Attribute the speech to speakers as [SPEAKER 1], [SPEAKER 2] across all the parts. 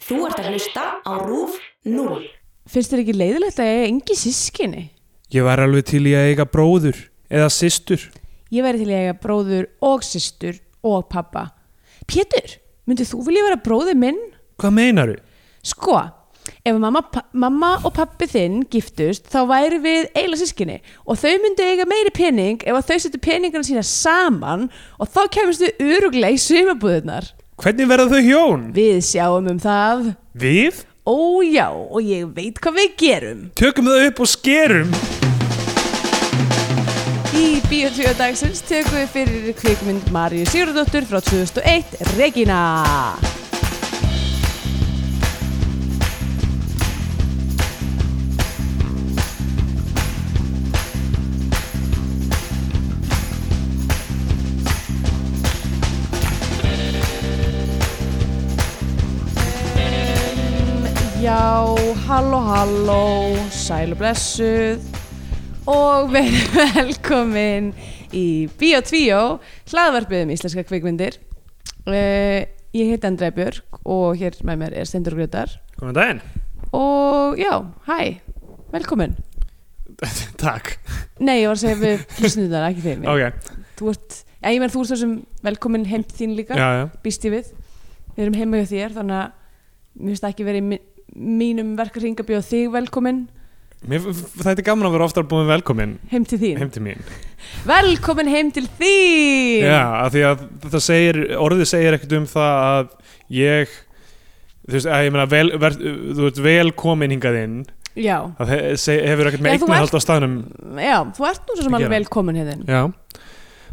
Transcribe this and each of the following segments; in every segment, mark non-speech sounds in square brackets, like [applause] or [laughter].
[SPEAKER 1] Þú ert að hlusta á RÚF 0.
[SPEAKER 2] Finnst þér ekki leiðilegt að ég er engi sískinni?
[SPEAKER 3] Ég var alveg til í að eiga bróður eða systur.
[SPEAKER 2] Ég væri til að eiga bróður og systur og pappa. Pétur, myndið þú vilja vera bróður minn?
[SPEAKER 3] Hvað meinaru?
[SPEAKER 2] Sko, ef mamma, pa- mamma og pappi þinn giftust, þá væri við eila sískinni og þau myndu eiga meiri pening ef að þau settu peningana sína saman og þá kemist þau öruglega í sumabúðunar.
[SPEAKER 3] Hvernig verða þau hjón?
[SPEAKER 2] Við sjáum um það.
[SPEAKER 3] Við?
[SPEAKER 2] Ó já, og ég veit hvað við gerum.
[SPEAKER 3] Tökum þau upp og skerum.
[SPEAKER 2] Í Bíotvíu dagsins tökum við fyrir kvikmynd Maríu Sigurðardóttur frá 2001, Regina. Em, Já, halló, halló, sæl og blessuð og verið [laughs] velkomin í Bíó 2, hlaðvarpið um íslenska kvikmyndir. Uh, ég heiti Andrei Björk og hér með mér er Stendur Grötar
[SPEAKER 3] Góðan daginn.
[SPEAKER 2] og já, hæ, velkomin.
[SPEAKER 3] Takk.
[SPEAKER 2] Nei, ég var að segja
[SPEAKER 3] [laughs]
[SPEAKER 2] við hlustundunar, ekki þeim.
[SPEAKER 3] Ok.
[SPEAKER 2] Þú ert, já, ég menn þú ert svo sem velkomin heim til þín líka,
[SPEAKER 3] Já, já.
[SPEAKER 2] býst ég við. Við erum heima hjá þér, þannig að mér finnst það ekki verið í mi- mínum verkarhing að bjóða þig velkomin
[SPEAKER 3] Mér, þetta er gaman að vera oftar búin velkomin
[SPEAKER 2] heim til þín.
[SPEAKER 3] heim til mín.
[SPEAKER 2] Velkomin heim til þín!
[SPEAKER 3] Já, af því að þetta segir, orðið segir ekkert um það að ég, þú veist, að ég meina, vel, ver, þú ert velkomin hingað inn,
[SPEAKER 2] Já.
[SPEAKER 3] það he- seg- hefur ekkert með
[SPEAKER 2] Já, þú
[SPEAKER 3] eignið hald á staðnum.
[SPEAKER 2] Já, þú ert nú svo sem
[SPEAKER 3] Að
[SPEAKER 2] alveg
[SPEAKER 3] gera.
[SPEAKER 2] velkomin hefðin
[SPEAKER 3] Já.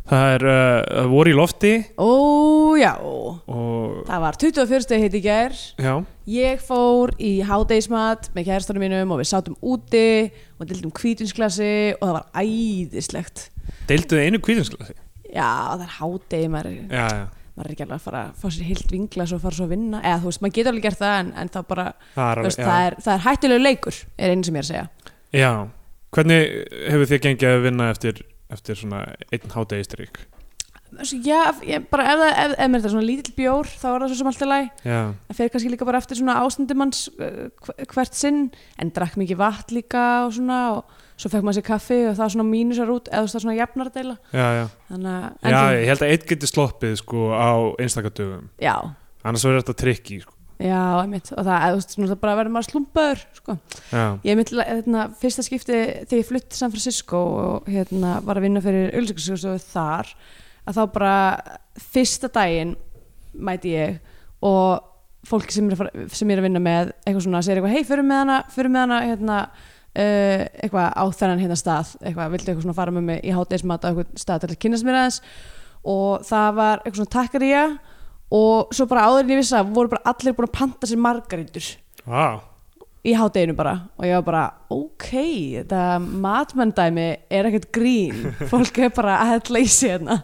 [SPEAKER 3] Það er, uh, það voru í lofti
[SPEAKER 2] Ó, já
[SPEAKER 3] og,
[SPEAKER 2] Það var 24. heit í gær
[SPEAKER 3] já,
[SPEAKER 2] Ég fór í hádeismat með kærastanum mínum og við sátum úti og dildum kvítinsklasi og það var æðislegt
[SPEAKER 3] deilduð einu kvítinsklasi.
[SPEAKER 2] Já, það er hádegi, maður,
[SPEAKER 3] Já, já.
[SPEAKER 2] maður er ekki alveg að fara að fá sér heilt vinglas og fara svo að vinna eða þú veist, maður getur alveg gert það en, en þá bara,
[SPEAKER 3] Það er
[SPEAKER 2] þú
[SPEAKER 3] alveg,
[SPEAKER 2] veist, það er, það er hættulegu leikur er einu sem ég er að segja
[SPEAKER 3] já. já. Hvernig hefur þið gengið að vinna eftir, eftir svona einn hádegistrík?
[SPEAKER 2] Svo, Já, ég, bara ef, það- ef, ef mér þetta er svona lítill bjór þá er það svo sem allt í lagi
[SPEAKER 3] Já,
[SPEAKER 2] það fer kannski líka bara eftir svona ástandumanns hvert sinn en drakk mikið vatn líka og svona og svo fekk maður sér kaffi og það var svona mínusar út eða þú veist, það var svona jafnar að deila
[SPEAKER 3] já, já.
[SPEAKER 2] þannig að
[SPEAKER 3] Já,
[SPEAKER 2] en þú-
[SPEAKER 3] ég held að einn geti sloppið sko á einstakadöfum.
[SPEAKER 2] já,
[SPEAKER 3] Annars verður þetta trikki sko.
[SPEAKER 2] já, einmitt og það, eða þú veist, svona, það bara verður maður slumpaður sko.
[SPEAKER 3] Já,
[SPEAKER 2] ég einmitt, hérna, fyrsta skipti þegar ég flutti til San Francisco og hérna var að vinna fyrir auðlýsingarskjóðstofu þar að þá bara fyrsta daginn mæti ég og fólki sem er, að fara, sem er að vinna með eitthvað svona, segir eitthvað, hei, förum með hana förum með hana, hérna Uh, eitthvað á þennan hérna stað eitthvað, viltu eitthvað svona fara með mig í hátægismat á eitthvað stað til að kynast mér aðeins og það var eitthvað svona takkaríja og svo bara áður en ég vissi það voru bara allir búin að panta sér margarítur
[SPEAKER 3] Vá.
[SPEAKER 2] í hádeginu bara og ég var bara ok, þetta matmenndæmi er ekkert grín fólk er bara að hella í sig hérna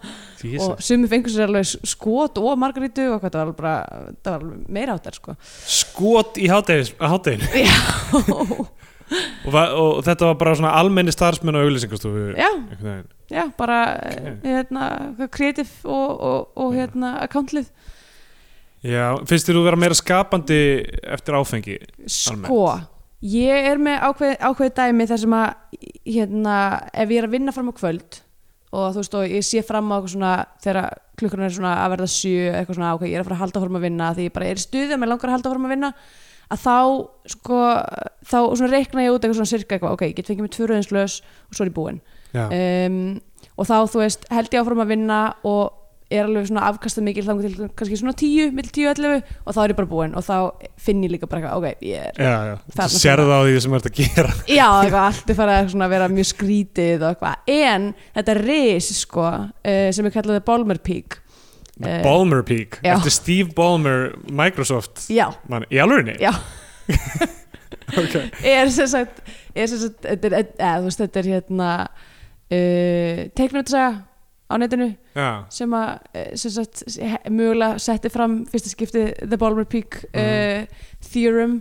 [SPEAKER 2] og sumi fengur sér alveg skot og margarítu og hvað það var alveg bara það var alveg meira áttar sko
[SPEAKER 3] Skot í hádegis- á hádeginu.
[SPEAKER 2] já,
[SPEAKER 3] Og, va- og þetta var bara svona almenni starfsmenn á auglýsingastofu.
[SPEAKER 2] já,
[SPEAKER 3] einhvern veginn.
[SPEAKER 2] já bara
[SPEAKER 3] Ok.
[SPEAKER 2] hérna, kreativ og, og, og hérna accountlið
[SPEAKER 3] Já, finnst þér þú vera meira skapandi eftir áfengi?
[SPEAKER 2] sko, ég er með ákveð, ákveð dæmi þar sem að hérna, ef ég er að vinna fram á kvöld og þú veist og ég sé fram á eitthvað svona þegar klukkurinn er svona að verða sjö eitthvað svona ákveð, ég er að fara að halda áfram að vinna því ég bara er í stuði að mér langar að halda áfram að vinna að þá sko þá svona reikna ég út eitthvað svona sirka eitthvað ok, ég get fengið mér tvö rauðinslaus og svo er ég búinn
[SPEAKER 3] Já,
[SPEAKER 2] um, og þá þú veist held ég áfram að vinna og er alveg svona afkastað mikil þangur til kannski svona 10, mill 10, 11 og þá er ég bara búin og þá finn ég líka bara eitthvað, ok, ég er
[SPEAKER 3] já, já.
[SPEAKER 2] Þarna-
[SPEAKER 3] Þú sérðu það á því sem þú ert að gera.
[SPEAKER 2] já, eitthvað, allt er farið að svona vera mjög skrítið og eitthvað, en þetta ris sko, uh, sem er kallaði Balmer Peak
[SPEAKER 3] The
[SPEAKER 2] Eh,
[SPEAKER 3] Balmer Peak,
[SPEAKER 2] já.
[SPEAKER 3] eftir Steve Ballmer Microsoft
[SPEAKER 2] já,
[SPEAKER 3] mann, í alvörinni? [laughs]
[SPEAKER 2] Já.
[SPEAKER 3] okay.
[SPEAKER 2] er sem sagt er sem sagt, þetta er, eða, þú veist, þetta er hérna uh, teiknumtsaga á netinu
[SPEAKER 3] Já.
[SPEAKER 2] sem að eh, sem sagt, he- mögulega setti fram fyrsta skipti The Balmer Peak
[SPEAKER 3] Mhm.
[SPEAKER 2] uh, Theorem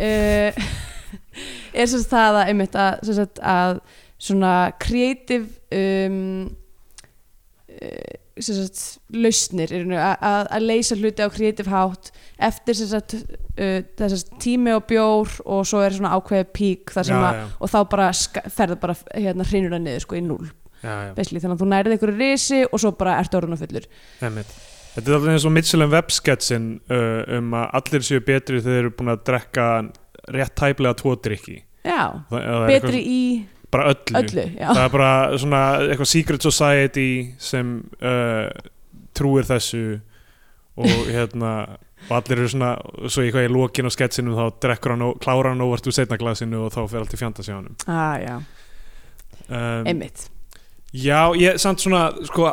[SPEAKER 2] uh, [laughs] er sem sagt það að, einmitt, að, sem sagt, að svona kreativ um, eh, sem sagt, lausnir í rauninni, a- að að leysa hluti á kreatív hátt eftir sem sagt, uh, þessast tími og bjór og svo er svona ákveðið pík þar sem
[SPEAKER 3] Já,
[SPEAKER 2] að,
[SPEAKER 3] já.
[SPEAKER 2] og þá bara ska- ferðu bara hérna hrinur það niður sko í núl
[SPEAKER 3] já, já.
[SPEAKER 2] basically, þannig að þú nærið einhverju risi og svo bara ertu orðun og fullur
[SPEAKER 3] Einmitt. Þetta er alltaf eins og Mitchell and Webb sketsin uh, um að allir séu betri þegar þeir eru búin að drekka rétt tæplega tvo drikki
[SPEAKER 2] já,
[SPEAKER 3] Það- eða
[SPEAKER 2] betri
[SPEAKER 3] eitthvað,
[SPEAKER 2] í
[SPEAKER 3] bara öllu.
[SPEAKER 2] öllu já,
[SPEAKER 3] það er bara svona eitthvað secret society sem uh, trúir þessu
[SPEAKER 2] [laughs]
[SPEAKER 3] og hérna og allir eru svona, svo í hvað í lokin á sketsinum þá drekkur hann og klárar hann óvart úr setna glasinu og þá fer allt í fjandans hjá honum
[SPEAKER 2] ah, já.
[SPEAKER 3] um,
[SPEAKER 2] einmitt
[SPEAKER 3] Já, ég samt svona sko,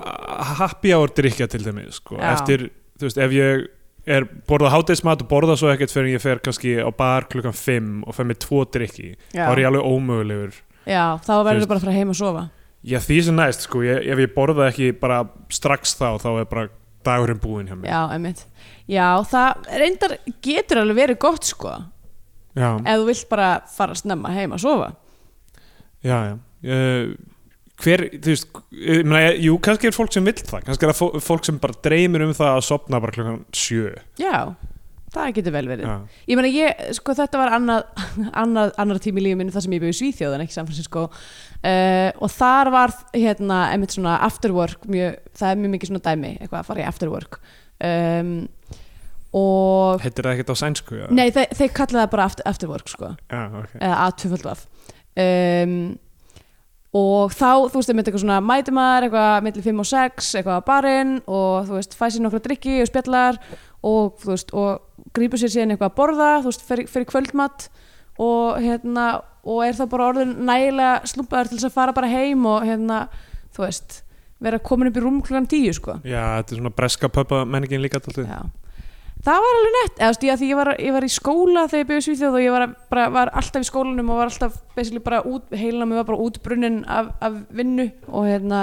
[SPEAKER 3] happy hour drikja til þeim sko.
[SPEAKER 2] Já.
[SPEAKER 3] eftir, þú veist, ef ég er borðað hátegismat og borða svo ekkert fyrir ég fer kannski á bar klukkan 5 og fer með tvo drikki,
[SPEAKER 2] já.
[SPEAKER 3] þá er ég alveg ómögulegur
[SPEAKER 2] já, þá verður
[SPEAKER 3] Þú
[SPEAKER 2] bara að fara heim að sofa
[SPEAKER 3] Já, því sem næst, sko, ég, ef ég borða ekki bara strax þá, þá er bara dagurinn búinn hjá mér
[SPEAKER 2] já, einmitt já, það reyndar getur alveg verið gott sko
[SPEAKER 3] já,
[SPEAKER 2] ef þú vilt bara fara snemma heim að sofa
[SPEAKER 3] já, já. Uh, Hver, þú veist, ég meina, ég- jú, kannski er fólk sem vill það, kannski er það fó- fólk sem bara dreymir um það að sopna bara klukkan 7
[SPEAKER 2] já, það getur vel verið
[SPEAKER 3] Já,
[SPEAKER 2] ég meina ég, sko þetta var annað, [laughs] annað, annar tími í lífið minni þar sem ég byrði Svíþjóðan ekki San Francisco uh, og þar var hérna einmitt svona after work mjög, það er mjög mikið svona dæmi eitthvað að fara í after work um, og
[SPEAKER 3] heitir það ekkert á sænsku? eða?
[SPEAKER 2] nei, þe þeir kallaði það bara after, after work sko
[SPEAKER 3] Já, ok
[SPEAKER 2] eða A2F um, og þá, þú veist, það myndi eitthvað svona mæti maður, eitthvað millir 5 og 6 eitthvað á barinn og þú veist, fæ sér nokkra drikki og spjallar og þú veist, og grípur sér síðan eitthvað að borða þú veist, fyrir, fyrir kvöldmatt og hérna, og er þá bara orðin nægilega slumpaður til þess að fara bara heim og hérna, þú veist vera komin upp í rúm klukkan 10 sko
[SPEAKER 3] Já, þetta er svona breska pöpa menningin líka alltaf.
[SPEAKER 2] Já. Það var alveg nett, eða þú veist, ég, af því ég, var, ég var í skóla þegar ég byggði Svíþjóð og ég var, að- bara, var alltaf í skólanum og var alltaf basically bara út, heilan mér var bara útbrunnin af, af vinnu og hérna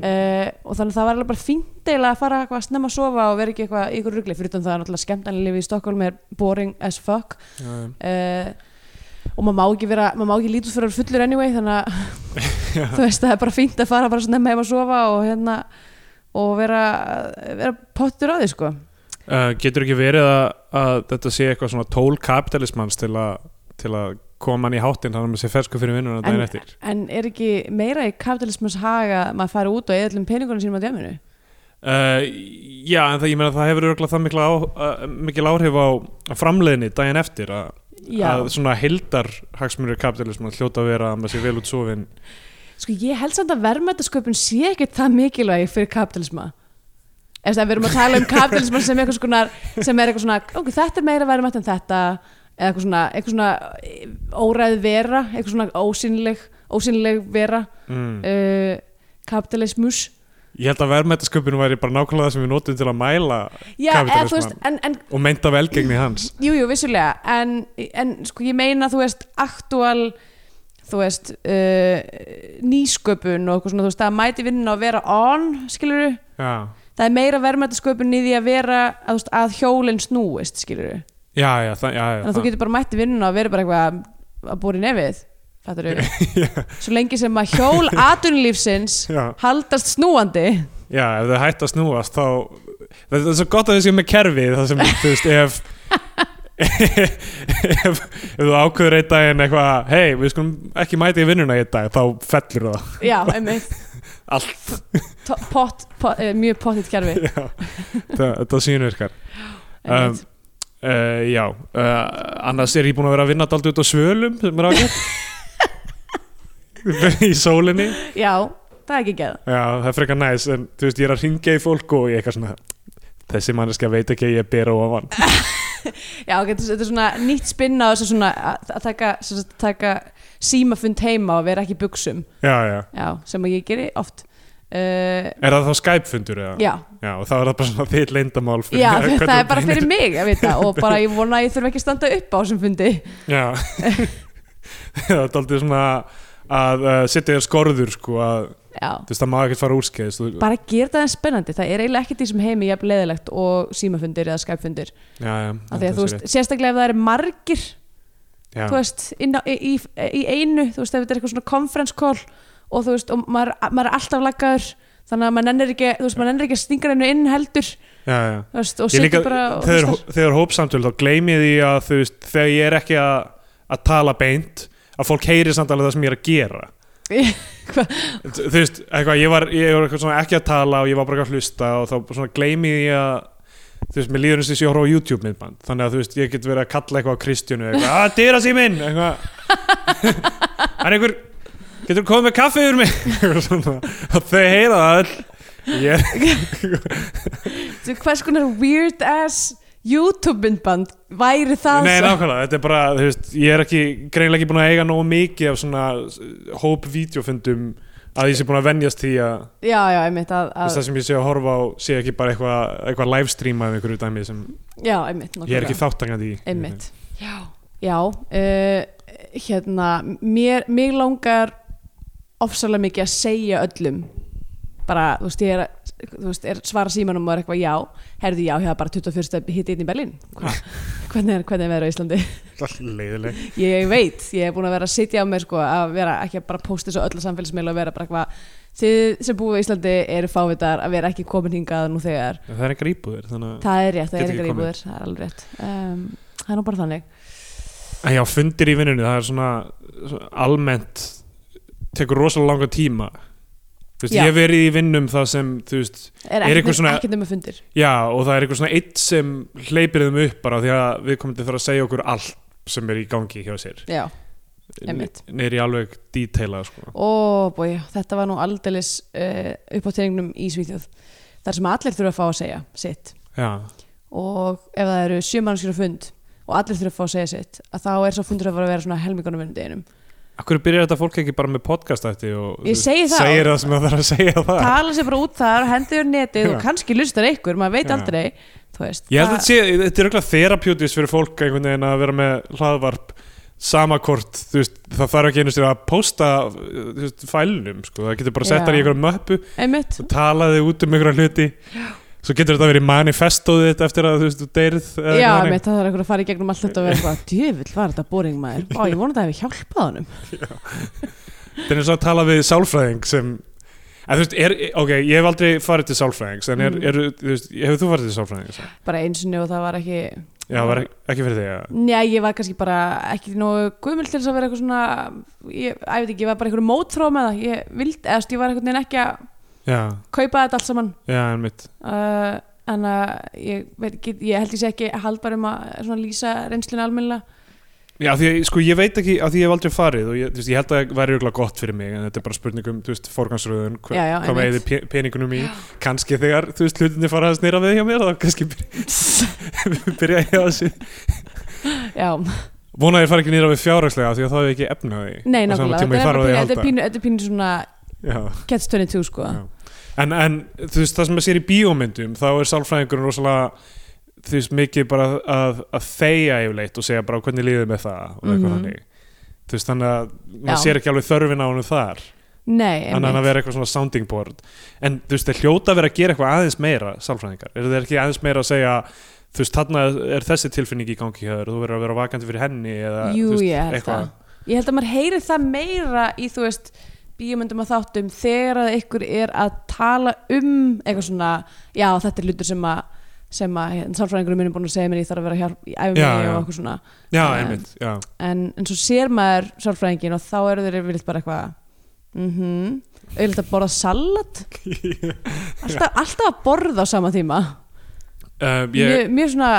[SPEAKER 2] uh, og þannig að það var alveg bara fínt eiginlega að fara eitthvað snemma að sofa og vera ekki eitthvað í ykkur rugli fyrir utan það er náttúrulega skemmtanlega lífið í Stokkólum er boring as fuck
[SPEAKER 3] Já,
[SPEAKER 2] uh, og maður má ekki vera, maður má ekki lítið fyrir að vera fullur anyway þannig að [laughs] þú veist það er bara fínt að fara bara snemma heim að sofa og hérna og vera, vera pottur á því sko
[SPEAKER 3] Uh, getur ekki verið að, að þetta sé eitthvað svona tól kapitalismans til, a, til að koma hann í háttinn þannig að maður sé fersku fyrir vinnuna daginn eftir?
[SPEAKER 2] en er ekki meira í kapitalismus haga að maður fari út og eða allum peningunum sínum á djaminu?
[SPEAKER 3] Uh, já, en það, ég meina að það hefur örgulega það mikla á, uh, mikil áhrif á á framleiðni daginn eftir að, að svona hildar hagsmunir kapitalismans hljóta að vera að maður sé vel út sofin.
[SPEAKER 2] Sko ég held samt að verðmættasköpun sé ekkert það mikilvæg fyrir kapitalisma. Ef það við erum að tala um kapitalisma sem eitthvað svona, sem er eitthvað svona, ok, þetta er meira verðmætt en þetta, eða eitthvað svona, eitthvað svona eh, óræð vera, eitthvað svona ósynleg, ósynleg vera,
[SPEAKER 3] Mm.
[SPEAKER 2] uh, kapitalismus.
[SPEAKER 3] Ég held að verðmættasköpunum væri bara nákvæmlega það sem við notum til að mæla
[SPEAKER 2] Já, eða þú veist,
[SPEAKER 3] kapitalisman
[SPEAKER 2] en, en
[SPEAKER 3] og meinta velgengni hans.
[SPEAKER 2] Jú, jú, vissulega, en, en sko ég meina þú veist aktúal þú veist uh, nýsköpun og eitthvað svona þú veist það mæti vinnuna að vera on skiluru,
[SPEAKER 3] Já,
[SPEAKER 2] það er meira verðmættasköpun í því að vera að, þú veist, að hjólinn snúist skiluru,
[SPEAKER 3] já, já, það, já,
[SPEAKER 2] þannig
[SPEAKER 3] já.
[SPEAKER 2] að þú
[SPEAKER 3] það-
[SPEAKER 2] getur bara mætti vinnuna að vera bara eitthvað að bóra í nefið fattur
[SPEAKER 3] [laughs]
[SPEAKER 2] svo lengi sem að hjól atunlífsins
[SPEAKER 3] Já.
[SPEAKER 2] haldast snúandi
[SPEAKER 3] Já, ef þau hætt að snúast þá það er svo gott að þau séu með kerfi það sem, þú veist, ef [laughs] ef, ef þú ákveður einn daginn eitthvað, hei, við skulum ekki mæti í vinnuna í einn dag, þá fellur það
[SPEAKER 2] já, einmitt
[SPEAKER 3] [laughs] allt
[SPEAKER 2] To- pott, pott, eh, mjög pottitt kerfi
[SPEAKER 3] Já, það, það sýnvirkar um,
[SPEAKER 2] einmitt.
[SPEAKER 3] uh, Já, uh, annars er ég búin að vera að vinna daldið út á svölum sem er
[SPEAKER 2] [laughs]
[SPEAKER 3] ágætt í sólinni
[SPEAKER 2] já, það er ekki geð
[SPEAKER 3] Já, það er frekar næs en þú veist, ég er að ringja í fólk og ég eitthvað svona þessi manneskja veit ekki að ég ber á ofan
[SPEAKER 2] Já, ok, þetta þetta er svona nýtt spinn á þess að svona að að taka, sem sagt, taka símafund heima og vera ekki í buksum
[SPEAKER 3] Já, já
[SPEAKER 2] já, sem að ég geri oft uh,
[SPEAKER 3] Er það þá Skype-fundur eða?
[SPEAKER 2] Já,
[SPEAKER 3] Já, og þá er það bara svona þitt leyndamál
[SPEAKER 2] já
[SPEAKER 3] [laughs] hvernig
[SPEAKER 2] það er
[SPEAKER 3] þú
[SPEAKER 2] bara fyrir
[SPEAKER 3] beinir-
[SPEAKER 2] mig að vita og bara ég vona að ég þurf ekki að standa upp á þessum fundi
[SPEAKER 3] Já [laughs] Það er aldrei svona að uh, setja þér skorður sko að
[SPEAKER 2] Já,
[SPEAKER 3] þú veist það má ekkert fara úrskeiðis þú-
[SPEAKER 2] bara gera það en spennandi það er eiginlega ekkert í sem heimi jafn leðilegt og símafundir eða skypefundir
[SPEAKER 3] Já, já
[SPEAKER 2] af því að þú veist, sérstaklega ef það eru margir
[SPEAKER 3] Já,
[SPEAKER 2] þú veist, inn á, í, í, í einu þú veist, ef þetta er eitthvað svona conference call og þú veist, og maður, maður er alltaf laggaður þannig að maður nennir ekki, þú veist, maður nennir ekki að stinga hennu inn heldur
[SPEAKER 3] já, já.
[SPEAKER 2] þú veist, og
[SPEAKER 3] Ég
[SPEAKER 2] setja
[SPEAKER 3] líka,
[SPEAKER 2] bara og,
[SPEAKER 3] þegar, þegar hópsamtölu þá gleymi ég því að þú veist, þegar ég er ekki að, að tala beint að fólk heyri samt alveg það sem ég er að gera
[SPEAKER 2] [laughs] Hva?
[SPEAKER 3] þú þú veist, eitthvað, ég var, ég var eitthvað svona ekki að tala og ég var bara eitthvað að hlusta og þá bara svona gleymi ég að þú veist, mér líður eins og þess að ég horfa á YouTube myndband þannig að þú veist, ég get verið að kalla eitthvað á Kristjánu eitthvað, að dýra sér minn
[SPEAKER 2] [laughs]
[SPEAKER 3] eitthvað, hann er einhver getur komið með kaffi yfir mig [laughs] eitthvað svona, og þau heyra það öll ég,
[SPEAKER 2] Þú- hvers konar weird ass YouTube myndband væri það
[SPEAKER 3] nei,
[SPEAKER 2] svo?
[SPEAKER 3] nákvæmlega, þetta er bara, þú veist, ég er ekki greinlega ekki búin að eiga nógu mikið af svona eh, hóp vídeofundum að ég sé búin að venjast því að
[SPEAKER 2] já, já, einmitt að,
[SPEAKER 3] Þess að
[SPEAKER 2] að,
[SPEAKER 3] það sem ég sé að horfa á sé ekki bara eitthvað eitthva livestreama eða einhverju dæmi sem
[SPEAKER 2] já, einmitt
[SPEAKER 3] ég er
[SPEAKER 2] nákvæmlega.
[SPEAKER 3] ekki þáttangandi í
[SPEAKER 2] einmitt já, já uh, hérna mér, mér langar ofsalega mikið að segja öllum bara, þú veist, ég er, að- þú veist, er svara símanum og er eitthvað já, herði já, hérna bara 21. hitti inn í Berlín Hva? [laughs] hvernig er, hvernig er veður á Íslandi [laughs]
[SPEAKER 3] Alltaf leiðileg
[SPEAKER 2] ég veit, ég hef búin að vera að sitja á mér sko, að vera ekki að bara posta þessu öllu samfélagsmiðla og vera bara eitthvað þið sem búið í Íslandi eru fávitar að vera ekki komin hingað nú þegar
[SPEAKER 3] En Það er einhver íbúðir þannig
[SPEAKER 2] það er rétt, það
[SPEAKER 3] Geta
[SPEAKER 2] er
[SPEAKER 3] ekki
[SPEAKER 2] eitthvað
[SPEAKER 3] komið.
[SPEAKER 2] íbúður það er alveg rétt um, það er nú bara þannig
[SPEAKER 3] að Já, fundir í vinnunni, það er svona, svona almennt tekur rosalega langa tíma Þú veist,
[SPEAKER 2] Já.
[SPEAKER 3] ég hef verið í vinnum það sem, þú veist,
[SPEAKER 2] er
[SPEAKER 3] Er
[SPEAKER 2] ekkert
[SPEAKER 3] eitthvað svona-
[SPEAKER 2] svona... nema fundir
[SPEAKER 3] já og það er einhver svona eitt sem hleypir þeim upp bara því að við komum til að segja okkur allt sem er í gangi hjá sér
[SPEAKER 2] já, Einmitt.
[SPEAKER 3] Neyri alveg detailað sko
[SPEAKER 2] ó bói, þetta var nú aldeilis uh, upp á tegningnum í Svíþjóð þar sem allir þurfa að fá að segja sitt
[SPEAKER 3] Já,
[SPEAKER 2] og ef það eru sjö mannskjur á fund og allir þurfa að fá að segja sitt að þá er svo fundur að fara að vera svona helmingunum vinnudeginum
[SPEAKER 3] Akkur byrjar þetta fólk ekki bara með podcast eftir og
[SPEAKER 2] Ég
[SPEAKER 3] þú
[SPEAKER 2] segi það.
[SPEAKER 3] segir það sem það þarf að segja það
[SPEAKER 2] tala um sér bara út þar, hendur netið
[SPEAKER 3] Já.
[SPEAKER 2] og kannski lustar einhver, maður veit
[SPEAKER 3] Já.
[SPEAKER 2] aldrei þú veist,
[SPEAKER 3] Ég held að þetta sé, þetta er auðvitað therapeutis fyrir fólk einhvern veginn að vera með hlaðvarp samakort, þú veist, það þarf ekki einu sinni að posta þú veist, fælunum, sko, það getur bara að setja
[SPEAKER 2] Já.
[SPEAKER 3] það í einhverjum möppu,
[SPEAKER 2] einmitt,
[SPEAKER 3] þú talaði út um einhverja hluti, svo getur þetta verið manifestóðið þitt eftir að þú veist, þú deyrð eða
[SPEAKER 2] já,
[SPEAKER 3] eitthvað
[SPEAKER 2] einmitt, það þarf einhver að fara í gegnum allt þetta og vera eitthvað, djöfull var þetta boring maður Ó, ég vona það hefði hjálpað honum
[SPEAKER 3] þannig. Þetta er eins og að tala við sálfræðing sem En þú veist, er, ok, ég hef aldrei farið til sálfræðings, en er,
[SPEAKER 2] Mm.
[SPEAKER 3] er, þú veist, hefur þú farið til sálfræðings?
[SPEAKER 2] bara einsinni og það var ekki
[SPEAKER 3] Já, var ek- ekki fyrir þig, að...
[SPEAKER 2] njá, ég var kannski bara ekki nógu guðmjöld til þess að vera eitthvað svona ég, að, ég veit ekki, ég var bara einhverjum mótfrá með það ég vildi, eða þú veist, ég var einhvern veginn ekki að
[SPEAKER 3] Já,
[SPEAKER 2] kaupa þetta allt saman
[SPEAKER 3] já, en mitt,
[SPEAKER 2] uh, en að ég, veit, ekki, ég held ég sé ekki haldbar um að svona lýsa reynslinu almennilega
[SPEAKER 3] Já, því, að- sko, ég veit ekki að því ég hef aldrei farið og ég, þú veist, ég held að það væri auðvitað gott fyrir mig en þetta er bara spurning um, þú veist, forgansröðun hva,
[SPEAKER 2] Já, já,
[SPEAKER 3] hvað með
[SPEAKER 2] einmitt.
[SPEAKER 3] eða peningunum í kannski þegar, þú veist, hlutinni fara að snýra við hjá mér þá kannski
[SPEAKER 2] [laughs]
[SPEAKER 3] byrja- [laughs] byrja ég að þessu
[SPEAKER 2] já,
[SPEAKER 3] vona að ég fari ekki nýra við fjárhagslega því að þá hef ég ekki efnaði
[SPEAKER 2] Nei, nákvæmlega,
[SPEAKER 3] tíma
[SPEAKER 2] þetta
[SPEAKER 3] ég
[SPEAKER 2] er
[SPEAKER 3] þarf á því
[SPEAKER 2] bara pínu- þetta er
[SPEAKER 3] að halda
[SPEAKER 2] pínu, þetta er pínu svona
[SPEAKER 3] Já.
[SPEAKER 2] catch 22 sko
[SPEAKER 3] Já. en, en þú veist, það sem maður sér í bíómyndum þá er sálfræðingurinn rosalega þú veist, mikið bara að, að þeia yfirleitt og segja bara hvernig líðið með það og eitthvað
[SPEAKER 2] Mhm.
[SPEAKER 3] þannig þú veist, þannig að maður
[SPEAKER 2] Já.
[SPEAKER 3] sér ekki alveg þörfin á honum þar
[SPEAKER 2] Nei,
[SPEAKER 3] annar en að
[SPEAKER 2] einmitt.
[SPEAKER 3] vera eitthvað svona sounding board en þú veist, þeir hljóta að vera að gera eitthvað aðeins meira sálfræðingar, eru þeir ekki aðeins meira að segja þú veist, þarna er þessi tilfinning í gangi hjá þér, þú verður að vera vakandi fyrir henni eða,
[SPEAKER 2] Jú,
[SPEAKER 3] þú veist,
[SPEAKER 2] ég held
[SPEAKER 3] eitthvað.
[SPEAKER 2] það Ég held að maður heyri það meira í þú veist bíómyndum að þáttum þegar að ykkur er að tala um eitthvað svona, já þetta er hlutur sem að sem að hérna, sálfræðingurum minn er búin að segja mér ég þarf að vera hér í æfum
[SPEAKER 3] Já,
[SPEAKER 2] mig
[SPEAKER 3] já.
[SPEAKER 2] og eitthvað svona
[SPEAKER 3] já,
[SPEAKER 2] Um,
[SPEAKER 3] einmitt,
[SPEAKER 2] [laughs]
[SPEAKER 3] já,
[SPEAKER 2] en, en svo sér maður sálfræðingin og þá eru þeir yfirleitt bara eitthvað mhm, auðvitað að borða salat alltaf, alltaf að borða á sama tíma
[SPEAKER 3] um, ég,
[SPEAKER 2] mjög, mjög svona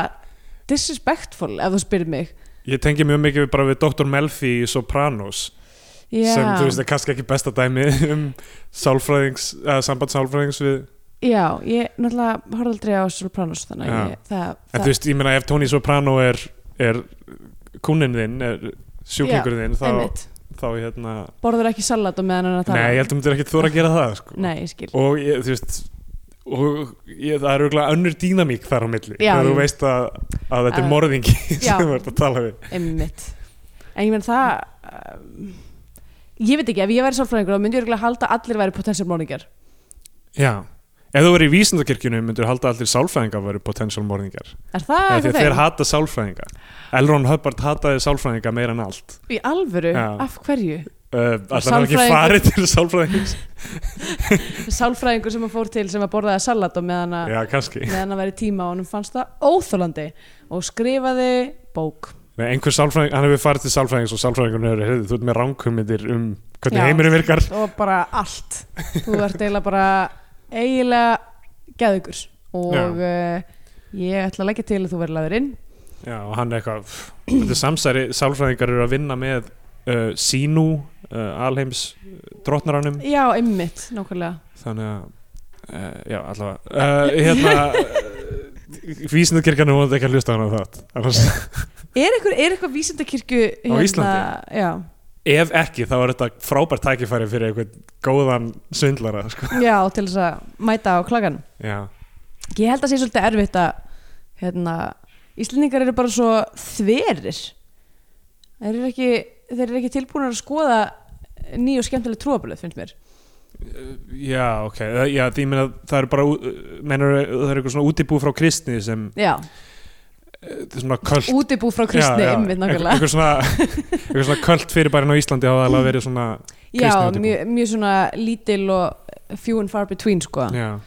[SPEAKER 2] disrespectful ef þú spyrir mig
[SPEAKER 3] ég tengi mjög mikið bara við Dr. Melfi í Sopranos
[SPEAKER 2] já,
[SPEAKER 3] sem, þú veist, er kannski ekki besta dæmi [laughs] um sálfræðings, eða samband sálfræðings við,
[SPEAKER 2] já ég náttúrulega horfði aldrei á Sopranos þannig
[SPEAKER 3] Já.
[SPEAKER 2] að ég, það,
[SPEAKER 3] en
[SPEAKER 2] það
[SPEAKER 3] þú veist, ég meina ef Tony Soprano er, er kúnin þinn, er sjúklingurinn þinn, þá,
[SPEAKER 2] einmitt,
[SPEAKER 3] þá hérna
[SPEAKER 2] borður ekki salat og meðan hann er að tala
[SPEAKER 3] Nei, ég held að myndir ekkert þóra að gera það sko.
[SPEAKER 2] Nei, ég skil
[SPEAKER 3] Og ég, þú veist og ég, það er auðvitað önnur dýnamík þar á milli
[SPEAKER 2] Já,
[SPEAKER 3] þegar þú
[SPEAKER 2] jú.
[SPEAKER 3] veist að, að þetta er
[SPEAKER 2] Að-
[SPEAKER 3] morðingi [laughs]
[SPEAKER 2] Já.
[SPEAKER 3] sem þú ert að tala við
[SPEAKER 2] einmitt en ég menn það um, ég veit ekki, ef ég væri sálfræðingur þá myndi ég örugglega halda að allir væri potential morningar
[SPEAKER 3] Já, ef þú verið í vísindakirkjunum myndir halda allir sálfræðingar að vera potential morðingar
[SPEAKER 2] er það
[SPEAKER 3] Eða því
[SPEAKER 2] eitthvað
[SPEAKER 3] að þeir
[SPEAKER 2] þeim?
[SPEAKER 3] hata sálfræðinga Elron Hubbard hataði sálfræðinga meira en allt
[SPEAKER 2] í alvöru,
[SPEAKER 3] Já.
[SPEAKER 2] af hverju?
[SPEAKER 3] uh, allan hann ekki
[SPEAKER 2] Sálfræðingur.
[SPEAKER 3] farið til sálfræðings
[SPEAKER 2] sálfræðingur sem að fór til sem að borðaði salat og meðan að,
[SPEAKER 3] já, kannski,
[SPEAKER 2] meðan að væri tíma og hann fannst það óþólandi og skrifaði bók
[SPEAKER 3] Nei, einhver sálfræðing hann hefur farið til sálfræðings og sálfræðingur hefur heyrðu, þú ert með ránkumindir um hvernig
[SPEAKER 2] Já.
[SPEAKER 3] heimurinn virkar
[SPEAKER 2] og bara allt þú ert eiginlega bara eiginlega geðugur og uh, ég ætla að leggja til að þú verður laður inn
[SPEAKER 3] já, og hann er eitthvað pff, þetta er samsæri, sálfræðingar eru að vinna með uh, Sinu uh, alheims uh, drottnaranum
[SPEAKER 2] já, einmitt, nákvæmlega
[SPEAKER 3] þannig að uh, já, allavega uh, hérna vísindakirkjan er vonandi ekki að hlusta á hana þátt annars,
[SPEAKER 2] er eitthvað, er eitthvað vísindakirkju hérna,
[SPEAKER 3] Á Íslandi?
[SPEAKER 2] já,
[SPEAKER 3] ef ekki þá er þetta frábært tækifæri fyrir einhvern góðan svindlara sko.
[SPEAKER 2] já, til þess að mæta á klagan
[SPEAKER 3] já,
[SPEAKER 2] ég held að sé svolítið erfitt að hérna, Íslendingar eru bara svo þverir þeir eru ekki, þeir eru ekki tilbúin að skoða nýju og skemmtileg trúablöð finnst mér
[SPEAKER 3] já ok Það- já, því meina, það eru bara menur, það eru eitthvað svona útibú frá kristni sem
[SPEAKER 2] já,
[SPEAKER 3] eh, þetta er svona költ
[SPEAKER 2] útibú frá kristni einmitt nákvæmlega
[SPEAKER 3] eitthvað svona, eitthvað svona költ fyrirbærin á Íslandi hafa alveg verið svona
[SPEAKER 2] Já,
[SPEAKER 3] Kristni útibú.
[SPEAKER 2] mjög mjö svona lítil og few and far between sko
[SPEAKER 3] já.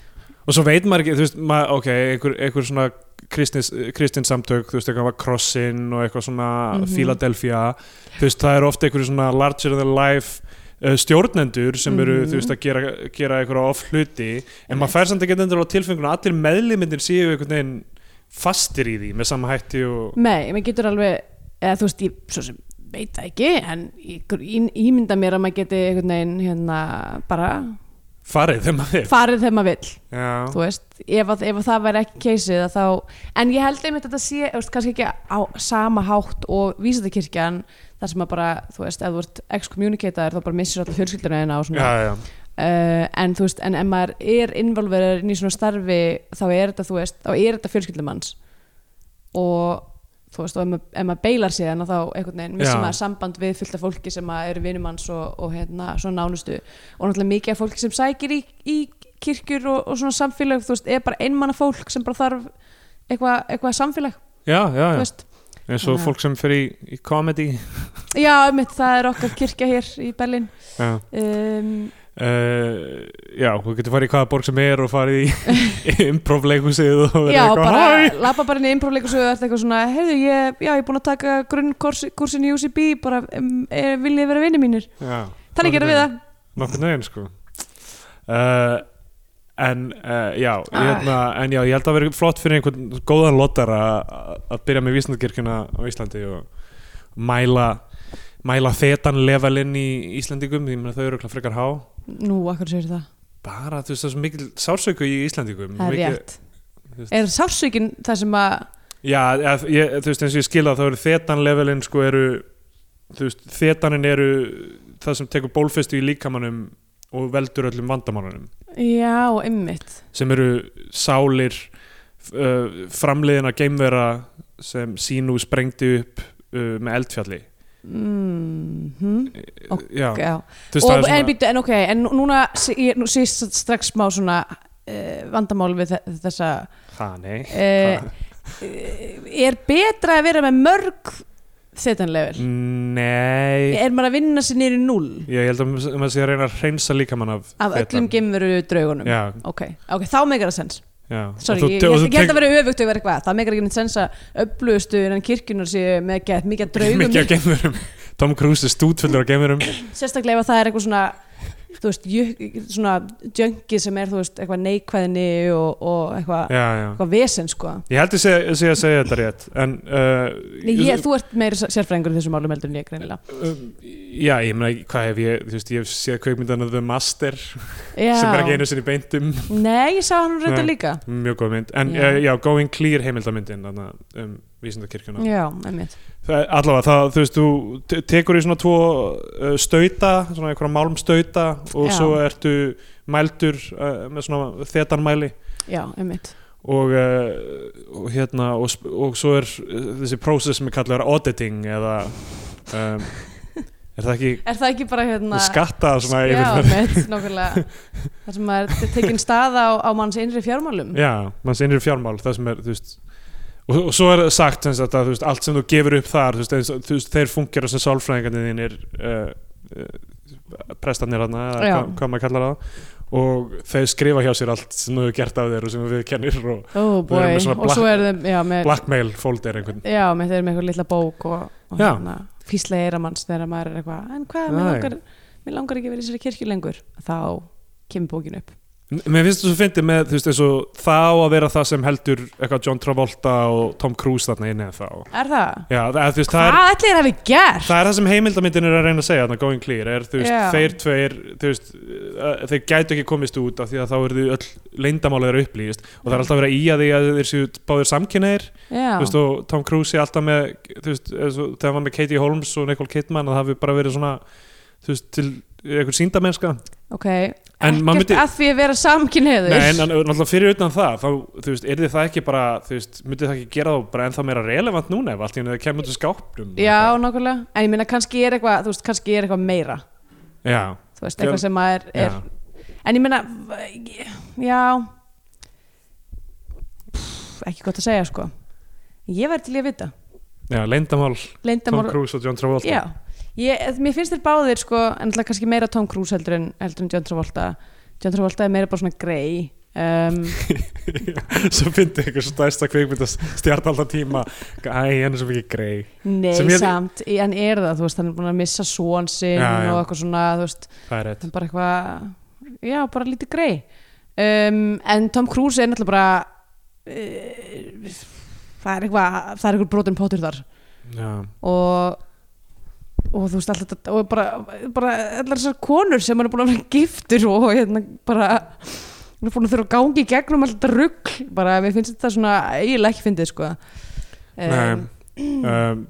[SPEAKER 3] og svo veit maður ekki þú veist, mað, ok, einhver, einhver svona kristins, kristins samtök, þú veist, eitthvað var Crossin og eitthvað svona
[SPEAKER 2] Mhm.
[SPEAKER 3] Philadelphia þú veist, það eru ofta einhverju svona larger than life uh, stjórnendur sem eru,
[SPEAKER 2] Mhm.
[SPEAKER 3] þú veist, að gera, gera einhverja off hluti, en maður fær samt ekki endur á tilfengun að allir meðlimindir séu einhvern veginn fastir í því með sama hætti og
[SPEAKER 2] Nei, maður getur alveg eða þú veist, ég svo sem veit það ekki en ég, ég, ímynda mér að maður geti einhvern veginn hérna bara
[SPEAKER 3] farið þegar maður er
[SPEAKER 2] farið þegar maður vill
[SPEAKER 3] já,
[SPEAKER 2] þú veist, ef, að, ef að það væri ekki keysið að þá, en ég held einmitt að þetta sé þú veist, kannski ekki á sama hátt og vísindakirkjan, þar sem að bara þú veist, ef þú ert excommunicataður þá bara missir allir fjölskyldina eina og svona
[SPEAKER 3] já, já,
[SPEAKER 2] uh, en þú veist, en ef maður er involverður inn í svona starfi þá er þetta, þú veist, þá er þetta fjölskyldumanns og þú veist, og ef maður, ef maður beilar síðan að þá einhvern veginn missir
[SPEAKER 3] Já.
[SPEAKER 2] maður samband við fullta fólki sem að eru vinumanns og, og hérna, svona nánustu og náttúrulega mikið af fólki sem sækir í, í kirkjur og, og svona samfélag, þú veist, er bara einmanna fólk sem bara þarf eitthvað eitthvað samfélag,
[SPEAKER 3] já, já,
[SPEAKER 2] þú
[SPEAKER 3] já.
[SPEAKER 2] veist
[SPEAKER 3] eins og
[SPEAKER 2] Þannig að-
[SPEAKER 3] fólk sem fer í, í comedy
[SPEAKER 2] já, mitt, það er okkar kirkja hér í Berlin
[SPEAKER 3] já
[SPEAKER 2] um,
[SPEAKER 3] Uh, já, þú getur farið í hvaða borg sem er og farið
[SPEAKER 2] [laughs]
[SPEAKER 3] í improvleikussið og verið
[SPEAKER 2] Já,
[SPEAKER 3] eitthvað
[SPEAKER 2] bara
[SPEAKER 3] hæ
[SPEAKER 2] lappa bara inn í improv-leikus og ert eitthvað svona, heyrðu, ég, já, ég er búin að taka grunnkursin í UCB, bara um, er, vil ég vera vinni mínir.
[SPEAKER 3] Já,
[SPEAKER 2] Þannig gerum við það.
[SPEAKER 3] Nokkurn veginn sko uh, En uh, já,
[SPEAKER 2] Ah.
[SPEAKER 3] hérna, en já, ég held að vera flott fyrir einhvern góðan lottar að að byrja með vísnandkirkjuna á Íslandi og mæla mæla þetan levelinn í Íslandingum því að þau eru örugglega frekar há
[SPEAKER 2] Nú, akkur sér það.
[SPEAKER 3] bara, þú veist, það er svo mikil sársöku í Íslandingum
[SPEAKER 2] Það er
[SPEAKER 3] mikil-
[SPEAKER 2] rétt.
[SPEAKER 3] þú veist-
[SPEAKER 2] Er sársökin það sem að,
[SPEAKER 3] Já, eða, ég, þú veist, eins og ég skil það þá eru þetanlevelin sko eru þú veist, þetanin eru það sem tekur bólfestu í líkamannum og veldur öllum vandamannunum
[SPEAKER 2] já, einmitt.
[SPEAKER 3] sem eru sálir uh, framliðina geimvera sem Sinu sprengdi upp uh, með eldfjalli
[SPEAKER 2] Mm
[SPEAKER 3] okay. Já,
[SPEAKER 2] Já.
[SPEAKER 3] þú veist,
[SPEAKER 2] Og,
[SPEAKER 3] það er
[SPEAKER 2] en,
[SPEAKER 3] svona
[SPEAKER 2] býttu, en ok, en nú- núna, sé- ég, nú sést strax smá svona uh, vandamál við þe- þessa,
[SPEAKER 3] Það, nei
[SPEAKER 2] uh,
[SPEAKER 3] hvað?
[SPEAKER 2] er betra að vera með mörg þetanlegur?
[SPEAKER 3] Nei,
[SPEAKER 2] Er maður að vinna sér niður í null?
[SPEAKER 3] ég held að maður sé að reyna að hreinsa líkamann af
[SPEAKER 2] af öllum geimveru draugunum
[SPEAKER 3] Já,
[SPEAKER 2] ok, ok, þá meikar það sens
[SPEAKER 3] já
[SPEAKER 2] Sorry,
[SPEAKER 3] Og þú-
[SPEAKER 2] ég,
[SPEAKER 3] og
[SPEAKER 2] ég,
[SPEAKER 3] þú
[SPEAKER 2] ég held
[SPEAKER 3] tek-
[SPEAKER 2] að vera öfugt og vera eitthvað það meikar ekki neitt sens að öflugustu innan kirkjunar séu með gett mikið af
[SPEAKER 3] Mikið
[SPEAKER 2] draugum
[SPEAKER 3] af geimverum Tom Cruise er stútfullur af geimverum
[SPEAKER 2] sérstaklega ef það er eitthvað svona þú veist, jö, svona djöngi sem er þú veist, eitthvað neikvæðinni og, og eitthvað,
[SPEAKER 3] Já, já
[SPEAKER 2] eitthvað vesen sko
[SPEAKER 3] Ég held ég sé, sé að segja þetta rétt en uh,
[SPEAKER 2] Nei, ég, þú ert meira sérfræðingur í þessum málum heldur en ég greinilega
[SPEAKER 3] um, Já, ég meina, hvað hef ég þú veist, ég hef séð kveikmyndana The Master
[SPEAKER 2] já.
[SPEAKER 3] sem er ekki einu sinni beintum
[SPEAKER 2] nei, ég sá hann reynda
[SPEAKER 3] Nei.
[SPEAKER 2] líka
[SPEAKER 3] mjög góð mynd, en
[SPEAKER 2] Já.
[SPEAKER 3] já, já Going Clear heimildamyndin, þannig um, vísindakirkjuna
[SPEAKER 2] já, einmitt
[SPEAKER 3] Það er- Allavega, það, þú veist, þú te- tekur í svona tvo uh, stauta, svona einhverja málmstauta og
[SPEAKER 2] Já.
[SPEAKER 3] svo ertu mældur uh, með svona þetanmæli
[SPEAKER 2] já, einmitt
[SPEAKER 3] og, uh, og hérna og, sp- og svo er uh, þessi prósess sem er kallar auditing eða um, er það ekki
[SPEAKER 2] er það ekki bara hérna
[SPEAKER 3] skatta svona
[SPEAKER 2] Já,
[SPEAKER 3] yfir
[SPEAKER 2] mitt, nákvæmlega Það sem er tekin staða á, á manns innri fjármálum
[SPEAKER 3] já, manns innri fjármál það sem er, þú veist og, og svo er sagt sem sagt að þú veist, allt sem þú gefur upp þar þú veist, eins, og- þú veist þeir fungera sem sálfræðingarnir þínir uh, uh, prestanir hana eða
[SPEAKER 2] Já.
[SPEAKER 3] hvað, hvað maður kallar það og þau skrifa hjá sér allt sem þau hefur gert af þér og sem þau kennir og
[SPEAKER 2] oh
[SPEAKER 3] Þau eru
[SPEAKER 2] boy,
[SPEAKER 3] með svona
[SPEAKER 2] og svo
[SPEAKER 3] black-
[SPEAKER 2] eru þeim já, með,
[SPEAKER 3] blackmail folder einhvern
[SPEAKER 2] já, með þeir eru með eitthvað litla bók og, og
[SPEAKER 3] Já.
[SPEAKER 2] hérna, físla eira manns þegar maður er eitthvað, en hvað, mér
[SPEAKER 3] Nei.
[SPEAKER 2] langar, mér langar ekki að vera í þessari kirkju lengur þá kemur bókin upp
[SPEAKER 3] M- Mér finnst þetta svo fyndið með, þú veist, eins og það á að vera það sem heldur eitthvað John Travolta og Tom Cruise þarna inni eða þá.
[SPEAKER 2] er það?
[SPEAKER 3] Já, það, þú veist, það er,
[SPEAKER 2] Hvað ætli þér hafi gert?
[SPEAKER 3] það er það sem heimildamindin er að reyna að segja, þarna Going Clear, er, þú veist,
[SPEAKER 2] Já.
[SPEAKER 3] þeir tveir, þú veist, uh, þeir gætu ekki komist út af því að þá eru þau öll leyndamála þeirra upplýst og það er alltaf verið að í að því að þeir séu báðir samkynneir,
[SPEAKER 2] Já,
[SPEAKER 3] þú veist, og Tom Cruise sé alltaf með, þú veist, eins og þegar hann var með Katie Holmes og Nicole Kidman, að það hafi bara verið svona, þú veist, til einhver síndamennska
[SPEAKER 2] ok
[SPEAKER 3] En maður
[SPEAKER 2] Ekkert
[SPEAKER 3] myndi-
[SPEAKER 2] að því að vera samkynniður
[SPEAKER 3] Nei, en en náttúrulega fyrir utan það þá, þú veist, yrði það ekki bara þú veist, myndi það ekki gera þá bara ennþá meira relevant núna ef allt í henni það kemur út úr skápnum og
[SPEAKER 2] Já,
[SPEAKER 3] eitthvað.
[SPEAKER 2] nákvæmlega, en ég meina kannski er eitthvað þú veist, kannski er eitthvað meira
[SPEAKER 3] Já,
[SPEAKER 2] þú veist,
[SPEAKER 3] Já.
[SPEAKER 2] eitthvað sem maður er,
[SPEAKER 3] já.
[SPEAKER 2] en ég meina v- já Pff, ekki gott að segja sko ég væri til í að vita
[SPEAKER 3] já leyndamál Tom
[SPEAKER 2] leyndamál,
[SPEAKER 3] Cruise og John Travolta
[SPEAKER 2] já ég, eh, mér finnst þér báðir sko, en alltaf kannski meira Tom Cruise heldur en, heldur en John Travolta John Travolta er meira bara svona grey um,
[SPEAKER 3] [laughs] Svo fyndi ykkur stærsta kvikmynd að stjarta alltaf tíma Æ, hann er svo mikið grei
[SPEAKER 2] nei,
[SPEAKER 3] Sem ég-
[SPEAKER 2] samt, en er það þú veist, hann er búin að missa són sinn
[SPEAKER 3] Já, já.
[SPEAKER 2] og eitthvað svona, þú veist
[SPEAKER 3] Það er rétt
[SPEAKER 2] hann bara eitthvað já, bara lítið grei um, en Tom Cruise er náttúrulega bara uh, það er eitthvað það er eitthvað brotin pottur þar
[SPEAKER 3] Já,
[SPEAKER 2] og og þú veist alltaf þetta og bara, bara allar þessar konur sem hann er búin að vera giftur og hérna bara hann er búin að þurfa að gangi í gegnum alltaf þetta rugg bara mér finnst þetta svona eiginlega ekki fyndið sko um,
[SPEAKER 3] nei um,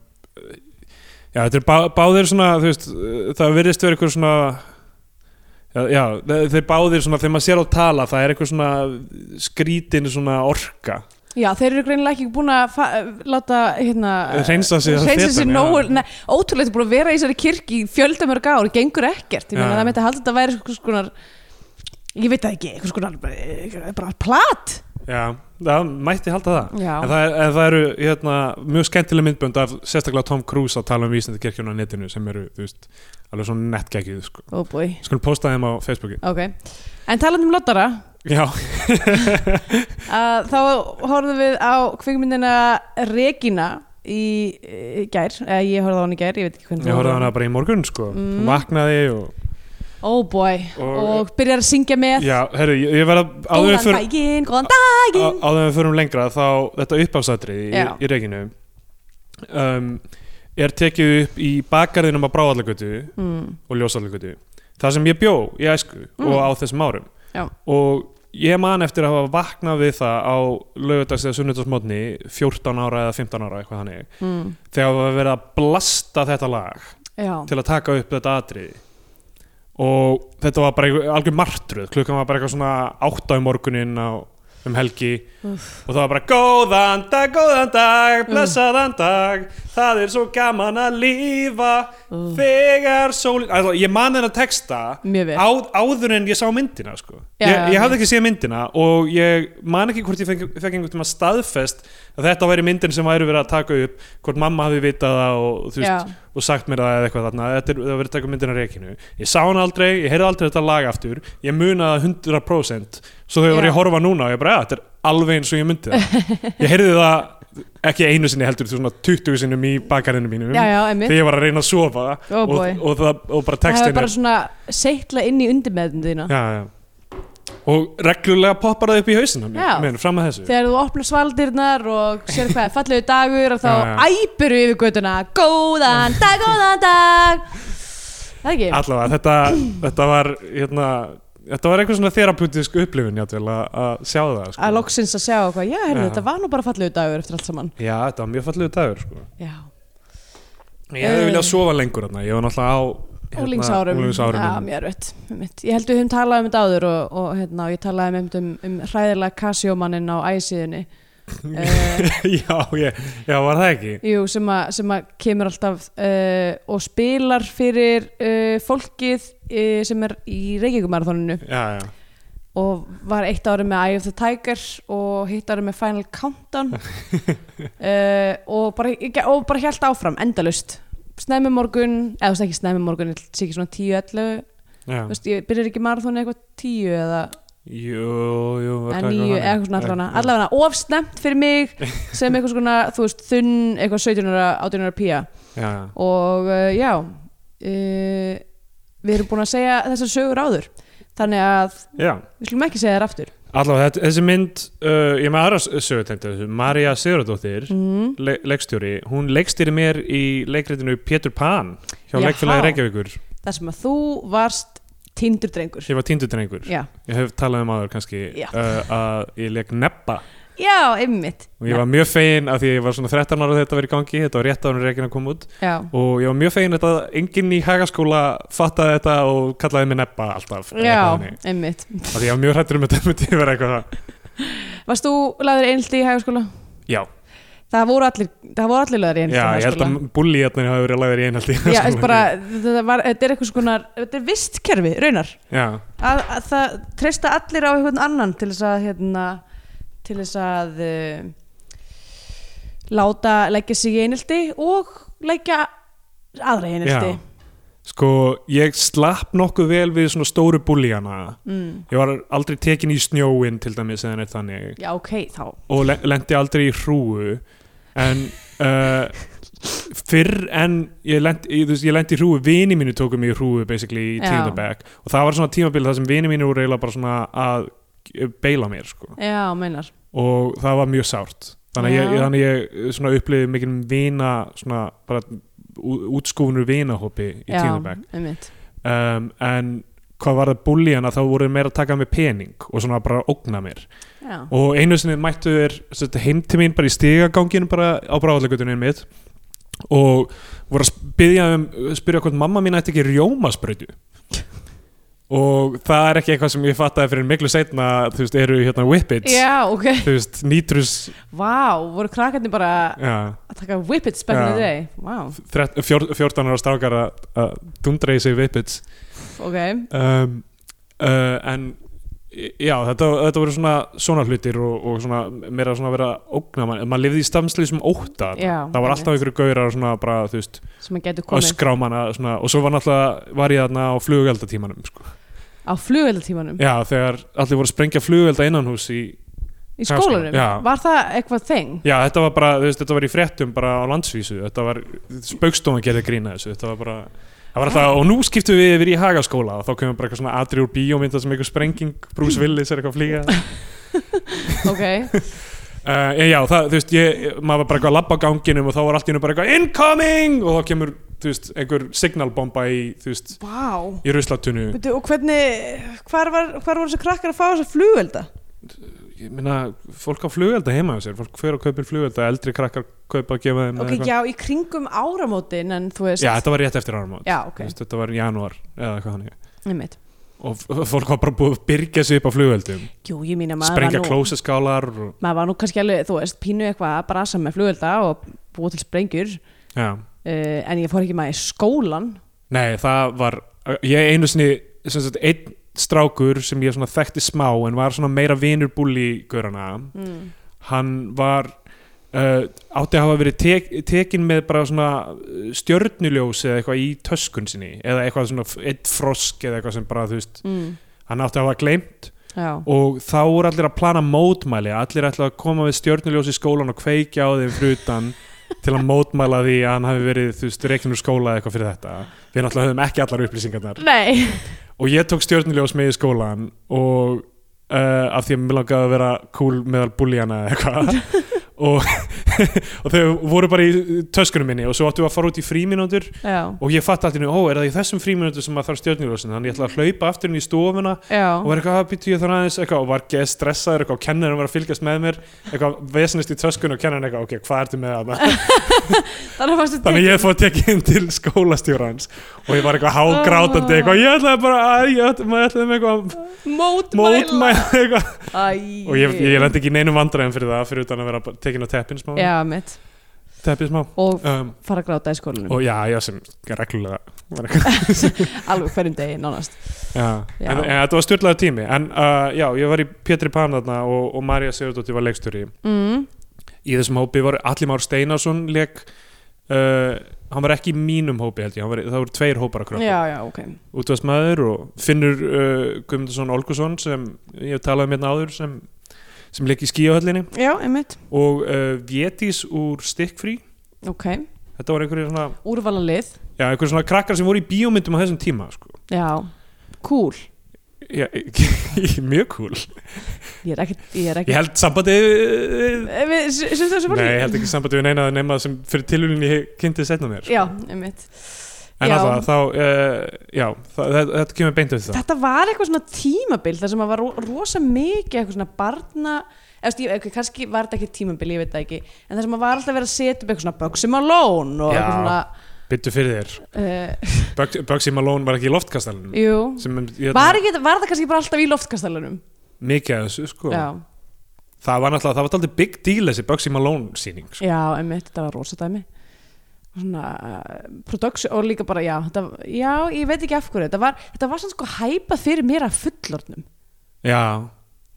[SPEAKER 3] Já, þetta er bá, báðir svona þú veist, uh, það virðist verið eitthvað svona Já, já, þe- þeir báðir svona, þegar maður sér á tala, það er eitthvað svona skrítin svona orka
[SPEAKER 2] Já, þeir eru greinilega ekki búin að fa- láta hérna,
[SPEAKER 3] Hreinsa sig af
[SPEAKER 2] hreinsa sig
[SPEAKER 3] fetan,
[SPEAKER 2] nógu,
[SPEAKER 3] já.
[SPEAKER 2] nei, ótrúlega búin að vera í þessari kirkji í fjölda mörg ár, gengur ekkert ég meina
[SPEAKER 3] Já.
[SPEAKER 2] það myndi að halda þetta að væri einhvers konar ég veit það ekki, einhvers konar bara, bara plat
[SPEAKER 3] Já, það mætti halda það
[SPEAKER 2] Já.
[SPEAKER 3] en það, er, en það eru hérna, mjög skemmtileg myndbönd af sérstaklega Tom Cruise að tala um vísindakirkjuna á netinu sem eru, þú veist, alveg svona nettgækið sko.
[SPEAKER 2] Ó búi,
[SPEAKER 3] Skulum posta þeim á Facebooki
[SPEAKER 2] Oh ok En talandi um lottara,
[SPEAKER 3] Já,
[SPEAKER 2] að þá horfðum við á kvikmyndina Regina í eh, gær, eða ég horfði á hann í gær, ég veit ekki hvernig
[SPEAKER 3] ég horfði á hana bara í morgun sko.
[SPEAKER 2] Mm.
[SPEAKER 3] vaknaði og
[SPEAKER 2] Ó búi,
[SPEAKER 3] Og-
[SPEAKER 2] Oh og byrjar að syngja með
[SPEAKER 3] Já, herru, ég, ég verða áður en
[SPEAKER 2] Góðan
[SPEAKER 3] við förum-
[SPEAKER 2] daginn, góðan
[SPEAKER 3] á-
[SPEAKER 2] daginn
[SPEAKER 3] áður en við förum lengra þá þetta uppáfsætri í,
[SPEAKER 2] Já.
[SPEAKER 3] í reginu um, er tekið upp í bakarðinum á Bráallagötu
[SPEAKER 2] mm.
[SPEAKER 3] og ljósallagötu það sem ég bjó í æsku og á þessum árum
[SPEAKER 2] Já.
[SPEAKER 3] og ég man eftir að hafa vaknað við það á lögudags eða sunnudagsmótni 14 ára eða 15 ára eitthvað hannig
[SPEAKER 2] Mm.
[SPEAKER 3] þegar var verið að blasta þetta lag
[SPEAKER 2] Já,
[SPEAKER 3] til að taka upp þetta atriði og þetta var bara einhver- algjör martruð klukkan var bara eitthvað svona átta um morgunin á, um helgi og það var bara góðan dag, góðan dag
[SPEAKER 2] Mm.
[SPEAKER 3] blessaðan dag það er svo gaman að lífa þegar sólin Ætla, ég man þennan texta
[SPEAKER 2] Mm. Mjög vel.
[SPEAKER 3] á, áður en ég sá myndina sko.
[SPEAKER 2] Já, já,
[SPEAKER 3] ég, ég
[SPEAKER 2] já.
[SPEAKER 3] hafði ekki séð myndina og ég man ekki hvort ég fekk, fekk einhvern tíma staðfest að þetta væri myndin sem væri verið að taka upp hvort mamma hafi vitað það og, þú veist, og sagt mér það eða eitthvað þarna þetta er það var verið að taka myndina reikinu ég sá hana aldrei, ég heyrði aldrei þetta lag aftur ég munaði það 100% svo þegar var
[SPEAKER 2] Já.
[SPEAKER 3] ég að horfa núna og ég bara, "Ja, þetta er alveg eins og ég
[SPEAKER 2] [laughs]
[SPEAKER 3] myndi það ég heyrði það ekki einu sinni heldur þú svona 20 sinnum í bakarinu mínum
[SPEAKER 2] já, já, einmitt
[SPEAKER 3] þegar Um, ég var að reyna að sofa
[SPEAKER 2] Ó,
[SPEAKER 3] og,
[SPEAKER 2] boy.
[SPEAKER 3] og, það, og bara
[SPEAKER 2] Það hefur
[SPEAKER 3] textin
[SPEAKER 2] bara svona seitla inn í undirmeðinu þína
[SPEAKER 3] já, já. og reglulega poppar það upp í hausinu
[SPEAKER 2] Já.
[SPEAKER 3] mér, fram að þessu
[SPEAKER 2] Þegar þú opnar svaldirnar og sér hvað, fallegu dagur og þá
[SPEAKER 3] Já, já.
[SPEAKER 2] æpiru yfir götuna Góðan dag, góðan dag Það ekki?
[SPEAKER 3] allavega, þetta, þetta var hérna, þetta var einhver svona therapeutisk upplifun játvel að að sjá það sko.
[SPEAKER 2] Að loksins að sjá hvað, já, herrðu,
[SPEAKER 3] Já.
[SPEAKER 2] þetta var nú bara fallegu dagur eftir allt saman
[SPEAKER 3] já, þetta var mjög fallegu dagur sko.
[SPEAKER 2] Já,
[SPEAKER 3] ég hefði
[SPEAKER 2] Eh.
[SPEAKER 3] viljað sofa lengur þarna, ég var náttúrulega á hérna,
[SPEAKER 2] Hérna, úlingsárum
[SPEAKER 3] úlingsárum
[SPEAKER 2] Já,
[SPEAKER 3] mínum.
[SPEAKER 2] mér veit, Ég held við höfum talað um þetta áður og, og hérna, og ég talaði um, um, um hræðilega Casio-mannin á æsíðunni
[SPEAKER 3] [laughs]
[SPEAKER 2] uh,
[SPEAKER 3] já, ég, já, var það ekki
[SPEAKER 2] Jú, sem að, sem að kemur alltaf uh, og spilar fyrir uh, fólkið uh, sem er í Reykjavíkumarathoninu
[SPEAKER 3] já, já,
[SPEAKER 2] og var eitt árið með Eye of the Tiger og hitt árið með
[SPEAKER 3] [laughs]
[SPEAKER 2] Eh, Final Countdown uh, og, bara, og bara hjælt áfram endalust snemmi morgun, eða þú veist ekki snemmi morgun ég sé ekki svona 10-11
[SPEAKER 3] Já.
[SPEAKER 2] Þú veist, ég byrjar ekki marathónu eitthvað 10 eða
[SPEAKER 3] Jú, jú
[SPEAKER 2] eða
[SPEAKER 3] var það
[SPEAKER 2] 9
[SPEAKER 3] eitthvað
[SPEAKER 2] eða
[SPEAKER 3] þannig?
[SPEAKER 2] eitthvað svona allavega
[SPEAKER 3] Já.
[SPEAKER 2] allavega of snemt fyrir mig sem eitthvað svona, þú veist, þunn eitthvað 17 ára, 18 ára pía
[SPEAKER 3] Já,
[SPEAKER 2] og uh, já uh, við erum búin að segja þessar sögur áður þannig að
[SPEAKER 3] já.
[SPEAKER 2] við slum ekki segja þær aftur
[SPEAKER 3] Allavega, þetta- þessi mynd, uh, ég er með aðra sögutengt þessu, Marja Sigurðardóttir,
[SPEAKER 2] mm.
[SPEAKER 3] le leikstjóri, hún leikstýri mér í leikritinu Pétur Pan hjá
[SPEAKER 2] Jaha.
[SPEAKER 3] leikfélagi Reykjavíkur.
[SPEAKER 2] þar sem að þú varst tindur drengur
[SPEAKER 3] Ég var tíndutrengur.
[SPEAKER 2] já,
[SPEAKER 3] Ég hef talað um aður kannski
[SPEAKER 2] Já.
[SPEAKER 3] uh, að ég leik neppa
[SPEAKER 2] já, einmitt
[SPEAKER 3] og ég var mjög fegin að því að ég var svona 13 ára þegar þetta verið í gangi, þetta var rétt ára en reikin að koma út
[SPEAKER 2] já,
[SPEAKER 3] og ég var mjög fegin að enginn í hagaskóla fattaði þetta og kallaði mig neppa alltaf eða
[SPEAKER 2] já
[SPEAKER 3] eitthvað þannig.
[SPEAKER 2] einmitt
[SPEAKER 3] Af því ég var mjög hrættur um að þetta myndi vera eitthvað það.
[SPEAKER 2] varst þú laður einldi í hægaskóla?
[SPEAKER 3] Já,
[SPEAKER 2] það voru allir, það voru allir laður einldi í
[SPEAKER 3] já, ég held
[SPEAKER 2] hægaskóla
[SPEAKER 3] að bulli hérna hafi verið lagður í einhaldi
[SPEAKER 2] Já, þetta, bara, þetta, var, þetta er eitthvað svona þetta er vistkerfi, raunar
[SPEAKER 3] Já,
[SPEAKER 2] að, að það treysta allir á einhvern annan til þess að hérna, til þess að uh, láta leggja sig í einildi og leggja aðra í einildi
[SPEAKER 3] Já. sko, ég slapp nokkuð vel við svona stóru bullíana
[SPEAKER 2] mm.
[SPEAKER 3] Ég var aldrei tekin í snjóin til dæmis eða neitt þannig
[SPEAKER 2] já ok, þá
[SPEAKER 3] og le lendi aldrei í hrúu en uh, fyrr en ég lendi, ég, þú veist, ég lendi í hrúu vini mínu tóku mig í hrúu basically í
[SPEAKER 2] Já.
[SPEAKER 3] tíundabæk og það var svona tímabil þar sem vini mínu voru eiginlega bara svona að beila mér sko.
[SPEAKER 2] já, meinar
[SPEAKER 3] og það var mjög sárt þannig að ég,
[SPEAKER 2] Já.
[SPEAKER 3] þannig að ég svona upplifði mikið vina svona bara ú- útskúfunur vinahópi í
[SPEAKER 2] já,
[SPEAKER 3] tíundabæk
[SPEAKER 2] einmitt
[SPEAKER 3] um, en hvað var það búlíana þá voru þeir meira að taka með pening og svona bara ógna mér
[SPEAKER 2] já,
[SPEAKER 3] og einu sinni mættu þér heim til mín bara í stigagangin bara á bráðlegutunum mitt og voru að spyrja, um, spyrja hvort mamma mín ætti ekki rjómasprautu og það er ekki eitthvað sem ég fattaði fyrir miklu setna þú veist, eru hérna whippets
[SPEAKER 2] já ok
[SPEAKER 3] þú veist, nítrus
[SPEAKER 2] vá, voru krakkarnir bara
[SPEAKER 3] já,
[SPEAKER 2] að taka whippets back in the
[SPEAKER 3] Já.
[SPEAKER 2] day vá,
[SPEAKER 3] þrett- fjór- 14 ára strákar að- að dundra í sig whippets
[SPEAKER 2] ok
[SPEAKER 3] um, uh, en já, þetta, þetta voru svona svona hlutir og, og svona meira svona vera ógna, mann, maður lifði í stamslisum óta, þarna.
[SPEAKER 2] Já,
[SPEAKER 3] það var
[SPEAKER 2] einmitt.
[SPEAKER 3] alltaf einhverju gaurar svona bara, þú veist,
[SPEAKER 2] sem að getur komið
[SPEAKER 3] öskrá manna svona, og svo var náttúrulega, var ég þarna á flugeldatímanum sko.
[SPEAKER 2] á flugveldatímanum
[SPEAKER 3] já, þegar allir voru að sprengja flugelda innanhús í,
[SPEAKER 2] í skólanum,
[SPEAKER 3] Já.
[SPEAKER 2] var það eitthvað þeng?
[SPEAKER 3] já, þetta var bara, þú veist, þetta var í fréttum bara á landsvísu, þetta var spaukstofan gerði grína þessu, þetta var bara Það var alltaf, og nú skiptum við yfir í hagaskóla og þá kemur bara eitthvað svona atri úr bíómynda sem eitthvað sprenging,
[SPEAKER 2] [laughs]
[SPEAKER 3] Bruce Willis er eitthvað að flýga [laughs]
[SPEAKER 2] ok,
[SPEAKER 3] Uh, já, já, það, þú veist, ég, maður var bara eitthvað að labba á ganginum og þá var allt í hennu bara eitthvað incoming og þá kemur, þú veist, einhver signalbomba í, þú veist,
[SPEAKER 2] vá
[SPEAKER 3] í ruslatunnu
[SPEAKER 2] Veitu, og hvernig, hvar, var, hvar voru þessi krakkar að fá þessi flugvelda?
[SPEAKER 3] ég meina, fólk á flugelda heima hjá sér fólk fyrir að kaupir flugelda, eldri krakkar kaupa að gefa þeim
[SPEAKER 2] Ok,
[SPEAKER 3] eitthvað.
[SPEAKER 2] já, í kringum áramótin en þú veist
[SPEAKER 3] já, þetta var rétt eftir áramót
[SPEAKER 2] Já,
[SPEAKER 3] Þú
[SPEAKER 2] ok,
[SPEAKER 3] veist, þetta var í janúar eða eitthvað hann
[SPEAKER 2] einmitt
[SPEAKER 3] og f- fólk var bara búið að byrgja sig upp á flugeldum
[SPEAKER 2] Jú, ég mín að maður
[SPEAKER 3] sprengja
[SPEAKER 2] var nú
[SPEAKER 3] klóseskálar og,
[SPEAKER 2] maður var nú kannski alveg, þú veist, pínu eitthvað að brasa með flugvelda og búa til sprengjur uh,
[SPEAKER 3] já,
[SPEAKER 2] en ég fór ekki maður í skólan
[SPEAKER 3] Nei, það var ég einu sinni, sem sagt, einn strákur sem ég svona þekkti smá en var svona meira vinur búli görana
[SPEAKER 2] mm.
[SPEAKER 3] hann var uh, átti að hafa verið tek, tekin með bara svona uh, stjörnuljós eða eitthvað í töskun sinni eða eitthvað svona f- einn frosk eða eitthvað sem bara þú veist,
[SPEAKER 2] Mm.
[SPEAKER 3] hann átti að hafa gleymt
[SPEAKER 2] Já,
[SPEAKER 3] og þá voru allir að plana mótmæli allir ætla að koma með stjörnuljós í skólan og kveikja á þeim frutan til að mótmæla því að hann hafi verið þú veist, reikin úr skóla eða eitthvað fyrir þetta við náttúrulega höfum ekki allar upplýsingarnar
[SPEAKER 2] nei,
[SPEAKER 3] og ég tók stjörnuljós með í skólan og uh, af því að mér langaði að vera cool meðal búljana eða eitthvað og, [laughs] og þau voru bara í töskunum minni og svo áttum við að fara út í fríminútur
[SPEAKER 2] já,
[SPEAKER 3] og ég fatt alltaf, ó, er það í þessum fríminútur sem maður þarf stjörnuljósin, þannig ég ætla að hlaupa aftur inn í stofuna
[SPEAKER 2] já
[SPEAKER 3] og var eitthvað að býtu ég þannig aðeins eitthvað, og var geð stressaður eitthvað og kennarinn var að fylgjast með mér eitthvað vesnist í töskunum og kennarinn eitthvað, ok, hvað
[SPEAKER 2] [laughs]
[SPEAKER 3] ertu með þarna
[SPEAKER 2] Þannig fannst þetta
[SPEAKER 3] Þannig að ég fór að tekið inn til skólastjórans og ég var eitthvað hágrátandi
[SPEAKER 2] Oh.
[SPEAKER 3] eitthvað, ég ætlaði bara að, ég ætlaði, maður ætlaði með eitthvað
[SPEAKER 2] mótmæla
[SPEAKER 3] mótmæla eitthvað
[SPEAKER 2] Æ,
[SPEAKER 3] og ég, ég lendi ekki í neinum vandræðum fyrir það fyrir utan að vera bara tekin á teppin smá
[SPEAKER 2] Já, mitt,
[SPEAKER 3] teppin smá
[SPEAKER 2] og
[SPEAKER 3] um,
[SPEAKER 2] fara að gráta í skólanum
[SPEAKER 3] og já, já, sem reglulega var eitthvað [laughs]
[SPEAKER 2] alveg hverjum degi, nánast
[SPEAKER 3] Já.
[SPEAKER 2] Já.
[SPEAKER 3] En, en þetta var styrlaður tími en uh, já, ég var í Pétri Pan þarna og, og Marja Sigurdóttir var leikstjóri
[SPEAKER 2] mm.
[SPEAKER 3] í þessum hópi var Allimár Steinarsson leik uh, hann var ekki í mínum hópi held ég, hann var, það voru tveir hópar að kroppa
[SPEAKER 2] já, já, ok
[SPEAKER 3] útvaðsmaður og Finnur uh, Guðmundsson Olgusson sem ég hef talað um hérna áður sem, sem leik í skíahöllinni
[SPEAKER 2] já, einmitt,
[SPEAKER 3] og uh, Vétís úr Stikkfrí
[SPEAKER 2] ok,
[SPEAKER 3] þetta var einhverjir svona,
[SPEAKER 2] úrvala lið
[SPEAKER 3] já, einhverjir svona krakkar sem voru í bíómyndum á þessum tíma sko.
[SPEAKER 2] já, cool
[SPEAKER 3] já, [laughs] mjög cool
[SPEAKER 2] ég er ekki, ég er
[SPEAKER 3] ég
[SPEAKER 2] ekki
[SPEAKER 3] held sambandi
[SPEAKER 2] Eh, við- s- sem þessu fólki
[SPEAKER 3] Nei, ég held ekki sambandi við neina nema sem fyrir tilvílun ég kynnti setna mér
[SPEAKER 2] já, einmitt
[SPEAKER 3] En
[SPEAKER 2] Já.
[SPEAKER 3] alltaf, þá, uh, já, það, það, þetta kemur beint um það
[SPEAKER 2] þetta var eitthvað svona tímabil þar sem að var ro- rosa mikið eitthvað svona barna eða, veist, ég, okay, kannski var þetta ekki tímabil, ég veit það ekki en þar sem að var alltaf verið að setja upp eitthvað svona Bugsy Malone og
[SPEAKER 3] Já.
[SPEAKER 2] eitthvað svona
[SPEAKER 3] Byttu fyrir þér
[SPEAKER 2] uh,
[SPEAKER 3] Bug- Bugsy Malone var ekki í loftkastalunum
[SPEAKER 2] jú
[SPEAKER 3] sem ég,
[SPEAKER 2] var, ekki, var það kannski bara alltaf í loftkastalunum
[SPEAKER 3] mikið af þessu sko
[SPEAKER 2] já,
[SPEAKER 3] það var náttúrulega, það var aldrei big deal þessi Bugsy Malone síning sko.
[SPEAKER 2] já, einmitt, þetta var rosa dæmi svona uh, production og líka bara, já, þetta, já ég veit ekki af hverju, þetta var, þetta var svona sko hæpað fyrir mér af fullornum
[SPEAKER 3] já,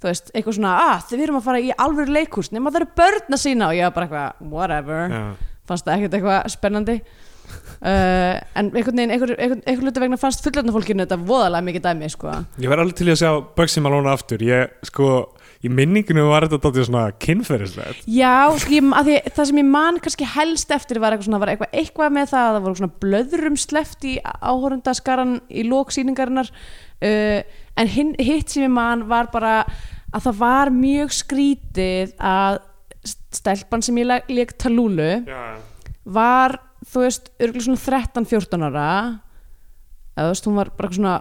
[SPEAKER 2] þú veist, eitthvað svona, að þið erum að fara í alvöru leikús nema það eru börn að sína og ég var bara eitthvað, whatever
[SPEAKER 3] já,
[SPEAKER 2] fannst það ekkert eitthvað spennandi uh, en einhvern veginn einhver, einhver, einhver luta vegna fannst fullöndar fólkinu þetta voðalega mikið dæmi sko.
[SPEAKER 3] ég var alveg til í að sjá Bugsy Malone aftur, ég sko í minninginu var þetta dálítið svona kynferðislegt
[SPEAKER 2] já, sko, ég, að því, það sem ég man kannski helst eftir var eitthvað, svona, var eitthvað, eitthvað með það að það voru svona blöðrum sleft í áhorundaskaran í lóksýningarinnar uh, en hin, hitt sem ég man var bara að það var mjög skrítið að stelpan sem ég leik talúlu
[SPEAKER 3] já,
[SPEAKER 2] var, þú veist, örgulega svona 13-14 ára eða þú veist, hún var bara eitthvað svona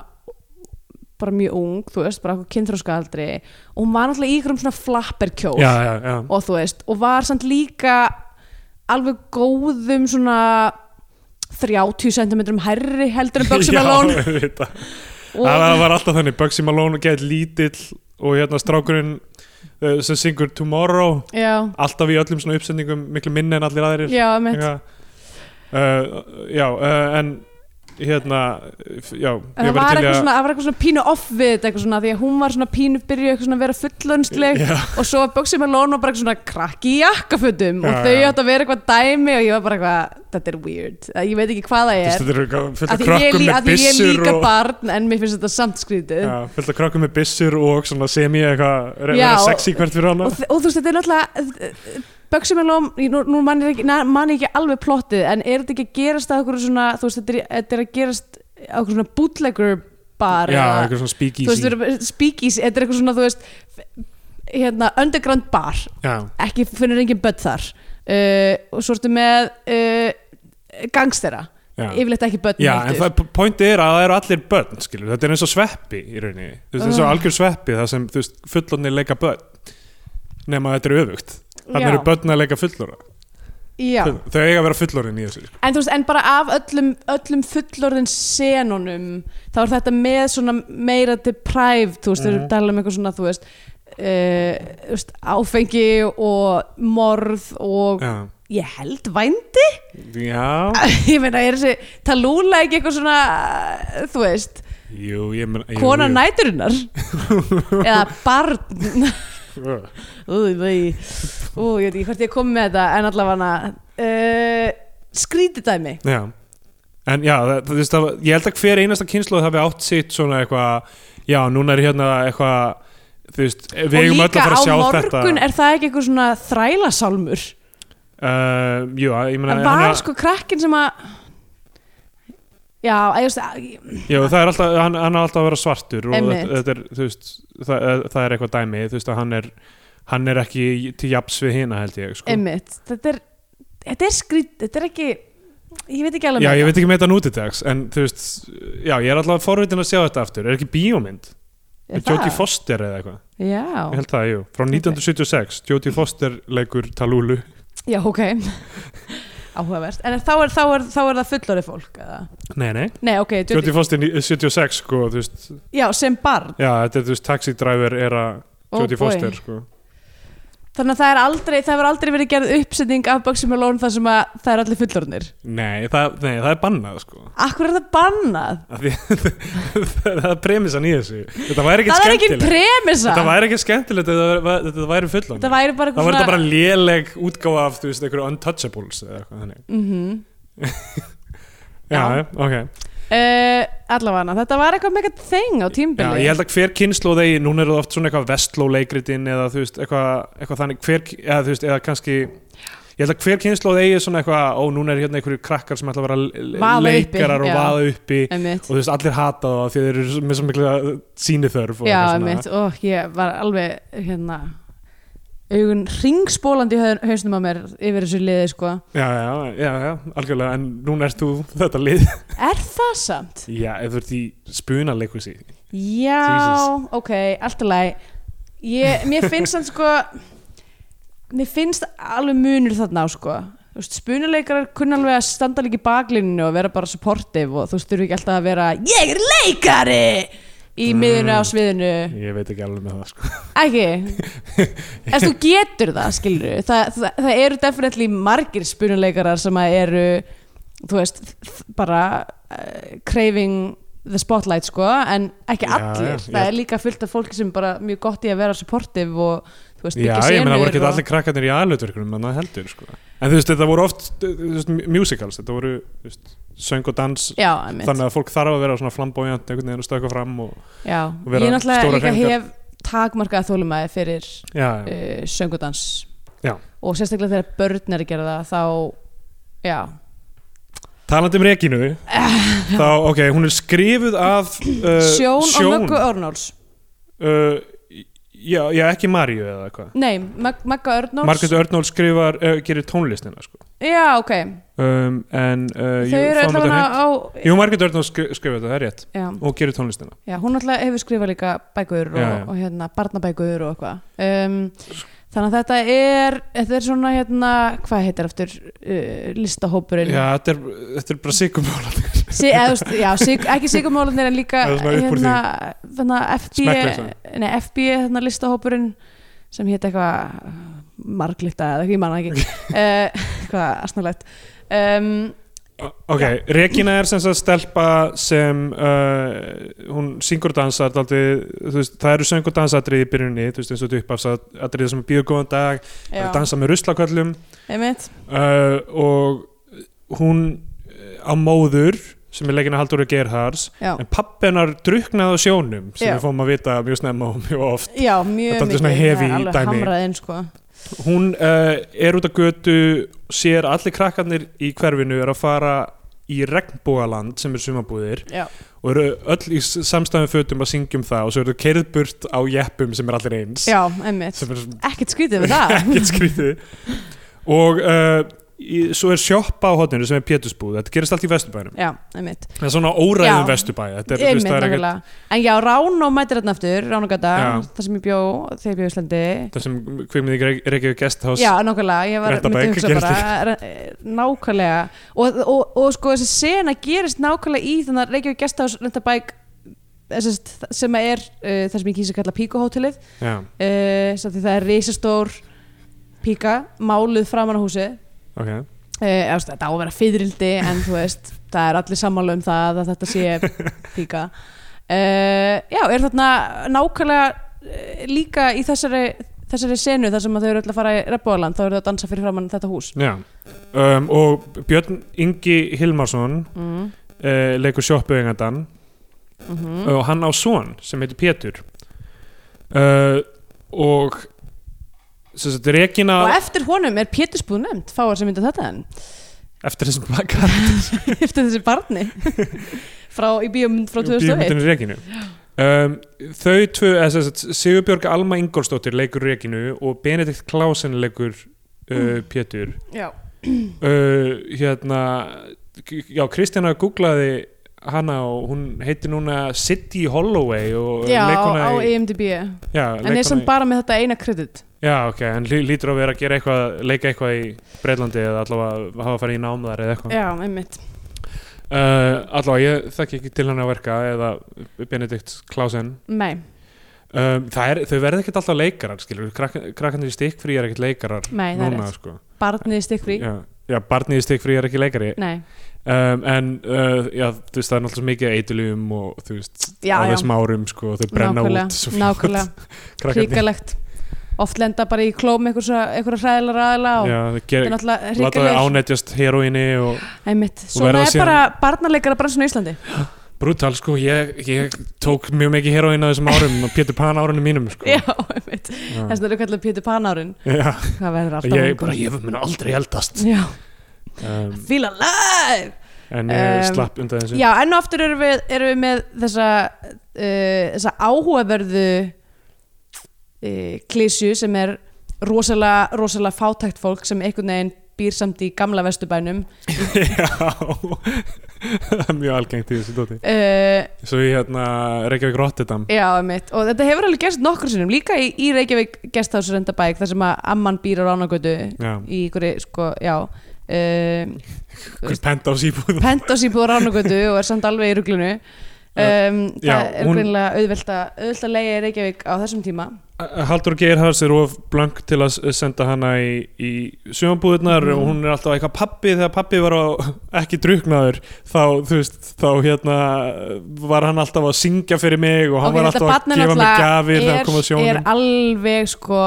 [SPEAKER 2] bara mjög ung, þú veist, bara eitthvað kynþróska aldri og hún var náttúrulega í ykkur um svona flapperkjól
[SPEAKER 3] já, já, já.
[SPEAKER 2] og þú veist, og var samt líka alveg góðum svona 30 cm hærri heldur
[SPEAKER 3] [laughs]
[SPEAKER 2] en Bugsy Malone
[SPEAKER 3] já, auðvitað. það
[SPEAKER 2] og,
[SPEAKER 3] það var alltaf þannig, Bugsy Malone gett lítill og hérna strákurinn uh, sem syngur Tomorrow
[SPEAKER 2] já,
[SPEAKER 3] alltaf í öllum svona uppsendingum miklu minni en allir aðrir
[SPEAKER 2] já, mitt
[SPEAKER 3] já, uh, já uh, en hérna f- já,
[SPEAKER 2] En það var
[SPEAKER 3] væri til í
[SPEAKER 2] eitthvað,
[SPEAKER 3] að-
[SPEAKER 2] svona, það var eitthvað svona pínu off við þetta eitthvað svona því að hún var svona pínu byrjuð eitthvað svona að vera fullönsleg
[SPEAKER 3] Já.
[SPEAKER 2] og svo var Bugsy Malone og bara eitthvað svona krakki í jakkafutum
[SPEAKER 3] Já,
[SPEAKER 2] og þau
[SPEAKER 3] já.
[SPEAKER 2] átt að vera eitthvað dæmi og ég var bara eitthvað, þetta er weird, Að ég veit ekki hvað það
[SPEAKER 3] Þú veist,
[SPEAKER 2] er
[SPEAKER 3] þetta eru eitthvað
[SPEAKER 2] að
[SPEAKER 3] fullt af
[SPEAKER 2] því ég, er
[SPEAKER 3] krökkum
[SPEAKER 2] lí-
[SPEAKER 3] með
[SPEAKER 2] af því ég er
[SPEAKER 3] byssur
[SPEAKER 2] líka um-
[SPEAKER 3] og
[SPEAKER 2] barn en mér finnst þetta samt skrítið
[SPEAKER 3] já, fullt af krökkum með byssur og svona semi eitthvað re-
[SPEAKER 2] Já,
[SPEAKER 3] vera
[SPEAKER 2] og-
[SPEAKER 3] sexy hvert fyrir hana
[SPEAKER 2] og, þ- og þú veist, þetta er náttúrulega eh, Bugsy Malone, ég- nú, nú man ég ekki, na- man ég ekki alveg plottið, en er þetta ekki að gerast að okkur svona, þú veist, þetta er, þetta er að gerast á okkur svona bootlegger bar
[SPEAKER 3] já,
[SPEAKER 2] eða-
[SPEAKER 3] eitthvað
[SPEAKER 2] þú
[SPEAKER 3] svona
[SPEAKER 2] veist,
[SPEAKER 3] speakeasy
[SPEAKER 2] við erum speakeasy, þetta er eitthvað svona, þú veist hérna, underground bar
[SPEAKER 3] já,
[SPEAKER 2] ekki finnur engin börn þar uh, og svo ertu með uh, gangstera,
[SPEAKER 3] já.
[SPEAKER 2] yfirleitt ekki börn
[SPEAKER 3] Já, en
[SPEAKER 2] heldur.
[SPEAKER 3] það, pointið er að það eru allir börn skilur, þetta er eins og sveppi í rauninni Þú veist, eins og
[SPEAKER 2] Ugh.
[SPEAKER 3] algjör sveppi það sem þú veist, fullorni leika börn nema þetta er öfugt þannig
[SPEAKER 2] Já.
[SPEAKER 3] eru börn að leika fullorna
[SPEAKER 2] Já.
[SPEAKER 3] Full- þau eiga að vera fullorinn í þessu sko.
[SPEAKER 2] en þú veist, en bara af öllum, öllum fullorðin senunum þá er þetta með svona meira deprived, þú veist, við erum
[SPEAKER 3] Mhm.
[SPEAKER 2] talað um eitthvað svona, þú veist Uh, þú veist, áfengi og morð og
[SPEAKER 3] já.
[SPEAKER 2] ég held vænd
[SPEAKER 3] já,
[SPEAKER 2] [laughs] ég meina, er þessi talúla ekki eitthvað svona, uh, þú veist
[SPEAKER 3] jú, ég menn
[SPEAKER 2] kona næturinnar
[SPEAKER 3] [laughs]
[SPEAKER 2] eða barn [laughs]
[SPEAKER 3] næ
[SPEAKER 2] Új, vei. Ú, ég veit ekki hvort ég kom með þetta en allavega uh, skrítið dæmi
[SPEAKER 3] já. en já, það, það, það, það, ég held að hver einasta kynslu hafi átt sitt svona eitthvað já, núna er hérna eitthvað þú veist, við eigum
[SPEAKER 2] og
[SPEAKER 3] öll að fara að sjá
[SPEAKER 2] líka á
[SPEAKER 3] þetta
[SPEAKER 2] morgun er það ekki eitthvað svona þrælasálmur
[SPEAKER 3] uh, jú, ég meina
[SPEAKER 2] það
[SPEAKER 3] hann
[SPEAKER 2] var
[SPEAKER 3] er-
[SPEAKER 2] sko krakkin sem að já, að ég veist að- ég-
[SPEAKER 3] Jú, það er alltaf, hann, hann er alltaf að vera svartur og
[SPEAKER 2] Einmitt.
[SPEAKER 3] þetta, þetta er, þú veist, það, það er eitthvað dæmi, þú veist að hann er, hann er ekki til japs við hina held ég, sko.
[SPEAKER 2] einmitt þetta er, þetta er skrítið, þetta er ekki ég veit ekki alveg
[SPEAKER 3] Já,
[SPEAKER 2] með
[SPEAKER 3] ég
[SPEAKER 2] þetta.
[SPEAKER 3] veit ekki með þetta nútidags, en þú veist, já, ég er alltaf forvitin að sjá þetta aftur, er ekki bíómynd?
[SPEAKER 2] Er
[SPEAKER 3] Er Jóki
[SPEAKER 2] það?
[SPEAKER 3] Foster eða eitthvað, ég
[SPEAKER 2] já, Mm.
[SPEAKER 3] held það, jú, frá 1976, Jóki Foster leikur Talúlu.
[SPEAKER 2] já, ok [laughs] áhugavert, en þá er, þá er, þá er það fullorðið fólk eða?
[SPEAKER 3] Nei, nei.
[SPEAKER 2] nei, ok,
[SPEAKER 3] Jóki Foster ní- 76, sko, þú veist,
[SPEAKER 2] já, sem barn
[SPEAKER 3] já, þetta er, þú veist, Taxi Driver era
[SPEAKER 2] Oh
[SPEAKER 3] Jóki
[SPEAKER 2] boy.
[SPEAKER 3] Foster, sko.
[SPEAKER 2] Þannig að það er aldrei, það hefur aldrei verið gerð uppsetning af Bugsy Malone þar sem að það er allir fullorðnir.
[SPEAKER 3] Nei, það, nei, það er bannað, sko.
[SPEAKER 2] Akkur er það bannað?
[SPEAKER 3] Af því, [laughs] það er premissan í þessu þetta væri ekki
[SPEAKER 2] Það er ekki
[SPEAKER 3] skemmtilegt
[SPEAKER 2] premissa.
[SPEAKER 3] þetta væri ekki skemmtilegt ef þetta væri- þetta væri fullan
[SPEAKER 2] Það væri bara
[SPEAKER 3] það væri þetta bara léleg útgáfa af þú veist einhverju untouchables eða eitthvað þannig
[SPEAKER 2] Mhm.
[SPEAKER 3] já, ok
[SPEAKER 2] uh, allavega þetta var eitthvað mega þeng á
[SPEAKER 3] já,
[SPEAKER 2] tímbili
[SPEAKER 3] ég held að hver kynnslóð eigi, núna eru það oft svona eitthvað vestló leikritin eða þú veist, eitthvað, eitthvað þannig hver, eða þú veist, eða kannski ég held að hver kynnslóð eigi svona eitthvað, ó núna er hérna einhverju krakkar sem ætla að vera le-
[SPEAKER 2] Vaða uppi,
[SPEAKER 3] leikarar
[SPEAKER 2] já.
[SPEAKER 3] og vaða uppi
[SPEAKER 2] einmitt
[SPEAKER 3] og þú veist, allir hata það því þeir eru svo- með svo mikla síniþörf
[SPEAKER 2] já,
[SPEAKER 3] og eitthvað svona.
[SPEAKER 2] einmitt og ég var alveg hérna augun ringspólandi í hausnum á mér yfir þessu liði sko
[SPEAKER 3] já, já, já, já, algjörlega en núna ert þú þetta lið
[SPEAKER 2] er það samt?
[SPEAKER 3] já, ef þú ert í spunaleikusi
[SPEAKER 2] já,
[SPEAKER 3] Jesus.
[SPEAKER 2] ok, allt í lagi ég, mér finnst þann sko mér finnst alveg munur þarna á sko Þú veist, spunuleikarar kunna alveg að standa líka í baklíninu og vera bara supportive og þú veist, þurfi ekki alltaf að vera ég er leikari í miðinu á sviðinu
[SPEAKER 3] ég veit ekki alveg með það sko.
[SPEAKER 2] ekki ef þú getur það skilur Þa, það, það eru definitely margir spunuleikarar sem að eru þú veist, þ- bara uh, craving the spotlight sko, en ekki
[SPEAKER 3] Já,
[SPEAKER 2] allir
[SPEAKER 3] já,
[SPEAKER 2] það
[SPEAKER 3] já.
[SPEAKER 2] er líka fullt af fólki sem bara mjög gott í að vera supportive og þú veist, byggja
[SPEAKER 3] já, ég meina, það voru
[SPEAKER 2] senur
[SPEAKER 3] ekki
[SPEAKER 2] og-
[SPEAKER 3] allir krakkarnir í aðlutverkunum en það heldur, sko en þú veist, þetta voru oft, þú veist, musicals þetta voru, þú veist, söng og dans
[SPEAKER 2] já, einmitt.
[SPEAKER 3] þannig að fólk þarf að vera svona flambójant einhvern veginn að stöka fram og,
[SPEAKER 2] já.
[SPEAKER 3] og vera
[SPEAKER 2] ég náttúrulega
[SPEAKER 3] stórar
[SPEAKER 2] líka
[SPEAKER 3] hreyfingar.
[SPEAKER 2] hef takmarkað þólumæði fyrir
[SPEAKER 3] já, já,
[SPEAKER 2] uh, söngudans
[SPEAKER 3] Já.
[SPEAKER 2] og sérstaklega þegar börn er að gera það þá, já
[SPEAKER 3] talandi um Regínu
[SPEAKER 2] [laughs]
[SPEAKER 3] þá, ok, hún er skrifuð af uh,
[SPEAKER 2] Sjón, og Möggu Örnóls
[SPEAKER 3] uh, já, já, ekki Maríu eða eitthvað
[SPEAKER 2] Nei, Mag Magga Örnóls
[SPEAKER 3] Margrét Örnól skrifar, uh, gerir tónlistina sko.
[SPEAKER 2] Já, ok
[SPEAKER 3] um, en
[SPEAKER 2] Þau
[SPEAKER 3] uh,
[SPEAKER 2] eru
[SPEAKER 3] fáum þetta
[SPEAKER 2] allavega
[SPEAKER 3] hreint.
[SPEAKER 2] á
[SPEAKER 3] Jú, Margrét Örnól skri, skrifar þetta, það er rétt
[SPEAKER 2] já,
[SPEAKER 3] og gerir tónlistina
[SPEAKER 2] já, hún alltaf hefur skrifað líka bækur og,
[SPEAKER 3] Já, já.
[SPEAKER 2] og hérna, barnabækur og eitthvað um, Þannig að þetta er þetta er svona hérna, hvað heitir aftur uh, listahópurinn
[SPEAKER 3] já, þetta er, þetta er bara sikumál
[SPEAKER 2] sí, eða, þú veist, Já, sík, ekki sigurmálanir en líka
[SPEAKER 3] Það er svona
[SPEAKER 2] hérna, hérna
[SPEAKER 3] upp úr
[SPEAKER 2] FB
[SPEAKER 3] Smekkleysa.
[SPEAKER 2] nei, FB, hérna listahópurinn sem hétt eitthvað uh, marglita eða eitthvað, ég manna ekki
[SPEAKER 3] [laughs]
[SPEAKER 2] uh, [laughs] eitthvað asnalegt um,
[SPEAKER 3] ok, Regina er sem sagt stelpa sem uh, hún syngur og dansar daldi, veist, það eru söng og dansatriði í byrjunni þú veist eins og þetta uppafsatriði sem býður góðan dag
[SPEAKER 2] já,
[SPEAKER 3] dansa með ruslaköllum
[SPEAKER 2] einmitt
[SPEAKER 3] uh, og hún uh, á móður sem er leikinn að Halldóru Gerhards
[SPEAKER 2] já.
[SPEAKER 3] en pappenar druknaði á sjónum sem
[SPEAKER 2] Já.
[SPEAKER 3] við fórum að vita mjög snemma og mjög oft
[SPEAKER 2] Já, mjög
[SPEAKER 3] Þetta er dálítið svona
[SPEAKER 2] mikið,
[SPEAKER 3] heavy
[SPEAKER 2] það er alveg
[SPEAKER 3] dæmi.
[SPEAKER 2] hamrað inn sko.
[SPEAKER 3] hún uh, er út á götu sér allir krakkarnir í hverfinu er að fara í regnbúaland sem er sumabúðir
[SPEAKER 2] Já.
[SPEAKER 3] og eru öll í samstæðum fötum að syngja um það og svo eru kerð burt á jeppum sem er allir eins
[SPEAKER 2] Já, einmitt
[SPEAKER 3] sem er
[SPEAKER 2] Ekkert skrítið við það
[SPEAKER 3] [laughs] ekkert skrítið og uh, í, svo er sjoppa á hotninu sem er pétusbúð þetta gerist allt í vesturbænum
[SPEAKER 2] Já, einmitt
[SPEAKER 3] það er svona óræðum
[SPEAKER 2] Já.
[SPEAKER 3] vesturbæ þetta er, þú
[SPEAKER 2] Einmitt,
[SPEAKER 3] veist, það er ekkert
[SPEAKER 2] nákvæmlega En já, Rán og mætir hérna aftur, Rán og Gata
[SPEAKER 3] Já.
[SPEAKER 2] Það sem ég bjó, þegar ég bjó í Íslandi
[SPEAKER 3] það sem kvikmið í Reykjavík Guesthouse
[SPEAKER 2] Já, nákvæmlega, ég var
[SPEAKER 3] Réttabæk,
[SPEAKER 2] myndi hugsa
[SPEAKER 3] gerist
[SPEAKER 2] bara eh, Nákvæmlega og, og, og sko þessi sena gerist nákvæmlega í þannig að Reykjavík Gestás Röntabæk eh, sem er uh, það sem ég kýsa að kalla Píkuhótelið
[SPEAKER 3] Já.
[SPEAKER 2] uh, sem því það er risastór píka, máluð framan á húsi
[SPEAKER 3] ok
[SPEAKER 2] Eh, eða, þú veist, þetta á að vera fyririldi en þú veist, það er allir sammála um það að þetta sé píka uh, já, er þarna nákvæmlega uh, líka í þessari, þessari senu þar sem að þau eru öll að fara í rebbóðaland þá eru þau að dansa fyrir framann þetta hús
[SPEAKER 3] Já. Um, og Björn Ingi Hilmarsson
[SPEAKER 2] mm.
[SPEAKER 3] uh, leikur sjoppuengandan
[SPEAKER 2] Mm
[SPEAKER 3] og hann á son sem heitir Pétur uh, og sem sagt Regina
[SPEAKER 2] og eftir honum er Pétursbúð nefnd fáar sem mynda þetta en
[SPEAKER 3] eftir þessum plakar
[SPEAKER 2] [laughs] eftir þessi
[SPEAKER 3] [laughs]
[SPEAKER 2] barni frá í bíómynd frá 2001
[SPEAKER 3] bíómyndinu Reginu um, þau tvö, eða sem sagt Sigurbjörg Alma Ingolstóttir leikur Reginu og Benedikt Klásen leikur
[SPEAKER 2] Mm.
[SPEAKER 3] uh, Pétur
[SPEAKER 2] já,
[SPEAKER 3] uh, hérna já, Kristjana googlaði hana og hún heitir núna City Holloway og
[SPEAKER 2] já
[SPEAKER 3] leikona
[SPEAKER 2] á
[SPEAKER 3] í,
[SPEAKER 2] IMDb
[SPEAKER 3] já,
[SPEAKER 2] en
[SPEAKER 3] leikona
[SPEAKER 2] er sem
[SPEAKER 3] í-
[SPEAKER 2] bara með þetta eina kredit
[SPEAKER 3] já, ok, en lí- lítur á að vera að gera eitthvað leika eitthvað í Breitlandi eða allavega hafa að fara í námaðar eða eitthvað uh,
[SPEAKER 2] já, einmitt
[SPEAKER 3] allavega, ég þekki ekki til hann að verka eða Benedikt Klausen
[SPEAKER 2] nei,
[SPEAKER 3] um, það er, þau verða ekkert alltaf leikarar skilur, Krak, krakkandir í stikkfrí er ekkert leikarar
[SPEAKER 2] nei, það er
[SPEAKER 3] núna,
[SPEAKER 2] rétt
[SPEAKER 3] sko
[SPEAKER 2] barnið stikkfrí
[SPEAKER 3] já, já, barnið í stikkfrí er ekki leikari
[SPEAKER 2] Nei,
[SPEAKER 3] um, en uh, já, þú veist það er náttúrulega svo mikið eitulum og þú veist
[SPEAKER 2] Já,
[SPEAKER 3] á
[SPEAKER 2] já.
[SPEAKER 3] þessum árum sko, þau brenna
[SPEAKER 2] nákvæmlega,
[SPEAKER 3] út
[SPEAKER 2] nákvæmlega,
[SPEAKER 3] [laughs] krakkarnir.
[SPEAKER 2] hrikalegt oft lenda bara í klóm einhverja, einhverja hræðilega ræðila og
[SPEAKER 3] Já, það
[SPEAKER 2] þetta er
[SPEAKER 3] ger,
[SPEAKER 2] náttúrulega
[SPEAKER 3] láta þau
[SPEAKER 2] ríkilegur
[SPEAKER 3] ánættjast heroinni og
[SPEAKER 2] einmitt,
[SPEAKER 3] verða
[SPEAKER 2] svona er
[SPEAKER 3] síðan-
[SPEAKER 2] bara barnaleikara bransun í Íslandi
[SPEAKER 3] brútal sko, ég, ég tók mjög mikið heroin á þessum árum og Pétur Pan árunum mínum sko.
[SPEAKER 2] já, einmitt,
[SPEAKER 3] Já.
[SPEAKER 2] þess að það eru kallar Pétur Panárin
[SPEAKER 3] Já,
[SPEAKER 2] hvað verður
[SPEAKER 3] og
[SPEAKER 2] alltaf
[SPEAKER 3] ég
[SPEAKER 2] langur.
[SPEAKER 3] bara, ég mun aldrei
[SPEAKER 2] [laughs]
[SPEAKER 3] eldast
[SPEAKER 2] já,
[SPEAKER 3] um,
[SPEAKER 2] feel alive
[SPEAKER 3] en ég
[SPEAKER 2] Um,
[SPEAKER 3] slapp undan þessu
[SPEAKER 2] já, enn og aftur erum við, erum við með þessa, uh, þessa áhugaverðu uh, klísju sem er rosalega, rosalega fátækt fólk sem einhvern veginn býr samt í gamla vesturbænum
[SPEAKER 3] [laughs] Já, [laughs] það er mjög algengt í þessu dóti
[SPEAKER 2] uh,
[SPEAKER 3] Svo ég hérna Reykjavík Rotterdam
[SPEAKER 2] Já, mitt, og þetta hefur alveg gerst nokkur sinnum líka í, í Reykjavík gesthásur endabæk þar sem að amman býr á ránagötu
[SPEAKER 3] Já,
[SPEAKER 2] í ykkur, sko, já
[SPEAKER 3] [laughs]
[SPEAKER 2] um,
[SPEAKER 3] hvers pent á síbúðum
[SPEAKER 2] pentas í búið á ránagötu og er samt alveg í ruglunu um,
[SPEAKER 3] Já,
[SPEAKER 2] það er
[SPEAKER 3] hún-
[SPEAKER 2] greinilega auðvelt að auðvelt að leiga í Reykjavík á þessum tíma
[SPEAKER 3] Haldur Geirhars er of blank til að s- senda hana í, í sjömanbúðunar
[SPEAKER 2] Mm.
[SPEAKER 3] og hún er alltaf eitthvað pappi þegar pappi var á, [laughs] ekki druknaður þá, þú veist, þá hérna var hann alltaf að syngja fyrir mig og hann
[SPEAKER 2] Ok,
[SPEAKER 3] var
[SPEAKER 2] þetta
[SPEAKER 3] alltaf að
[SPEAKER 2] barn er
[SPEAKER 3] gefa mig
[SPEAKER 2] náttúrulega-
[SPEAKER 3] gafir þegar hann kom að
[SPEAKER 2] er, er
[SPEAKER 3] sjónum
[SPEAKER 2] alveg sko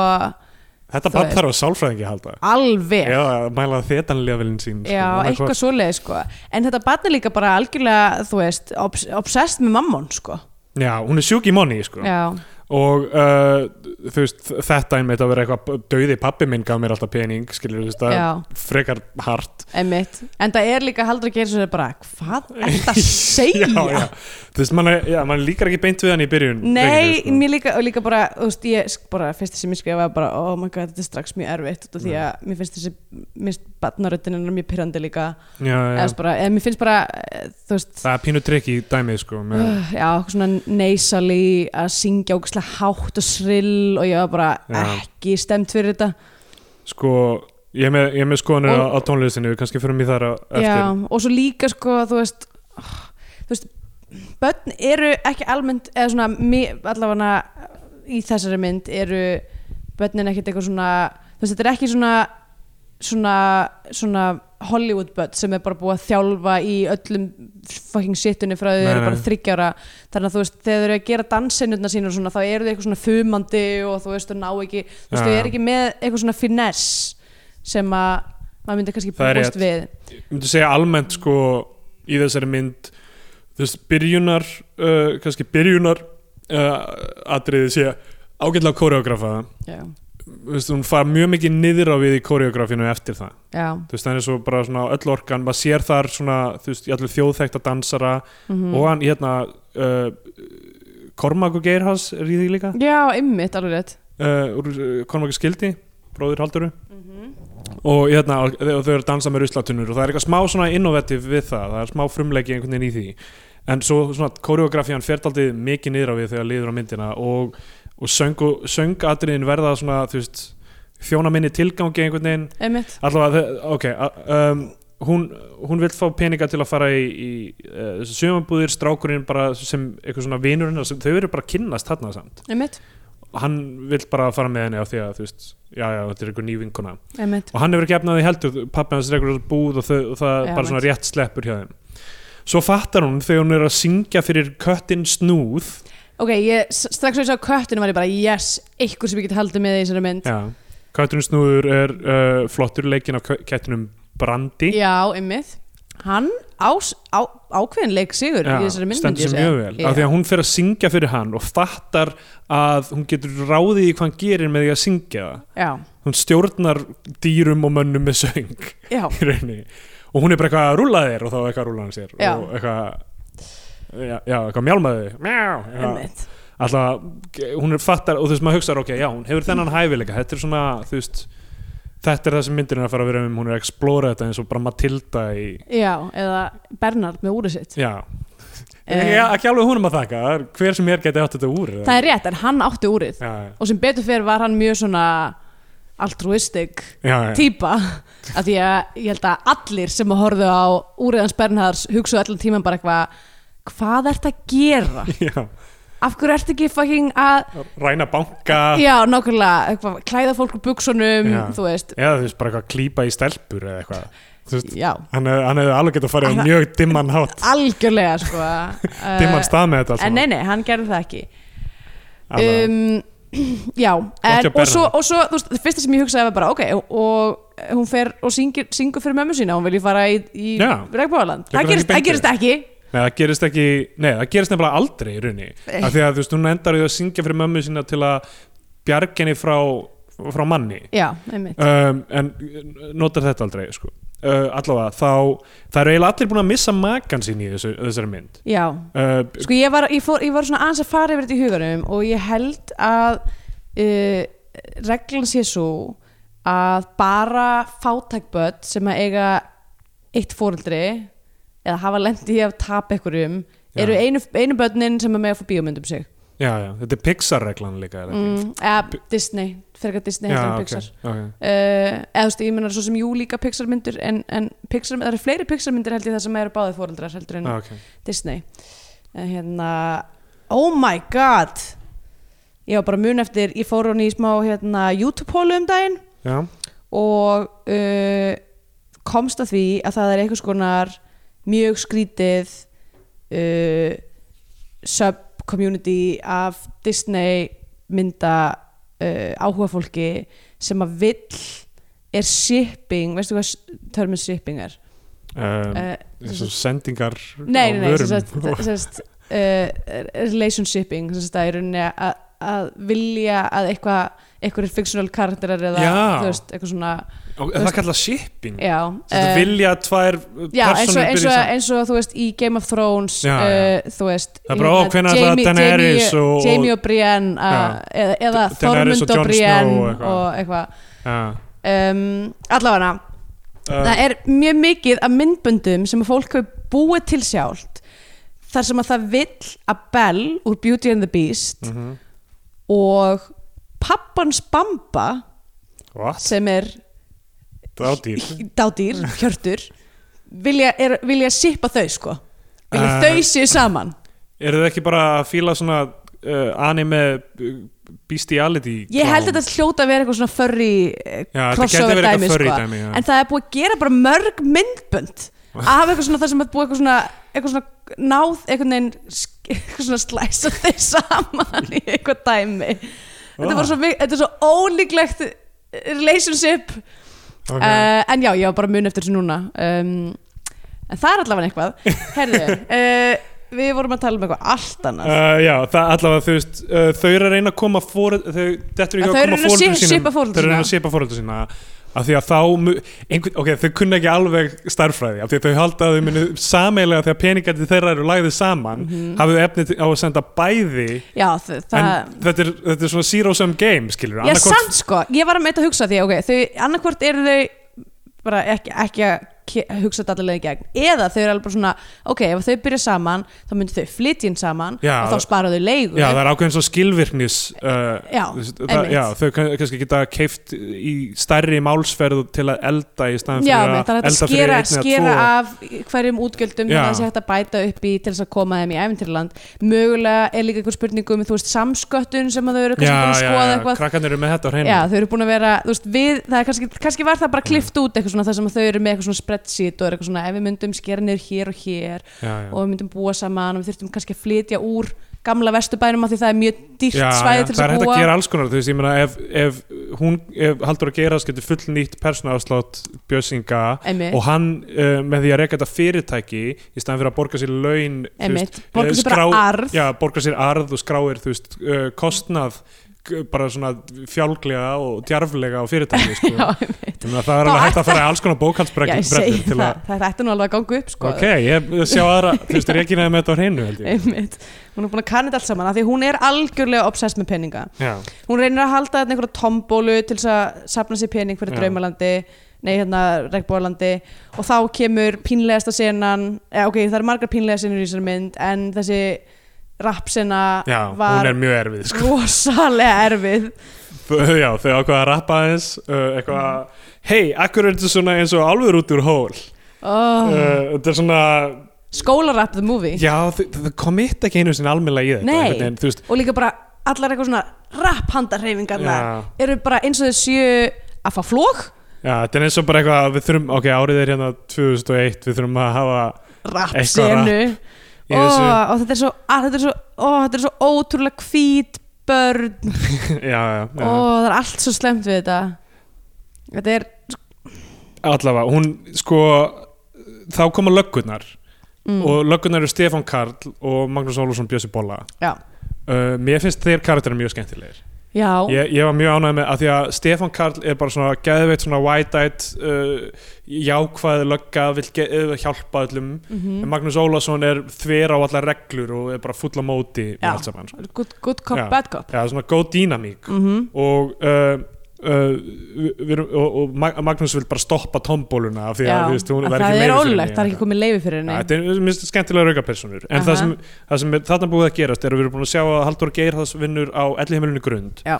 [SPEAKER 3] Þetta
[SPEAKER 2] þú
[SPEAKER 3] barn
[SPEAKER 2] veist-
[SPEAKER 3] þarf að sálfræðingi halda
[SPEAKER 2] alveg
[SPEAKER 3] Já, að mæla þetanlega velin sín sko,
[SPEAKER 2] Já,
[SPEAKER 3] annað
[SPEAKER 2] eitthvað svoleið sko en þetta barn er líka bara algjörlega þú veist, obs obsessed með mammon sko
[SPEAKER 3] hvort. Já, hún er sjúk í monni sko.
[SPEAKER 2] já,
[SPEAKER 3] og uh, þú veist, þetta einmitt að vera eitthvað döiði pappi minn gaf mér alltaf pening skilur, þú veist, það
[SPEAKER 2] Já.
[SPEAKER 3] er frekar hart
[SPEAKER 2] einmitt en það er líka haldur að gera svo bara hvað er þetta
[SPEAKER 3] [laughs]
[SPEAKER 2] að segja
[SPEAKER 3] já, já. þú veist, mann, já, mann líkar ekki beint við hann í byrjun
[SPEAKER 2] Nei,
[SPEAKER 3] Reykjavík, sko.
[SPEAKER 2] mér líka, og líka bara, þú veist, ég sk- bara, fyrst sem ég skrifaði bara, oh my god, þetta er strax mjög erfitt út af því að mér finnst þessi, mér finnst barnaröddin er mjög pyrrandi líka,
[SPEAKER 3] sko. já,
[SPEAKER 2] eða, þú veist
[SPEAKER 3] já.
[SPEAKER 2] bara, eða mér finnst bara, eh, þú veist,
[SPEAKER 3] það er pínu trikk í dæmið sko, með,
[SPEAKER 2] Uh, já, eitthvað svona neysali að syngja ógæslega hátt og srill og ég var bara
[SPEAKER 3] Já.
[SPEAKER 2] ekki stemt fyrir þetta
[SPEAKER 3] sko ég er með, ég er með skoðanir á, á
[SPEAKER 2] Og-
[SPEAKER 3] tónlistinu við kannski fyrir mig þar á,
[SPEAKER 2] já,
[SPEAKER 3] eftir
[SPEAKER 2] og svo líka sko þú veist, oh, þú veist börn eru ekki almennt eða svona mi- allavega í þessari mynd eru börnin ekkert eitthvað svona þú veist, þetta er ekki svona svona, svona Hollywood börn sem er bara búið að þjálfa í öllum fucking shitunni frá því þau
[SPEAKER 3] Nei,
[SPEAKER 2] eru
[SPEAKER 3] nei.
[SPEAKER 2] bara þryggjára þannig að þú veist, þegar þau eru að gera dansinutna sína og svona, þá eru þau eitthvað svona fumandi og þú veist, þau ná ekki, þú veist,
[SPEAKER 3] Já.
[SPEAKER 2] þau eru ekki með eitthvað svona finesse sem að maður myndi kannski
[SPEAKER 3] Það er
[SPEAKER 2] búist
[SPEAKER 3] rétt.
[SPEAKER 2] við
[SPEAKER 3] ég myndi segja almennt sko í þessari mynd þú veist, byrjunar uh, kannski byrjunar uh, atriði sé ágætlega koreografaða
[SPEAKER 2] já,
[SPEAKER 3] Þú veist, hún far mjög mikið niður á við í koreografinu eftir það
[SPEAKER 2] já,
[SPEAKER 3] þú veist, hann er svo bara svona öll orkan maður sér þar svona, þú veist, í allir þjóðþekta dansara
[SPEAKER 2] Mhm.
[SPEAKER 3] og hann, hérna uh, Kormak og Geirhás er í því líka
[SPEAKER 2] já, ymmit alveg rétt
[SPEAKER 3] uh, úr uh, Kormak skildi, bróður Halduru og hérna, og, og þau eru að dansa með ruslatunur og það er eitthvað smá svona innovativ við það, það er smá frumleiki einhvern veginn í því en svo svona koreografían fer aldrei mikið niður á við þegar liður á myndina og, og, söng, og söngatriðin verða svona, þú veist þjóna minni tilgangi einhvern veginn
[SPEAKER 2] ymmit,
[SPEAKER 3] allavega, þe- ok a- um, hún, hún vill fá peninga til að fara í, í uh, sömabúðir strákurinn bara sem eitthvað svona vinur hennar sem þau eru bara að kynnast þarna samt
[SPEAKER 2] ymmit,
[SPEAKER 3] hann vill bara fara með henni á því að þú veist, já já, þetta er eitthvað ný vinkona
[SPEAKER 2] ymmit
[SPEAKER 3] og hann hefur ekki efnaði heldur, pappi hans er eitthvað búð og, þau, og það
[SPEAKER 2] Já,
[SPEAKER 3] bara svona
[SPEAKER 2] mitt.
[SPEAKER 3] rétt sleppur hjá þeim svo fattar hún þegar hún er að syngja fyrir köttin snúð
[SPEAKER 2] ok, ég, s- strax og ég sá köttinu var ég bara yes, eitthvað sem ég geti haldið með í þessari mynd
[SPEAKER 3] já, köttin snúður er uh, flottur leikinn af kö- kettinum Brandi
[SPEAKER 2] Já, ymmið Hann ás, á, ákveðin leik sigur í þessari mynd myndi
[SPEAKER 3] stendur
[SPEAKER 2] ég
[SPEAKER 3] sér
[SPEAKER 2] segja.
[SPEAKER 3] mjög vel af því að hún fer að syngja fyrir hann og fattar að hún getur ráðið í hvað hann gerir með því að syngja það
[SPEAKER 2] Já,
[SPEAKER 3] hún stjórnar dýrum og mönnum með söng [laughs]
[SPEAKER 2] já,
[SPEAKER 3] í rauninni og hún er bara eitthvað að rúla þér og þá er eitthvað að rúla hann sér
[SPEAKER 2] Já.
[SPEAKER 3] og eitthvað já, já eitthvað mjálmaði
[SPEAKER 2] ymmið
[SPEAKER 3] alltaf, hún er fattar og þú veist maður hugsaður, ok, já, hún hefur þennan hæfileika þetta er svona, þú veist þetta er það sem myndin er að fara að vera um, hún er að explora þetta eins og bara Matilda í
[SPEAKER 2] Já, eða Bernard með úrið sitt
[SPEAKER 3] já,
[SPEAKER 2] Eh.
[SPEAKER 3] Já, ekki alveg húnum að þakka, það er hver sem er geti átt þetta úr
[SPEAKER 2] Það er rétt, en hann átti úrið
[SPEAKER 3] já,
[SPEAKER 2] Og sem betur fyrir var hann mjög svona altruistic
[SPEAKER 3] já, já,
[SPEAKER 2] típa af því að ég held að allir sem að horfðu á úriðans Bernhards hugsuðu allan tíman bara eitthvað hvað ert að gera?
[SPEAKER 3] já.
[SPEAKER 2] Af hverju ert ekki fucking að
[SPEAKER 3] ræna banka
[SPEAKER 2] Já, nákvæmlega, eitthvað, klæða fólk úr buksunum,
[SPEAKER 3] Já.
[SPEAKER 2] þú veist
[SPEAKER 3] eða þú veist bara eitthvað klípa í stelpur eða eitthvað Þú veist,
[SPEAKER 2] Já,
[SPEAKER 3] hann, hef- hann hefði alveg getað að fara á
[SPEAKER 2] Hann-
[SPEAKER 3] mjög dimman hátt
[SPEAKER 2] algjörlega
[SPEAKER 3] [laughs]
[SPEAKER 2] sko uh,
[SPEAKER 3] dimman stað með þetta
[SPEAKER 2] en
[SPEAKER 3] allt saman.
[SPEAKER 2] nei, nei, hann gerði það ekki
[SPEAKER 3] Alveg.
[SPEAKER 2] um, já, en,
[SPEAKER 3] hjá
[SPEAKER 2] og, svo,
[SPEAKER 3] Bernharði.
[SPEAKER 2] og svo þú veist, það fyrsta sem ég hugsaði var bara ok, og hún fer og syngir, syngur fyrir mömmu sína, hún vilji fara í, í
[SPEAKER 3] Já.
[SPEAKER 2] regnbóðaland,
[SPEAKER 3] Tekur
[SPEAKER 2] það
[SPEAKER 3] hann ekki
[SPEAKER 2] gerist,
[SPEAKER 3] beint
[SPEAKER 2] það gerist ekki
[SPEAKER 3] Nei, það gerist ekki, nei, það gerist nefnilega aldrei í rauninni, af því að þú veist, hún endar í að syngja fyrir mömmu sína til að bjarga henni frá, frá manni
[SPEAKER 2] já, einmitt,
[SPEAKER 3] um, en notar þetta aldrei sko. uh, allavega, þá það eru eiginlega allir búin að missa makan sín í þessu, þessari mynd
[SPEAKER 2] já
[SPEAKER 3] uh,
[SPEAKER 2] sko ég var, ég, fór, ég var svona aðeins að fara yfir þetta í huganum og ég held að uh, reglan sé svo að bara fátækböld sem að eiga eitt fóreldri eða hafa lendi í að tapa einhverjum
[SPEAKER 3] Já.
[SPEAKER 2] eru einu, einu börnin sem að mega að fá bíómyndum sig
[SPEAKER 3] já, já, þetta er Pixar-reglan líka er það ekki?
[SPEAKER 2] mm, eða Disney, fyrir að Disney
[SPEAKER 3] já,
[SPEAKER 2] heldur en
[SPEAKER 3] ok,
[SPEAKER 2] Pixar
[SPEAKER 3] ok.
[SPEAKER 2] Uh, eða þú veist, ég menar svo sem jú líka Pixar myndir en, en Pixar, það eru fleiri Pixar myndir held ég það sem eru báðið fóreldrar heldur en
[SPEAKER 3] Ah, ok.
[SPEAKER 2] Disney en hérna oh my god ég var bara mun eftir, ég fór hún í smá hérna, YouTube-hólu um daginn
[SPEAKER 3] já,
[SPEAKER 2] og uh, komst að því að það er einhvers konar mjög skrítið uh, sub-community af Disney mynda uh, áhuga fólki sem að vill er shipping, veistu hvað törmur shipping er?
[SPEAKER 3] um,
[SPEAKER 2] Uh,
[SPEAKER 3] eins og sendingar
[SPEAKER 2] Nei, nei,
[SPEAKER 3] á
[SPEAKER 2] nei, sem
[SPEAKER 3] vörum [laughs]
[SPEAKER 2] sagt, sem sagt uh, relationshipping sem sagt að í rauninni að, að vilja að eitthvað, eitthvað er fictional karakterar eða
[SPEAKER 3] Já.
[SPEAKER 2] þú veist, eitthvað svona
[SPEAKER 3] og það kalla shipping
[SPEAKER 2] já,
[SPEAKER 3] Þetta
[SPEAKER 2] eh,
[SPEAKER 3] vilja að tvær
[SPEAKER 2] já eins, og,
[SPEAKER 3] personur
[SPEAKER 2] eins,
[SPEAKER 3] byrja
[SPEAKER 2] og,
[SPEAKER 3] saman
[SPEAKER 2] eins og þú veist í Game of Thrones
[SPEAKER 3] Já,
[SPEAKER 2] eh, þú veist
[SPEAKER 3] Það er bara, ó, hvenær ætla
[SPEAKER 2] Jamie-
[SPEAKER 3] Daenerys
[SPEAKER 2] Jamie-
[SPEAKER 3] og-
[SPEAKER 2] Jamie og Brienne að,
[SPEAKER 3] Já.
[SPEAKER 2] eða, eða
[SPEAKER 3] D- Daenerys
[SPEAKER 2] Þormund
[SPEAKER 3] og
[SPEAKER 2] og
[SPEAKER 3] Jon
[SPEAKER 2] Brienne
[SPEAKER 3] Snow og
[SPEAKER 2] og
[SPEAKER 3] eitthvað.
[SPEAKER 2] eitthvað
[SPEAKER 3] Já,
[SPEAKER 2] um, allavega
[SPEAKER 3] uh,
[SPEAKER 2] það er mjög mikið af myndböndum sem að fólk hefur búið til sjálft þar sem að það vill að Belle úr Beauty and the Beast
[SPEAKER 3] mhm.
[SPEAKER 2] og pappans Bamba
[SPEAKER 3] What?
[SPEAKER 2] sem er
[SPEAKER 3] Það á dýr
[SPEAKER 2] dádýr, hjörtur vilja, er, vilja sippa þau sko vilja
[SPEAKER 3] Eh.
[SPEAKER 2] þau séu saman
[SPEAKER 3] Eru þið ekki bara að fíla svona uh, anime uh, bestiality
[SPEAKER 2] ég held
[SPEAKER 3] klám?
[SPEAKER 2] þetta hljóta að vera eitthvað svona furry eh,
[SPEAKER 3] Já, þetta gæti
[SPEAKER 2] crossover
[SPEAKER 3] verið eitthvað
[SPEAKER 2] dæmi,
[SPEAKER 3] furry
[SPEAKER 2] sko.
[SPEAKER 3] dæmi, já.
[SPEAKER 2] en það er búið að gera bara mörg
[SPEAKER 3] [laughs]
[SPEAKER 2] myndbönd af eitthvað svona það sem er búið eitthvað svona, eitthvað svona náð einhvern veginn sk- [laughs] eitthvað svona slæsa þeir saman í eitthvað dæmi þetta,
[SPEAKER 3] Ah.
[SPEAKER 2] var svo, mik- þetta er svo ólíklegt relationship
[SPEAKER 3] Ok.
[SPEAKER 2] uh, en já, ég var bara mun eftir þessu núna um, en það er allavega eitthvað herðu,
[SPEAKER 3] [laughs]
[SPEAKER 2] uh, við vorum að tala um eitthvað allt annað
[SPEAKER 3] Uh, já, það allavega þú veist uh, þau eru að reyna að koma fóröld þau dettur í
[SPEAKER 2] Já,
[SPEAKER 3] hug
[SPEAKER 2] þau
[SPEAKER 3] að
[SPEAKER 2] eru
[SPEAKER 3] koma
[SPEAKER 2] að
[SPEAKER 3] fóreldrum
[SPEAKER 2] sé-
[SPEAKER 3] sínum
[SPEAKER 2] sipa foreldrum
[SPEAKER 3] þau eru að reyna að
[SPEAKER 2] sína.
[SPEAKER 3] sépa fóreldrum sína af því að þá mu- einhvern, ok, þau kunna ekki alveg starffræði af því að þau halda að þau munu sameilega þegar peningandi þeirra eru lagðið saman mm -hmm. hafið þau efni til- á að senda bæði
[SPEAKER 2] já, þ- Mhm. það
[SPEAKER 3] en þetta er, þetta er svona zero sum game skilur,
[SPEAKER 2] Já, samt sko, ég var að meita að hugsa því ok, þau, annarkvort eru þau bara ekki, ekki að ke- hugsa þetta allavega í gegn eða þau eru alveg bara svona ok, ef þau byrja saman, þá myndu þau flytjinn saman
[SPEAKER 3] Já,
[SPEAKER 2] og þá spara þau leigu
[SPEAKER 3] Já, það er ákveðin svo skilvirknis uh,
[SPEAKER 2] Já,
[SPEAKER 3] þú veist, það,
[SPEAKER 2] einmitt.
[SPEAKER 3] já, þau kann- kannski geta keift í stærri málsferð til að elda í staðan
[SPEAKER 2] Já,
[SPEAKER 3] fyrir
[SPEAKER 2] menn, það
[SPEAKER 3] að
[SPEAKER 2] er hægt
[SPEAKER 3] elda
[SPEAKER 2] að skera,
[SPEAKER 3] fyrir einni
[SPEAKER 2] skera
[SPEAKER 3] eða
[SPEAKER 2] af hverjum útgjöldum
[SPEAKER 3] Já.
[SPEAKER 2] þannig að sé hægt að bæta upp í til þess að koma þeim í æfintirland mögulega er líka einhver spurning um þú veist, samsköttun sem að þau eru
[SPEAKER 3] tvo
[SPEAKER 2] kannski búin að skoða eitthvað
[SPEAKER 3] krakkarnir eru með þetta á hreinu
[SPEAKER 2] Já, þau eru búin að vera, þú veist, við, það er kannski, kannski var það bara klift út eitthvað svona, það sem að þau eru með eitthvað svona spreadsheet og er eitthvað svona, ef við myndum skera niður hér og hér
[SPEAKER 3] já, já.
[SPEAKER 2] og við myndum búa saman og við þurftum kannski að flytja úr gamla vesturbænum af því það er mjög dýrt
[SPEAKER 3] Já,
[SPEAKER 2] svæði
[SPEAKER 3] já,
[SPEAKER 2] til þess
[SPEAKER 3] það er
[SPEAKER 2] að
[SPEAKER 3] hægt
[SPEAKER 2] búa.
[SPEAKER 3] að gera alls konar þú veist, ég meina ef, ef hún ef haldur að gera þess getur full nýtt persónaafslátt bjössinga
[SPEAKER 2] Einmitt.
[SPEAKER 3] og hann uh, með því að reyka þetta fyrirtæki í staðan fyrir að borga sér laun þú
[SPEAKER 2] Einmitt, borga
[SPEAKER 3] eh,
[SPEAKER 2] sér bara arð.
[SPEAKER 3] já, borga sér arð og skráir þú veist, uh, kostnað g- bara svona fjálglega og djarflega á fyrirtæki
[SPEAKER 2] [laughs]
[SPEAKER 3] sko.
[SPEAKER 2] [laughs] Já,
[SPEAKER 3] já,
[SPEAKER 2] einmitt.
[SPEAKER 3] það er
[SPEAKER 2] Þá
[SPEAKER 3] alveg hægt
[SPEAKER 2] ætti-
[SPEAKER 3] að fara í alls konar
[SPEAKER 2] Já, ég
[SPEAKER 3] bókaldsbrekkur
[SPEAKER 2] segi
[SPEAKER 3] til
[SPEAKER 2] það,
[SPEAKER 3] að
[SPEAKER 2] það ætti nú alveg að ganga upp, sko.
[SPEAKER 3] ok, ég ég sjá aðra þú veist, Regina er með þetta á hreinu held ég
[SPEAKER 2] Einmitt. Hún er búin að kanna þetta allt saman af því hún er algjörlega obsessed með peninga.
[SPEAKER 3] já,
[SPEAKER 2] Hún reynir að halda þetta einhverja tombólu til þess að sapna sér pening fyrir
[SPEAKER 3] Já.
[SPEAKER 2] draumalandi, nei hérna regnbóðalandi og þá kemur pínlegasta senan, eða ok, það eru margar pínlega senur í þessari mynd en þessi rapsena
[SPEAKER 3] já
[SPEAKER 2] var
[SPEAKER 3] hún er mjög erfið sko. [laughs]
[SPEAKER 2] rosalega erfið
[SPEAKER 3] Þau- Já, þau ákvaða að rappa aðeins uh, eitthvað að, hei, akkur er þetta svona eins og alveg út úr hól
[SPEAKER 2] oh.
[SPEAKER 3] uh, þetta er svona,
[SPEAKER 2] skólarapp the movie
[SPEAKER 3] já, þau, þau komitt ekki einu sinni almennilega í þetta
[SPEAKER 2] Nei.
[SPEAKER 3] einhvern veginn, þú veist,
[SPEAKER 2] og líka bara allar eitthvað svona rapp handarreifingarnar
[SPEAKER 3] Já.
[SPEAKER 2] eru bara eins og þau séu að fá flók
[SPEAKER 3] já, þetta er eins og bara eitthvað að við þurfum, ok, árið er hérna 2001 við þurfum að hafa [laughs]
[SPEAKER 2] rapp
[SPEAKER 3] Eitthvað
[SPEAKER 2] senu
[SPEAKER 3] í þessu
[SPEAKER 2] og þetta er svo, að, þetta er svo, ó, þetta er svo ótrúlega hvít börn
[SPEAKER 3] já, já, já.
[SPEAKER 2] og það er allt svo slemt við þetta þetta er
[SPEAKER 3] allavega, hún sko þá koma löggurnar
[SPEAKER 2] mm,
[SPEAKER 3] og löggurnar eru Stefán Karl og Magnús Ólusson Bjössi Bolla
[SPEAKER 2] Já.
[SPEAKER 3] uh, mér finnst þeir karakterar mjög skemmtilegir
[SPEAKER 2] já,
[SPEAKER 3] ég, ég var mjög ánægð með að því að Stefán Karl er bara svona geðveitt svona wide-eyed uh, jákvæð lögga, vill ge- uh, hjálpa öllum
[SPEAKER 2] mhm.
[SPEAKER 3] en Magnús Ólason er þver á allar reglur og er bara full á móti með
[SPEAKER 2] Já.
[SPEAKER 3] allt saman sko.
[SPEAKER 2] good, good cop,
[SPEAKER 3] Já.
[SPEAKER 2] bad cop
[SPEAKER 3] Já, það er svona góð dýnamík
[SPEAKER 2] mm
[SPEAKER 3] og, uh, uh, við, við, og, og Mag- Magnús vil bara stoppa tombóluna af því að,
[SPEAKER 2] já,
[SPEAKER 3] þú veist, hún,
[SPEAKER 2] að
[SPEAKER 3] það er
[SPEAKER 2] það
[SPEAKER 3] ekki
[SPEAKER 2] er
[SPEAKER 3] leyfi fyrir
[SPEAKER 2] ólegt,
[SPEAKER 3] henni.
[SPEAKER 2] það er ekki komið leiði fyrir
[SPEAKER 3] Já,
[SPEAKER 2] henni
[SPEAKER 3] Þetta er mér finnst skemmtilega raukapersonur en það
[SPEAKER 2] Aha.
[SPEAKER 3] sem, það sem er, þarna búið að gerast er að við erum búin að sjá að Halldór Geirhals vinnur á ellihimilinu grund
[SPEAKER 2] Já.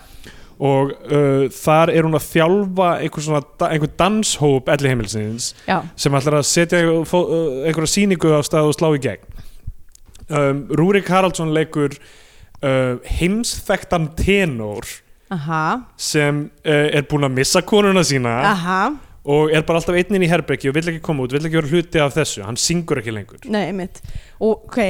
[SPEAKER 3] og uh, þar er hún að þjálfa einhver, svona, da- einhver danshóp ellihimilsins
[SPEAKER 2] já,
[SPEAKER 3] sem ætlar að setja fó- uh, einhverja sýningu á stað og slá í gegn um, Rúrik Haraldsson leikur uh, heimsþektan tenor
[SPEAKER 2] aha,
[SPEAKER 3] sem uh, er búin að missa konuna sína
[SPEAKER 2] aha
[SPEAKER 3] og er bara alltaf einninn í herbeki og vill ekki koma út, vill ekki vera hluti af þessu hann syngur ekki lengur
[SPEAKER 2] nei, mitt og ok,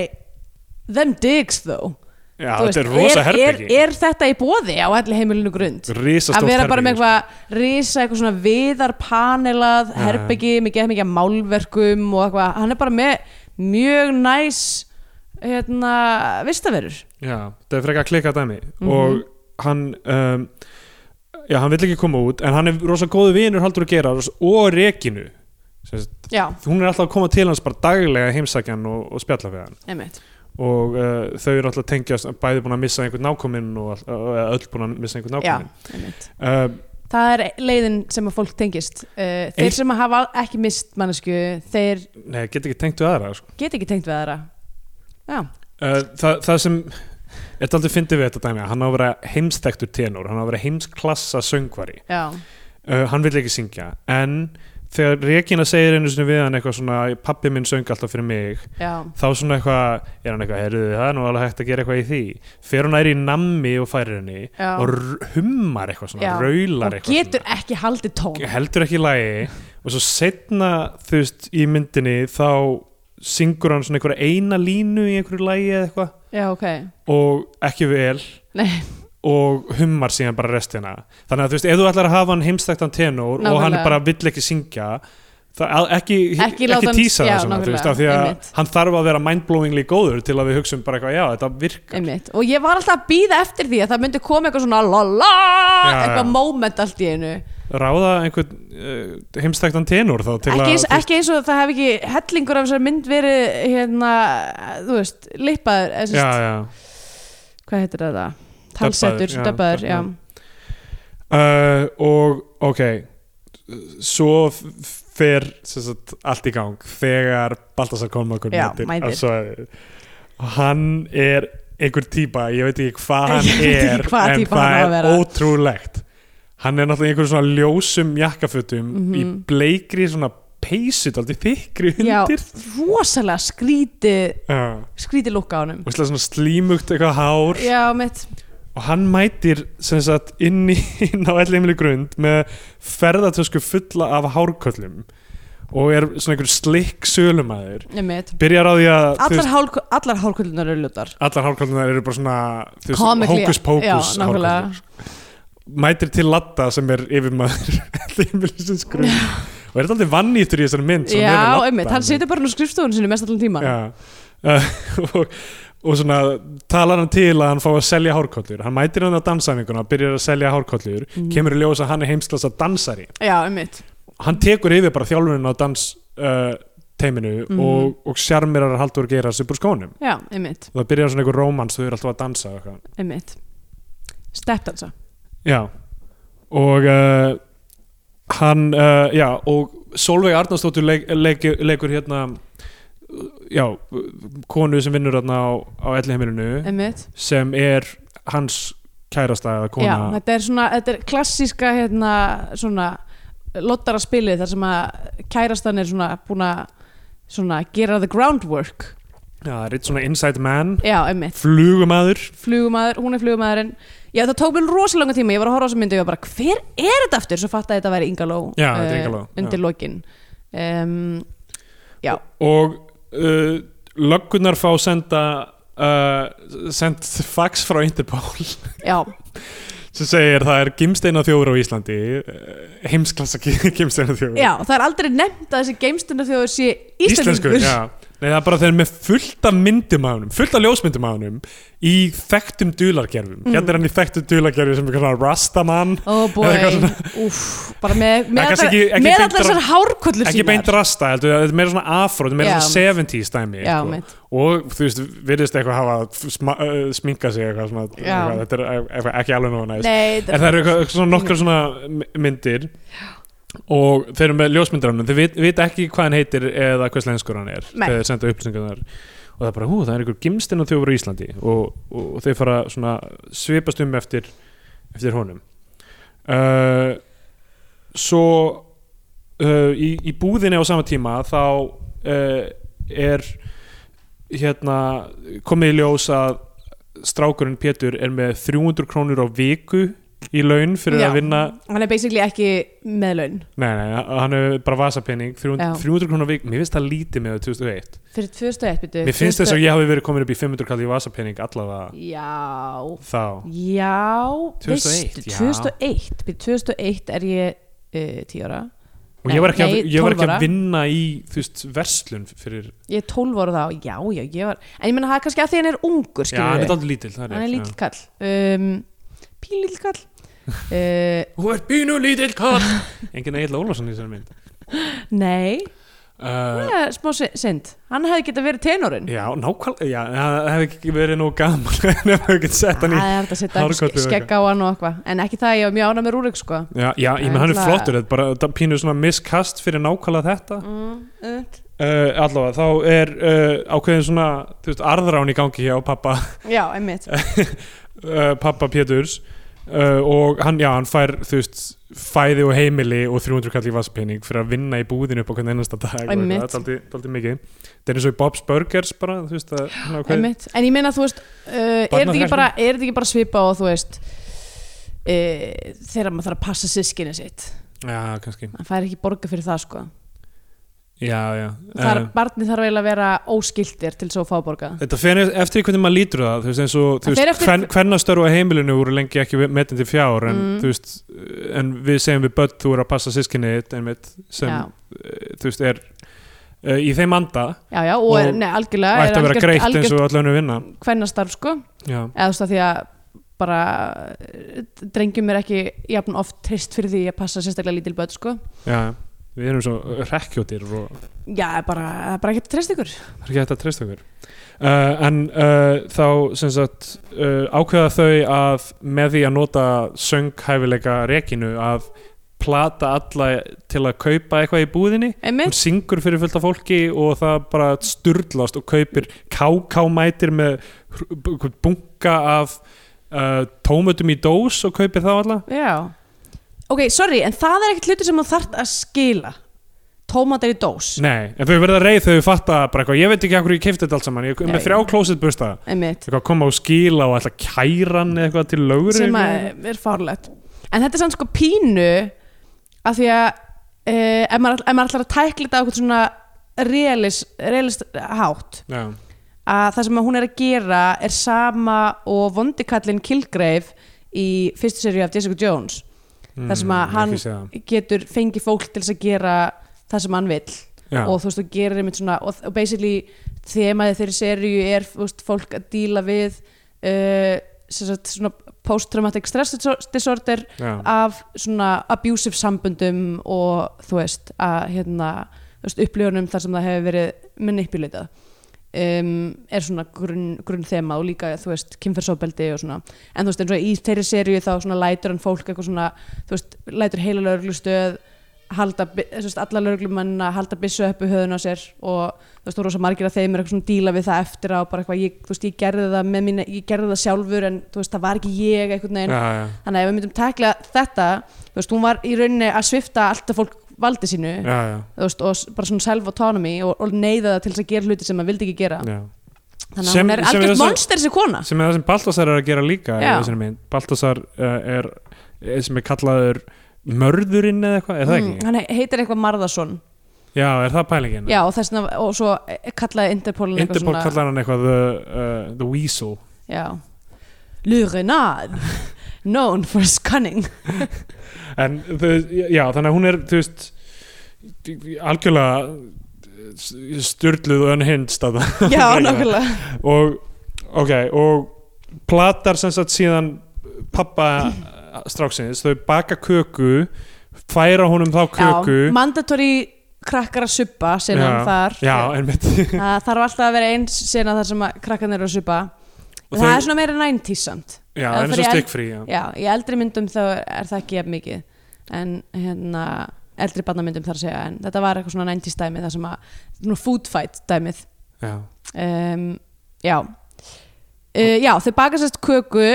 [SPEAKER 2] them digs though
[SPEAKER 3] Já,
[SPEAKER 2] Þú
[SPEAKER 3] þetta er
[SPEAKER 2] veist,
[SPEAKER 3] rosa
[SPEAKER 2] er,
[SPEAKER 3] herbeki
[SPEAKER 2] er þetta í bóði á allir heimilinu grund
[SPEAKER 3] risastórt
[SPEAKER 2] að vera bara með
[SPEAKER 3] herbergi, sko.
[SPEAKER 2] eitthvað risa eitthvað svona viðarpanelað
[SPEAKER 3] Já.
[SPEAKER 2] herbyggi með geð mikið af málverkum og eitthvað, hann er bara með mjög næs hérna, vistaverur
[SPEAKER 3] Já, það er frekar að klika dæmi og hann um, já, hann vill ekki koma út en hann er rosa góðu vinur Halldór Geirhals og Reginu sem sagt,
[SPEAKER 2] já,
[SPEAKER 3] hún er alltaf að koma til hans bara daglega heimsækjan og, og spjalla við hann
[SPEAKER 2] einmitt
[SPEAKER 3] og uh, þau eru alltaf tengjast bæði búin að missa einhvern nákominn og all- eða öll búin að missa einhvern
[SPEAKER 2] já,
[SPEAKER 3] nákominn
[SPEAKER 2] einmitt
[SPEAKER 3] uh,
[SPEAKER 2] Það er leiðin sem að fólk tengist uh, Þeir
[SPEAKER 3] Eitt-
[SPEAKER 2] sem að hafa ekki mist mannesku Þeir
[SPEAKER 3] Nei, get ekki tengt við aðra sko.
[SPEAKER 2] get ekki tengt við þeirra Já,
[SPEAKER 3] uh, það, það sem Þetta aldrei fyndi við þetta dæmi hann á að vera heimstektur tenor, hann á að vera heimsklassa söngvari,
[SPEAKER 2] já,
[SPEAKER 3] uh, hann vil ekki syngja en þegar Regina segir einu sinni við hann eitthvað svona, pappi minn söng alltaf fyrir mig
[SPEAKER 2] já
[SPEAKER 3] þá svona eitthvað, er hann eitthvað heyrðu, það er nú alveg hægt að gera eitthvað í því fer hún æri í nammi og færir henni
[SPEAKER 2] Já.
[SPEAKER 3] og r- hummar eitthvað svona,
[SPEAKER 2] Já.
[SPEAKER 3] raular
[SPEAKER 2] Og
[SPEAKER 3] eitthvað
[SPEAKER 2] getur ekki haldið tón
[SPEAKER 3] svona, heldur ekki í lagi og svo setna þú veist í myndinni þá syngur hann svona einhverja eina línu í einhverju lagi eða eitthvað
[SPEAKER 2] Já, ok
[SPEAKER 3] og ekki vel
[SPEAKER 2] Nei,
[SPEAKER 3] og hummar síðan bara restina þannig að þú veist, ef þú ætlar að hafa hann heimstæktan tenor og hann
[SPEAKER 2] Nákvæmlega.
[SPEAKER 3] bara vill ekki syngja það, að- ekki,
[SPEAKER 2] Ekki láta hann-
[SPEAKER 3] tísa
[SPEAKER 2] já,
[SPEAKER 3] það svona, þú veist, af því
[SPEAKER 2] nákvæmlega,
[SPEAKER 3] að
[SPEAKER 2] einmitt.
[SPEAKER 3] hann þarf að vera mindblowingly góður til að við hugsaum bara eitthvað, já, þetta virkar
[SPEAKER 2] einmitt Og ég var alltaf að býða eftir því að það myndi koma eitthvað svona la la,
[SPEAKER 3] Já,
[SPEAKER 2] eitthvað
[SPEAKER 3] já.
[SPEAKER 2] moment allt í einu
[SPEAKER 3] ráða einhvern uh, heimstæktan tenor þá til
[SPEAKER 2] ekki
[SPEAKER 3] að
[SPEAKER 2] eins, ekki eins og það hef ekki hellingur af þessar mynd verið hérna, þú veist, lippaður eða sem
[SPEAKER 3] já,
[SPEAKER 2] sagt,
[SPEAKER 3] já.
[SPEAKER 2] hvað heitir þetta? Talsettur,
[SPEAKER 3] já,
[SPEAKER 2] döbbaður, já,
[SPEAKER 3] dubbaður. Uh, og ok svo f- fer sem sagt, allt í gang þegar Baltasar Kormákur
[SPEAKER 2] Já,
[SPEAKER 3] mætir
[SPEAKER 2] mætir.
[SPEAKER 3] á svæðið. og hann er einhver típa, ég veit ekki hvað
[SPEAKER 2] [laughs]
[SPEAKER 3] hann
[SPEAKER 2] Ég veit ekki
[SPEAKER 3] er
[SPEAKER 2] hvaða
[SPEAKER 3] en
[SPEAKER 2] týpa hann á
[SPEAKER 3] það
[SPEAKER 2] að
[SPEAKER 3] er
[SPEAKER 2] vera.
[SPEAKER 3] ótrúlegt hann er náttúrulega í einhverjum svona ljósum jakkafutum í
[SPEAKER 2] Mhm.
[SPEAKER 3] bleikri svona peysut, aldrei þykri
[SPEAKER 2] já,
[SPEAKER 3] undir
[SPEAKER 2] rosalega skrítið
[SPEAKER 3] Já.
[SPEAKER 2] skrítið lukka á honum
[SPEAKER 3] og svona slímugt eitthvað hár
[SPEAKER 2] já, mitt,
[SPEAKER 3] og hann mætir sem sagt inn, í, [laughs] inn á ellheimili grund með ferðartösku fulla af hárköllum og er svona einhver slikk sölumæður
[SPEAKER 2] mitt
[SPEAKER 3] byrjar á því að þú
[SPEAKER 2] allar,
[SPEAKER 3] veist,
[SPEAKER 2] hálk, allar hálkullunar eru ljótar
[SPEAKER 3] allar hárköllunar eru bara svona þú veist,
[SPEAKER 2] Comically-
[SPEAKER 3] hókus
[SPEAKER 2] já,
[SPEAKER 3] pókus
[SPEAKER 2] nákvæmlega.
[SPEAKER 3] mætir til Latta sem er yfirmaður [laughs] ellheimilisins grund og er þetta aldrei vannýttur í þessari mynd sem er
[SPEAKER 2] já,
[SPEAKER 3] Ladda,
[SPEAKER 2] einmitt, hann situr bara nú skrifstofunum sinu mest allan tíman
[SPEAKER 3] Já. [laughs] Uh, og, og svona talar hann til að hann fá að selja hárkollur hann mætir hann á dansæfinguna, byrjar að selja hárkollur kemur í ljós að hann er heimsklassa dansari
[SPEAKER 2] já, einmitt,
[SPEAKER 3] hann tekur yfir bara þjálfurinn á dans uh, teiminu og, og sjarmirar haldur að gera sig úr skónum
[SPEAKER 2] já, einmitt,
[SPEAKER 3] það byrjar svona einhver rómans, þau eru alltaf að dansa og eitthvað.
[SPEAKER 2] einmitt steppdansa,
[SPEAKER 3] já og uh, hann, uh, já og Solveig Arnarsdóttur leik, leik, leikur hérna uh, já, konu sem vinnur hérna á, á ellihemilinu
[SPEAKER 2] einmitt
[SPEAKER 3] sem er hans kærasta eða kona
[SPEAKER 2] já, þetta er svona, þetta er klassíska hérna, svona lottara spilið þar sem að kærastan er svona búin að svona gera the groundwork
[SPEAKER 3] Já, það er eitt svona inside man
[SPEAKER 2] já, einmitt
[SPEAKER 3] flugumæður
[SPEAKER 2] flugumæður, hún er flugumæðurinn já það tók mér rosalega langa tíma, ég var að horfa á þessu myndi og ég var bara hver er þetta aftur, svo fatt að þetta væri Ingaló
[SPEAKER 3] Já, þetta er Inga Ló, já.
[SPEAKER 2] undir lokin um, já,
[SPEAKER 3] og uh, löggunar fá senda uh, sendt fax frá Interpol [laughs]
[SPEAKER 2] já,
[SPEAKER 3] sem segir það er gimsteina þjóður á Íslandi eh, heimsklassa [laughs] gimsteina þjóður
[SPEAKER 2] já, það er aldrei nefnt að þessi geimstuna þjóður sé íslenskur
[SPEAKER 3] já Nei, það er bara þeir eru með fullt af myndum af hannum, fullt af ljósmyndum af hannum í þekktum dulargerfum.
[SPEAKER 2] Mm.
[SPEAKER 3] Hérna er hann í þekktum dulargerfi sem er svona Rastaman,
[SPEAKER 2] Ó [laughs] oh boy,
[SPEAKER 3] Eða eitthvað
[SPEAKER 2] úff, bara með, með,
[SPEAKER 3] kannski
[SPEAKER 2] allar,
[SPEAKER 3] ekki- ekki
[SPEAKER 2] með
[SPEAKER 3] beint
[SPEAKER 2] allar
[SPEAKER 3] ra-
[SPEAKER 2] þessar hárkollur
[SPEAKER 3] ekki beint rasta, heldur, þetta er meira svona afro, þetta er meira
[SPEAKER 2] Já.
[SPEAKER 3] svona 70s dæmi.
[SPEAKER 2] Já,
[SPEAKER 3] sko.
[SPEAKER 2] mitt.
[SPEAKER 3] og þú veist, virðist eitthvað hafa sma, uh, sminka sig eitthvað svona,
[SPEAKER 2] Já.
[SPEAKER 3] eitthvað, þetta er e-, eitthvað, ekki alveg nóg næst
[SPEAKER 2] Nei,
[SPEAKER 3] en það eru eitthvað, eitthvað svona nokkar svona my- myndir og þeir eru með ljósmyndir hann þeir vit, vita ekki hvað hann heitir eða hvers lenskur hann er
[SPEAKER 2] Nei.
[SPEAKER 3] þegar þeir senda upplýsingarnar og það er bara, hú, það er einhver gimstinn á þjófur í Íslandi og, og þeir fara svona svipast um eftir, eftir honum uh, svo uh, í, í búðinni á sama tíma þá uh, er hérna komið í ljós að strákurinn Pétur er með 300 krónur á viku í laun fyrir
[SPEAKER 2] Já.
[SPEAKER 3] að vinna
[SPEAKER 2] Hann er basically ekki með laun
[SPEAKER 3] nei, nei, hann hefur bara vasapenning 300,
[SPEAKER 2] Já.
[SPEAKER 3] 300 krónur á viku, mér finnst það lítið með 2001,
[SPEAKER 2] Fyrir 2001 byrju
[SPEAKER 3] mér finnst þess að ég hafi verið komin upp í 500 kall í vasapenning allavega
[SPEAKER 2] Já,
[SPEAKER 3] þá
[SPEAKER 2] já
[SPEAKER 3] 2001,
[SPEAKER 2] veistu,
[SPEAKER 3] já.
[SPEAKER 2] 2001, byrju 2001 er ég uh, 10 ára
[SPEAKER 3] og ég var ekki,
[SPEAKER 2] Nei,
[SPEAKER 3] að, ég
[SPEAKER 2] 12
[SPEAKER 3] var ekki
[SPEAKER 2] ára.
[SPEAKER 3] að vinna í þú veist, verslun fyrir
[SPEAKER 2] Ég er 12 ára þá, já, já, ég var En ég meina það er kannski að því hann er ungur,
[SPEAKER 3] já, hann
[SPEAKER 2] skilur
[SPEAKER 3] er dálítið lítill það
[SPEAKER 2] Hann er
[SPEAKER 3] rétt,
[SPEAKER 2] lítill kall um, Píl lítill
[SPEAKER 3] [laughs]
[SPEAKER 2] kall uh,
[SPEAKER 3] já. Þú ert bínu lítill
[SPEAKER 2] [laughs]
[SPEAKER 3] kall Engin Egil Ólafsson í þessari mynd
[SPEAKER 2] Nei,
[SPEAKER 3] uh,
[SPEAKER 2] það er smá sy- synd Hann hefði getað verið tenorinn
[SPEAKER 3] Já, nákvæmlega Já, það hefði ekki verið nóg gaman [laughs] ef við hefði getið sett hann í
[SPEAKER 2] Það er hægt að setja
[SPEAKER 3] hárkollu og
[SPEAKER 2] skegg á hann og eitthvað En ekki það, ég var mjög ána með Rúrik sko
[SPEAKER 3] Já, já, ég menn hann er
[SPEAKER 2] Ætla-
[SPEAKER 3] flottur Þetta er bara þetta er pínu svona miskast fyrir nákvæmlega þetta
[SPEAKER 2] mm,
[SPEAKER 3] uh, Allavega, þá er uh, ákveðin svona þú veist, arðrán í gangi hjá pappa [laughs]
[SPEAKER 2] Já, einmitt
[SPEAKER 3] uh, pappa Péturs uh, og hann, já, hann fær þú veist, fæði og heimili og 300 kall í vasspenning fyrir að vinna í búðinu upp á hvernig ennasta dag og eitthvað.
[SPEAKER 2] Einmitt.
[SPEAKER 3] það er aldrei, aldrei mikið það er eins og í Bob's Burgers bara þú veist, að, hann ákveð,
[SPEAKER 2] Einmitt. En ég meina þú veist uh, er, þetta ekki
[SPEAKER 3] Barnaþræsni.
[SPEAKER 2] bara, er þetta ekki bara svipa og þú veist uh, þegar maður þarf að passa sískinni sitt
[SPEAKER 3] já, kannski
[SPEAKER 2] hann fær ekki borga fyrir það sko
[SPEAKER 3] já, já,
[SPEAKER 2] þar,
[SPEAKER 3] um,
[SPEAKER 2] barni þarf eiginlega að vera óskildir til svo að fá borga
[SPEAKER 3] Þetta fer e- eftir því hvernig maður lítur það þú veist eins og þú
[SPEAKER 2] Það fer
[SPEAKER 3] veist,
[SPEAKER 2] eftir-
[SPEAKER 3] hvern, hvern að störfa heimilinu voru lengi ekki metin til fjár en,
[SPEAKER 2] Mm.
[SPEAKER 3] þú veist, en við segjum við börn þú eru að passa sískinni þitt einmitt, sem eh,
[SPEAKER 2] já,
[SPEAKER 3] þú veist er uh, í þeim anda
[SPEAKER 2] já, já, og, er,
[SPEAKER 3] og
[SPEAKER 2] nei, algjörlega
[SPEAKER 3] ætti að vera greitt eins og allan að vinna
[SPEAKER 2] hvernastarf sko
[SPEAKER 3] Já,
[SPEAKER 2] eða þú veist að því að bara eh, drengjum er ekki jafn oft trist fyrir því að passa sérstaklega lítil börn sko
[SPEAKER 3] já, við erum svo rekkjótir og
[SPEAKER 2] já, bara, það er bara ekki trist ykkur
[SPEAKER 3] það er ekki hægt að treysta okkur uh, en uh, þá sem sagt uh, ákveða þau að með því að nota sönghæfileika rekinu að plata alla til að kaupa eitthvað í búðinni hún
[SPEAKER 2] einmitt,
[SPEAKER 3] syngur fyrir fullt af fólki og það bara sturlast og kaupir kákámætir með hr- b- einhvern bunka af uh, tómötum í dós og kaupir það alla
[SPEAKER 2] já ok, sorry, en það er ekkert hluti sem þú þarft að skila tómatar í dós
[SPEAKER 3] Nei, en þau verða reið þegar þau fatta bara eitthvað, ég veit ekki hvað ég kefti þetta allt saman ég er
[SPEAKER 2] Já,
[SPEAKER 3] með
[SPEAKER 2] já.
[SPEAKER 3] þrjá klósitbursta
[SPEAKER 2] einmitt,
[SPEAKER 3] eitthvað koma og skila og alltaf kæran eitthvað til lögur
[SPEAKER 2] sem að er fárlegt en þetta er samt sko pínu af því að uh, ef, maður, ef maður ætlar að tækla þetta á eitthvað svona realist, realist hátt
[SPEAKER 3] Já,
[SPEAKER 2] að það sem að hún er að gera er sama og vondikallin Kilgrave í fyrstu seríu af Jessica Jones
[SPEAKER 3] mm,
[SPEAKER 2] Þar sem að
[SPEAKER 3] ég hef
[SPEAKER 2] hann-
[SPEAKER 3] ekki séð það.
[SPEAKER 2] getur fengið fólk til þess að gera það sem hann vill
[SPEAKER 3] Já,
[SPEAKER 2] og þú veist, þú gerir einmitt svona og, og basically þemaði þeirri seríu er þú veist, fólk að díla við uh, sem sagt, svona post-traumatic stress diso- disorder
[SPEAKER 3] já,
[SPEAKER 2] af svona abusive sambundum og þú veist að hérna, þú veist, upplifunum þar sem það hefur verið manipulatað um, er svona grunn, grunn þema og líka þú veist kynferðsofbeldi og svona en þú veist eins og í þeirri seríu þá svona lætur hann fólk eitthvað svona þú veist lætur heila lauruglustöð halda, bi- þú veist, alla lauruglumenn að halda byssu uppi höfðun á sér og þú veist, þú rosa margir af þeim er eitthvað svona að díla við það eftir á bara eitthvað, ég, þú veist, ég gerði það með mín ég gerði það sjálfur en þú veist, það var ekki ég einhvern veginn
[SPEAKER 3] já, já,
[SPEAKER 2] þannig að ef við myndum tekla þetta þú veist, hún var í rauninni að svifta allt að fólk valdi sínu
[SPEAKER 3] já, já,
[SPEAKER 2] þú veist, og s- bara svona self-autonomy og, og neyða það til þess að gera hluti sem maður vildi ekki gera
[SPEAKER 3] já.
[SPEAKER 2] þannig að
[SPEAKER 3] Sem-
[SPEAKER 2] hún er
[SPEAKER 3] sem er
[SPEAKER 2] algjört
[SPEAKER 3] þess að-
[SPEAKER 2] monster þessi kona
[SPEAKER 3] sem er það sem Baltasar er að gera líka í
[SPEAKER 2] Já.
[SPEAKER 3] þessari mynd. Baltasar uh, er, er sem er kallaður mörðurinn eða eitthvað, er það ekki?
[SPEAKER 2] Mm, hann he- heitir eitthvað Marðarsson
[SPEAKER 3] já, er það pælingin?
[SPEAKER 2] já og þess vegna og svo eh, kallaði Interpol
[SPEAKER 3] Interpol kallar hann eitthvað the, uh, the Weasel
[SPEAKER 2] Já Le Renard Known for his
[SPEAKER 3] [laughs]
[SPEAKER 2] cunning
[SPEAKER 3] en þau, já, þannig að hún er þú veist algjörlega styrluð og unhinged að [laughs] það
[SPEAKER 2] Já, nákvæmlega
[SPEAKER 3] og, ok, og platar sem sagt síðan pappa stráksins, þau baka köku færa honum þá köku
[SPEAKER 2] Já, Mandatory krakkar að suppa sinnan
[SPEAKER 3] Já.
[SPEAKER 2] um þar
[SPEAKER 3] já, einmitt [laughs]
[SPEAKER 2] Það þarf alltaf að vera eins sinna þar sem að krakkarnir eru að suppa
[SPEAKER 3] Og
[SPEAKER 2] Það
[SPEAKER 3] þau-
[SPEAKER 2] er svona meira 90s samt
[SPEAKER 3] já,
[SPEAKER 2] Það
[SPEAKER 3] en
[SPEAKER 2] fer
[SPEAKER 3] svo
[SPEAKER 2] í eld-
[SPEAKER 3] stikkfrí já.
[SPEAKER 2] Já, í eldri myndum þá er það ekki jafn mikið en hérna eldri barnamyndum þar að segja en þetta var eitthvað svona 90s dæmið það sem að svona food fight dæmið
[SPEAKER 3] Já.
[SPEAKER 2] um, já uh, já, þau baka sérst köku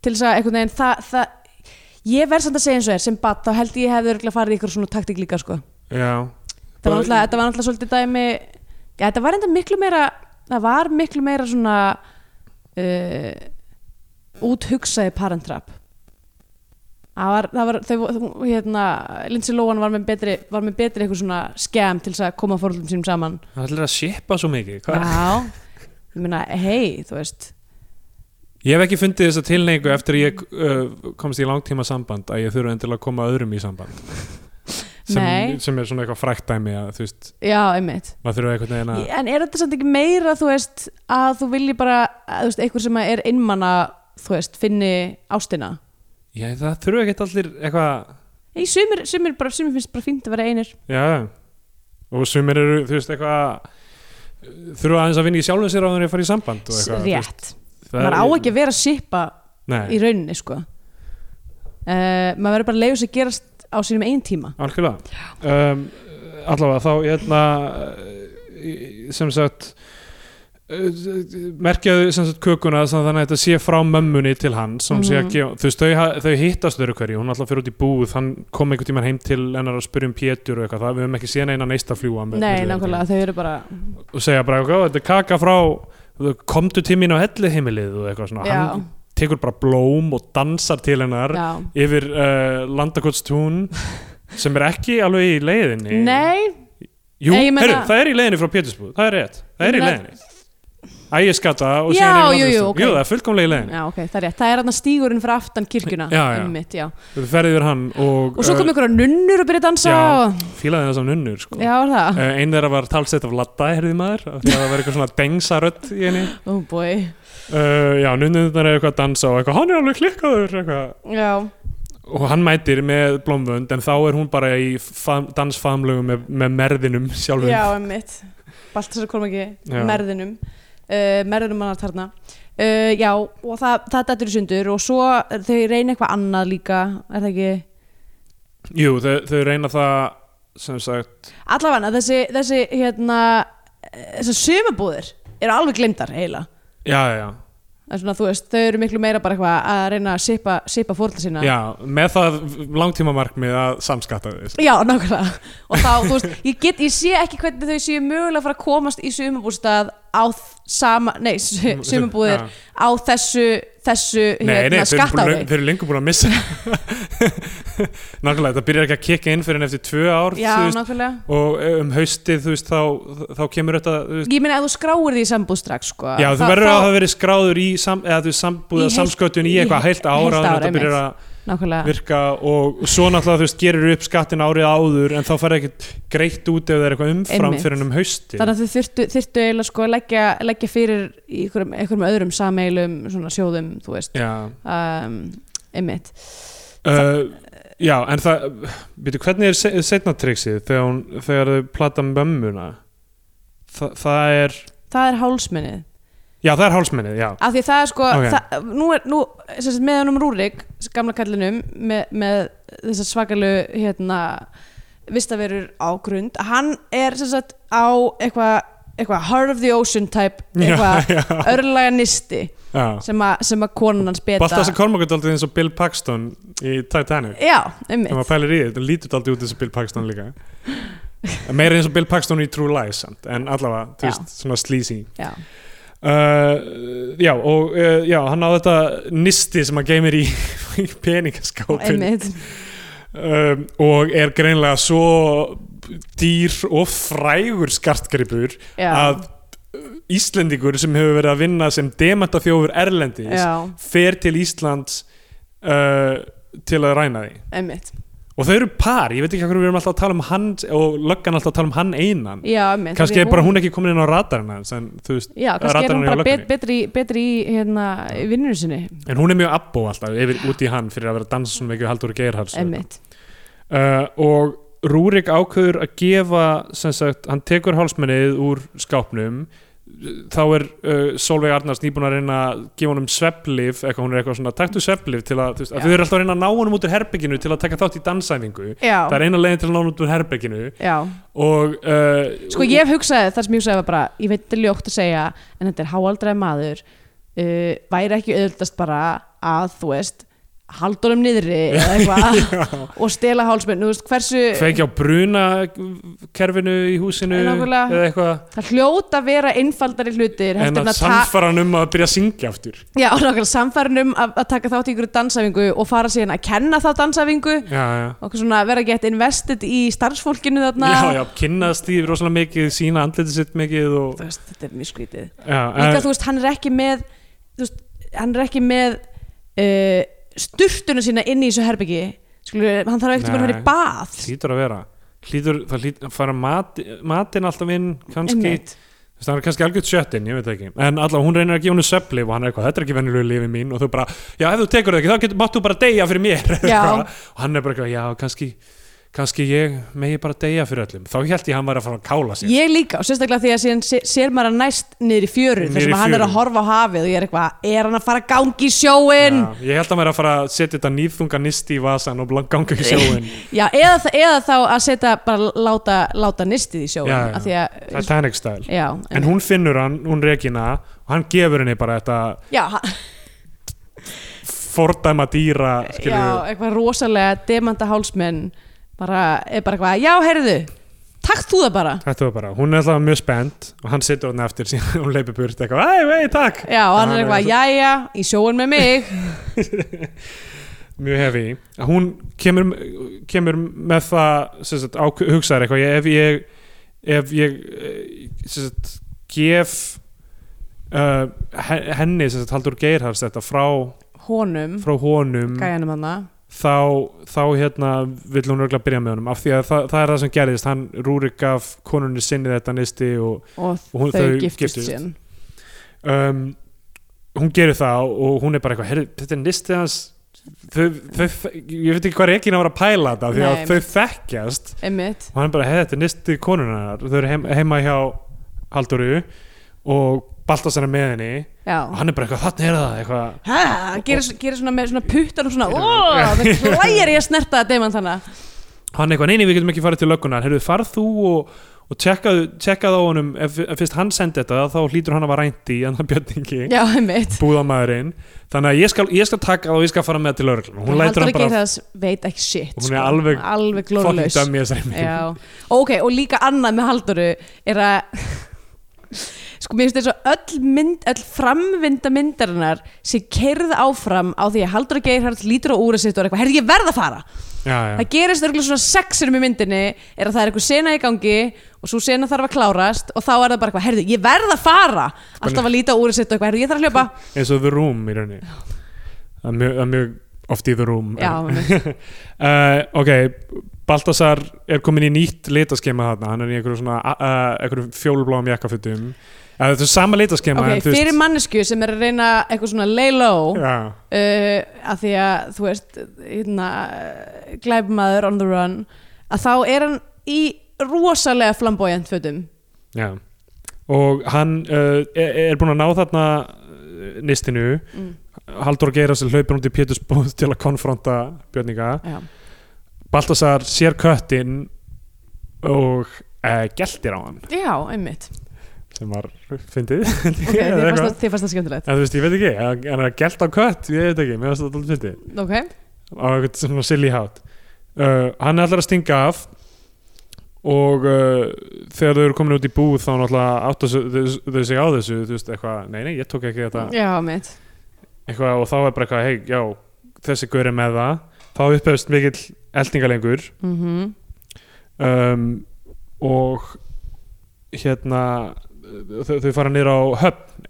[SPEAKER 2] til þess að einhvern veginn það, það ég verð samt að segja eins og er sem bat þá held ég hefði örgulega farið í ykkur svona taktík líka sko.
[SPEAKER 3] já,
[SPEAKER 2] það var
[SPEAKER 3] Bara-
[SPEAKER 2] náttúrulega, þetta var náttúrulega svolítið dæmi já, þetta var enda miklu meira það var miklu meira svona uh, úthugsaði parentrap Það var, það var, þau, vo- hérna, Lindsay Lohan var með betri, var með betri eitthvað svona skemm til þess að koma fórhaldum sínum saman
[SPEAKER 3] það ætlar að shippa svo mikið Hva?
[SPEAKER 2] Já, ég meina, hei, þú veist
[SPEAKER 3] Ég hef ekki fundið þessa tilneigu eftir að ég uh, komst í langtíma samband að ég þurfa endilega að koma öðrum í samband sem,
[SPEAKER 2] Nei.
[SPEAKER 3] sem er svona eitthvað frækt dæmi að þú veist,
[SPEAKER 2] Já, einmitt
[SPEAKER 3] maður þurfa einhvern veginn að
[SPEAKER 2] En er þetta samt ekki meira, þú veist að þú vilji bara, að, þú veist, einhver sem er innmanna, þú veist, finni ástina
[SPEAKER 3] Já, það þurfa ekkert allir eitthvað
[SPEAKER 2] Nei, sumir, sumir, bara, sumir finnst bara fínt að vera einir
[SPEAKER 3] Já, og sumir eru þú veist eitthvað uh, þurfa aðeins að vinna í sjálfum sér á þannig að fara í samband og eitthvað, þú veist,
[SPEAKER 2] Rétt,
[SPEAKER 3] það
[SPEAKER 2] maður á ekki að vera að sippa í
[SPEAKER 3] Nei,
[SPEAKER 2] rauninni, sko uh, Maður verður bara að leiðu sér að gerast á sínum einn tíma
[SPEAKER 3] algjörlega um, Allavega, þá hérna eh, sem sagt eh, merkjaðu sem sagt kökuna sem þannig að þetta sé frá mömmunni til hans mm
[SPEAKER 2] Mhm.
[SPEAKER 3] -hmm. gefa, þú veist, þau, ha- þau hittast öru hverju, hún alltaf fyrir út í búð hann kom einhvern tímann heim til hennar að spyrja um Pétur og eitthvað, það við höfum ekki séð neina neista fljúa
[SPEAKER 2] Nei, nákvæmlega, þau eru bara
[SPEAKER 3] og segja bara, "Ó, þetta er kaka frá komdu til mín á hellu heimilið og eitthvað svona,
[SPEAKER 2] Já,
[SPEAKER 3] hann tekur bara blóm og dansar til hennar
[SPEAKER 2] já
[SPEAKER 3] yfir uh, landakotstún [laughs] sem er ekki alveg í leiðinni
[SPEAKER 2] Nei,
[SPEAKER 3] Jú,
[SPEAKER 2] Nei, ég meina-
[SPEAKER 3] heyrðu, það er í leiðinni frá Pétursbúð, það er rétt Það er í
[SPEAKER 2] Nei.
[SPEAKER 3] leiðinni Ægiskata og
[SPEAKER 2] Já,
[SPEAKER 3] síðan yfir
[SPEAKER 2] jú, jú,
[SPEAKER 3] Landakotstún.
[SPEAKER 2] ok.
[SPEAKER 3] Jú, það er fullkomlega í leiðinni
[SPEAKER 2] Já, ok, það er rétt. Það er hann stígurinn fyrir aftan kirkjuna
[SPEAKER 3] Já, já.
[SPEAKER 2] Einmitt, já.
[SPEAKER 3] Þú ferði yfir hann og,
[SPEAKER 2] Og svo kom einhverja nunnur og byrja að dansa
[SPEAKER 3] Já.
[SPEAKER 2] og...
[SPEAKER 3] fílaði þess af nunnur sko.
[SPEAKER 2] Já, var það?
[SPEAKER 3] Eh, Ein þeirra var talsett af Latta, heyrði maður af því að Það var eitthvað svona dengsarödd í henni
[SPEAKER 2] Ó, oh boy
[SPEAKER 3] uh, Já, nunnurnar er eitthvað að dansa og eitthvað, hann er alveg klikkaður eitthvað.
[SPEAKER 2] Já,
[SPEAKER 3] og hann mætir með blómvönd en þá er hún bara í fam- dansfamlögu með, með merðinum sjálfum
[SPEAKER 2] já, einmitt Baltasar kom ekki,
[SPEAKER 3] Já.
[SPEAKER 2] merðinum uh, Merðinum hann að tarna uh, Já, og það, það dættur í sundur og svo eh, þau reyna eitthvað annað líka Er það ekki?
[SPEAKER 3] Jú, þau, þau reyna það sem sagt,
[SPEAKER 2] Allavega, þessi, þessi, hérna eh, Þessar sumabúðir eru alveg glemdar eiginlega
[SPEAKER 3] já, já, já
[SPEAKER 2] Það er Svona, þú veist, þau eru miklu meira bara eitthvað að reyna að sipa, sipa fórla sína
[SPEAKER 3] Já, með það langtíma markmið að samskatta þess
[SPEAKER 2] Já, nákvæmlega og þá, þú veist, ég, get, ég sé ekki hvernig þau séu mögulega að fara að komast í sumabústað á þ- sama, nei, sumabúðir
[SPEAKER 3] Já.
[SPEAKER 2] á þessu, þessu
[SPEAKER 3] Nei, nei,
[SPEAKER 2] hérna,
[SPEAKER 3] þeir, eru búin-
[SPEAKER 2] skattári
[SPEAKER 3] þeir eru lengur búin að missa Nákvæmlega, það byrjar ekki að kikka inn fyrir en eftir tvö ár
[SPEAKER 2] Já,
[SPEAKER 3] þú veist,
[SPEAKER 2] nákvæmlega
[SPEAKER 3] og um haustið þú veist, þá, þá kemur þetta þú veist,
[SPEAKER 2] Ég meina, ef þú skráir því í sambúð strax, sko
[SPEAKER 3] Já, þú
[SPEAKER 2] þá-
[SPEAKER 3] verður
[SPEAKER 2] þá-
[SPEAKER 3] að hafa verið skráður í sam, eða þú veist, sambúða
[SPEAKER 2] Í heilt-
[SPEAKER 3] samsköttun í
[SPEAKER 2] í
[SPEAKER 3] eitthvað heilt
[SPEAKER 2] heilt
[SPEAKER 3] ára
[SPEAKER 2] ár,
[SPEAKER 3] þannig að þetta byrjar
[SPEAKER 2] einmitt.
[SPEAKER 3] að
[SPEAKER 2] Nákvæmlega,
[SPEAKER 3] virka og svo náttúrulega þú veist gerir upp skattin árið áður en þá færði ekkert greitt út ef það er eitthvað umfram
[SPEAKER 2] Einmitt.
[SPEAKER 3] fyrir hann um hausti
[SPEAKER 2] þannig að þau þyrftu, þyrftu eiginlega sko að leggja, leggja fyrir í einhverjum, einhverjum öðrum sameilum, svona sjóðum, þú veist
[SPEAKER 3] já.
[SPEAKER 2] um, einmitt
[SPEAKER 3] Uh, já, en það býtu, hvernig er se- seinna triksið þegar, hún, þegar þau plata mömmuna Þa, það er
[SPEAKER 2] Það er hálsmennið
[SPEAKER 3] já, það er hálsmennið, já
[SPEAKER 2] af því það er sko
[SPEAKER 3] Ok.
[SPEAKER 2] það, nú er, nú, sem sagt, með hann um Rúrik gamla kallinum með, með þessar svakalu hérna vistaverur á grund hann er sem sagt á eitthvað eitthva, heart of the ocean type eitthvað
[SPEAKER 3] [laughs] já, já,
[SPEAKER 2] örlaga nisti
[SPEAKER 3] já.
[SPEAKER 2] sem, a, sem að konan hans beta
[SPEAKER 3] Baltas að Kormakur daldið eins og Bill Paxton í Titanic
[SPEAKER 2] já,
[SPEAKER 3] þegar maður
[SPEAKER 2] einmitt
[SPEAKER 3] pælir í því, þetta lítur daldið út eins og Bill Paxton líka meira eins og Bill Paxton í True Lies samt, en allavega, þú
[SPEAKER 2] Já.
[SPEAKER 3] veist, svona sleazy
[SPEAKER 2] já,
[SPEAKER 3] Uh, já, og uh, já, hann á þetta nisti sem hann geymir í, [laughs] í peningaskápin
[SPEAKER 2] einmitt
[SPEAKER 3] um, og er greinlega svo dýr og frægur skartgripur
[SPEAKER 2] já,
[SPEAKER 3] að Íslendingur sem hefur verið að vinna sem demantafjófur erlendis
[SPEAKER 2] já,
[SPEAKER 3] fer til Íslands uh, til að ræna því
[SPEAKER 2] emmitt
[SPEAKER 3] og þau eru par, ég veit ekki hvað við erum alltaf að tala um hann og löggan alltaf að tala um hann einan
[SPEAKER 2] já, emmitt
[SPEAKER 3] kannski er bara hún ekki komin inn á radarinn hans en, þú veist,
[SPEAKER 2] já, kannski er
[SPEAKER 3] radarinn
[SPEAKER 2] hún
[SPEAKER 3] hjá
[SPEAKER 2] bara bet,
[SPEAKER 3] löggunni.
[SPEAKER 2] betri, betri í hérna, vinnur sinni,
[SPEAKER 3] en hún er mjög abbo alltaf yfir út í hann fyrir að vera að dansa svona mikið haldur og geirhals
[SPEAKER 2] emmitt
[SPEAKER 3] uh, og Rúrik ákveður að gefa sem sagt, hann tekur hálsmennið úr skápnum þá er uh, Solveig Arnars nýbúin að reyna að gefa honum svepplif eitthvað, hún er eitthvað svona, taktu svepplif til að, þú veist,
[SPEAKER 2] Já.
[SPEAKER 3] að þau eru alltaf að reyna að ná honum út úr herbygginu til að taka þátt í dansæfingu
[SPEAKER 2] já,
[SPEAKER 3] það er eina leiðin til að ná honum út úr herbygginu
[SPEAKER 2] já
[SPEAKER 3] og uh,
[SPEAKER 2] Sko ég hef hugsaði þar sem ég hugsaði var bara ég veit þetta er ljótt að segja en þetta er háaldræði maður uh, væri ekki auðvitaðst bara að þú veist haldunum niðri
[SPEAKER 3] [laughs]
[SPEAKER 2] eða eitthvað og stela hálsmenn, þú veist hversu
[SPEAKER 3] kveikja á bruna kerfinu í húsinu
[SPEAKER 2] Eh, Nákvæmlega.
[SPEAKER 3] eða eitthvað
[SPEAKER 2] það hljóta að vera einfaldari hlutir
[SPEAKER 3] en
[SPEAKER 2] heldur hérna
[SPEAKER 3] að
[SPEAKER 2] ta-
[SPEAKER 3] samfara hann um að byrja að syngja aftur
[SPEAKER 2] já, [laughs] og nákvæmlega samfærinum að, að taka þátt í ykkur dansæfingu og fara síðan að kenna þá dansæfingu
[SPEAKER 3] já, já.
[SPEAKER 2] og eitthvað svona vera gett invested í starfsfólkinu þarna
[SPEAKER 3] já, já, kynnast því rosalega mikið sína andliti sitt mikið og,
[SPEAKER 2] Þú Veist, þetta er mjög skrítið
[SPEAKER 3] já,
[SPEAKER 2] líka
[SPEAKER 3] en-
[SPEAKER 2] þú veist hann er ekki með þú veist, hann er ekki með uh, sturtuna sína inn í þessu herbyggi Skulur, hann þarf ekkert að vera í
[SPEAKER 3] Nei.
[SPEAKER 2] bað
[SPEAKER 3] hlýtur að vera hlýtur, það hlýtur að fara mat, matinn alltaf inn kannski,
[SPEAKER 2] Einmitt.
[SPEAKER 3] Þú veist, hann er kannski algjört sjöttinn, ég veit ekki en allavega hún reynir að gefa hún söpli og hann er eitthvað, þetta er ekki venjulegu lífi mín og þú bara, já ef þú tekur það ekki, þá getur, máttu bara deyja fyrir mér [laughs]
[SPEAKER 2] Já.
[SPEAKER 3] og hann er bara eitthvað, já kannski kannski ég megi bara deyja fyrir öllum þá held ég hann var að fara að kála sér
[SPEAKER 2] ég líka og sérstaklega því að síðan sé- sér maður að næst niður í fjöru
[SPEAKER 3] Niður
[SPEAKER 2] þar
[SPEAKER 3] í
[SPEAKER 2] sem hann er
[SPEAKER 3] fjöru.
[SPEAKER 2] að horfa á hafið og ég er eitthvað er hann að fara að gangi í sjóin
[SPEAKER 3] Já, ég held að maður að fara að setja þetta nýfþunga nisti í vasan og blan- ganga ekki sjóin
[SPEAKER 2] já, eða, þa- eða þá að setja bara láta, láta nistið í sjóin
[SPEAKER 3] Já, já.
[SPEAKER 2] af því að
[SPEAKER 3] Titanic style
[SPEAKER 2] já,
[SPEAKER 3] en hún finnur hann, hún Regina og hann gefur henni bara þetta
[SPEAKER 2] já, ha-
[SPEAKER 3] fordæma dýra
[SPEAKER 2] já,
[SPEAKER 3] skilur,
[SPEAKER 2] eitthvað rosalega demanda hálsmenn bara, er bara eitthvað, já, heyrðu takt þú það bara
[SPEAKER 3] þetta var bara, hún er alltaf mjög spennt og hann situr hann eftir síðan [laughs] hún leipur burt eitthvað, ei, ei, takk
[SPEAKER 2] Já, og hann er
[SPEAKER 3] Þannig að
[SPEAKER 2] eitthvað, jæja, í sjóun með mig
[SPEAKER 3] mjög hefi, hún kemur, kemur með það sem sagt, á, hugsaðar eitthvað, ég- ef ég ef ég eh, sem sagt, gef uh, he- henni, sem sagt, Haldur Geirhars þetta frá,
[SPEAKER 2] Honum,
[SPEAKER 3] frá honum
[SPEAKER 2] gæjanum hann
[SPEAKER 3] þá, þá hérna vill hún örgulega byrja með honum af því að það, það er það sem gerðist hann Rúrik gaf konunni sinni þetta nisti og
[SPEAKER 2] Og
[SPEAKER 3] Hún-
[SPEAKER 2] þau
[SPEAKER 3] þau
[SPEAKER 2] giftust
[SPEAKER 3] giftust.
[SPEAKER 2] síðan
[SPEAKER 3] um, hún gerir það og hún er bara eitthvað, "Heyrðu, þetta er nisti hans þau, þau, ég veit ekki hvað Regina var að pæla þetta af því að
[SPEAKER 2] Nei.
[SPEAKER 3] þau þekkjast
[SPEAKER 2] Einmitt,
[SPEAKER 3] og hann bara, hei þetta er nisti konunnar þau eru heim, heima hjá Halldóru og Baltasar er með henni og
[SPEAKER 2] já
[SPEAKER 3] hann er bara eitthvað, þannig er það eitthvað
[SPEAKER 2] Hæ, hann gerir, gerir svona með svona puttan og svona
[SPEAKER 3] Gerir-
[SPEAKER 2] Ó, það hlægir ég að snerta að demant hana
[SPEAKER 3] hann eitthvað, neini við getum ekki farið til löggunar heyrðu farð þú og, og tjekkað, tjekkað á honum ef, ef fyrst hann sendi þetta þá hlýtur hann að vara rænt í annan bjötningi
[SPEAKER 2] Já, einmitt
[SPEAKER 3] búðamæðurinn þannig að ég skal, ég skal taka það og ég skal fara með það til lögreglun hún lætur hann bara
[SPEAKER 2] þess, Veit ekki shit
[SPEAKER 3] Hún er
[SPEAKER 2] sko.
[SPEAKER 3] alveg
[SPEAKER 2] Alveg
[SPEAKER 3] fucking
[SPEAKER 2] glórlaus
[SPEAKER 3] dæmi þessari mynd
[SPEAKER 2] Já, og [laughs] ok, og líka annað með Halldóru er að [laughs] sko mér finnst þess að öll, mynd, öll framvinda myndarinnar sem kerð áfram á því að Halldóra Geirhardt lítur á úra sitt og er eitthvað, herrði ég verð að fara
[SPEAKER 3] já, já.
[SPEAKER 2] það gerist örgulega svona sexinum í myndinni er að það er eitthvað sena í gangi og svo sena þarf að klárast og þá er það bara eitthvað, herrði ég verð að fara alltaf að líta á úra sitt og eitthvað, herrði ég þarf að hljópa
[SPEAKER 3] eins og The Room í rauninni það er mjög, það er mjög oft í The Room
[SPEAKER 2] Já, einmitt.
[SPEAKER 3] [laughs] uh, ok Baltasar er komin í nýtt litaskema þarna, hann er í einhverju svona uh, einhverju fjólubláum jakkafutum uh, þetta er sama litaskema
[SPEAKER 2] ok, fyrir mannesku sem er að reyna eitthvað svona lay low
[SPEAKER 3] já,
[SPEAKER 2] uh, að því að þú veist hérna, glæbmaður on the run að þá er hann í rosalega flamboyant fötum
[SPEAKER 3] Já, og hann uh, er, er búin að ná þarna uh, nistinu
[SPEAKER 2] Mm.
[SPEAKER 3] Haldur Geira sem hlaupir út í Pétursbúð [laughs] til að konfronta Björninga
[SPEAKER 2] já,
[SPEAKER 3] Baltasar sér köttin og uh, geltir á hann
[SPEAKER 2] já einmitt
[SPEAKER 3] sem var fyndið [laughs]
[SPEAKER 2] ok, þið
[SPEAKER 3] Eða
[SPEAKER 2] fannst
[SPEAKER 3] eitthvað.
[SPEAKER 2] það- þið fannst það skemmtilegt
[SPEAKER 3] En þú veist, ég veit ekki, hann hann er að gelta á kött, ég veit ekki, mér finnst þetta alltaf fyndið
[SPEAKER 2] ok,
[SPEAKER 3] á eitthvað svona silly hát uh, hann ætlar að stinga af og uh, þegar þau eru komin út í búð þá náttúrulega átta sig- þau þau sig á þessu þú veist eitthvað, nei nei ég tók ekki þetta
[SPEAKER 2] já einmitt
[SPEAKER 3] eitthvað, og þá er bara eitthvað, hei já þessi gaur er
[SPEAKER 2] Mhm,
[SPEAKER 3] með það, þá upphefst mikill eldingalengur
[SPEAKER 2] mm
[SPEAKER 3] um, og hérna þau, þau fara niður á höfn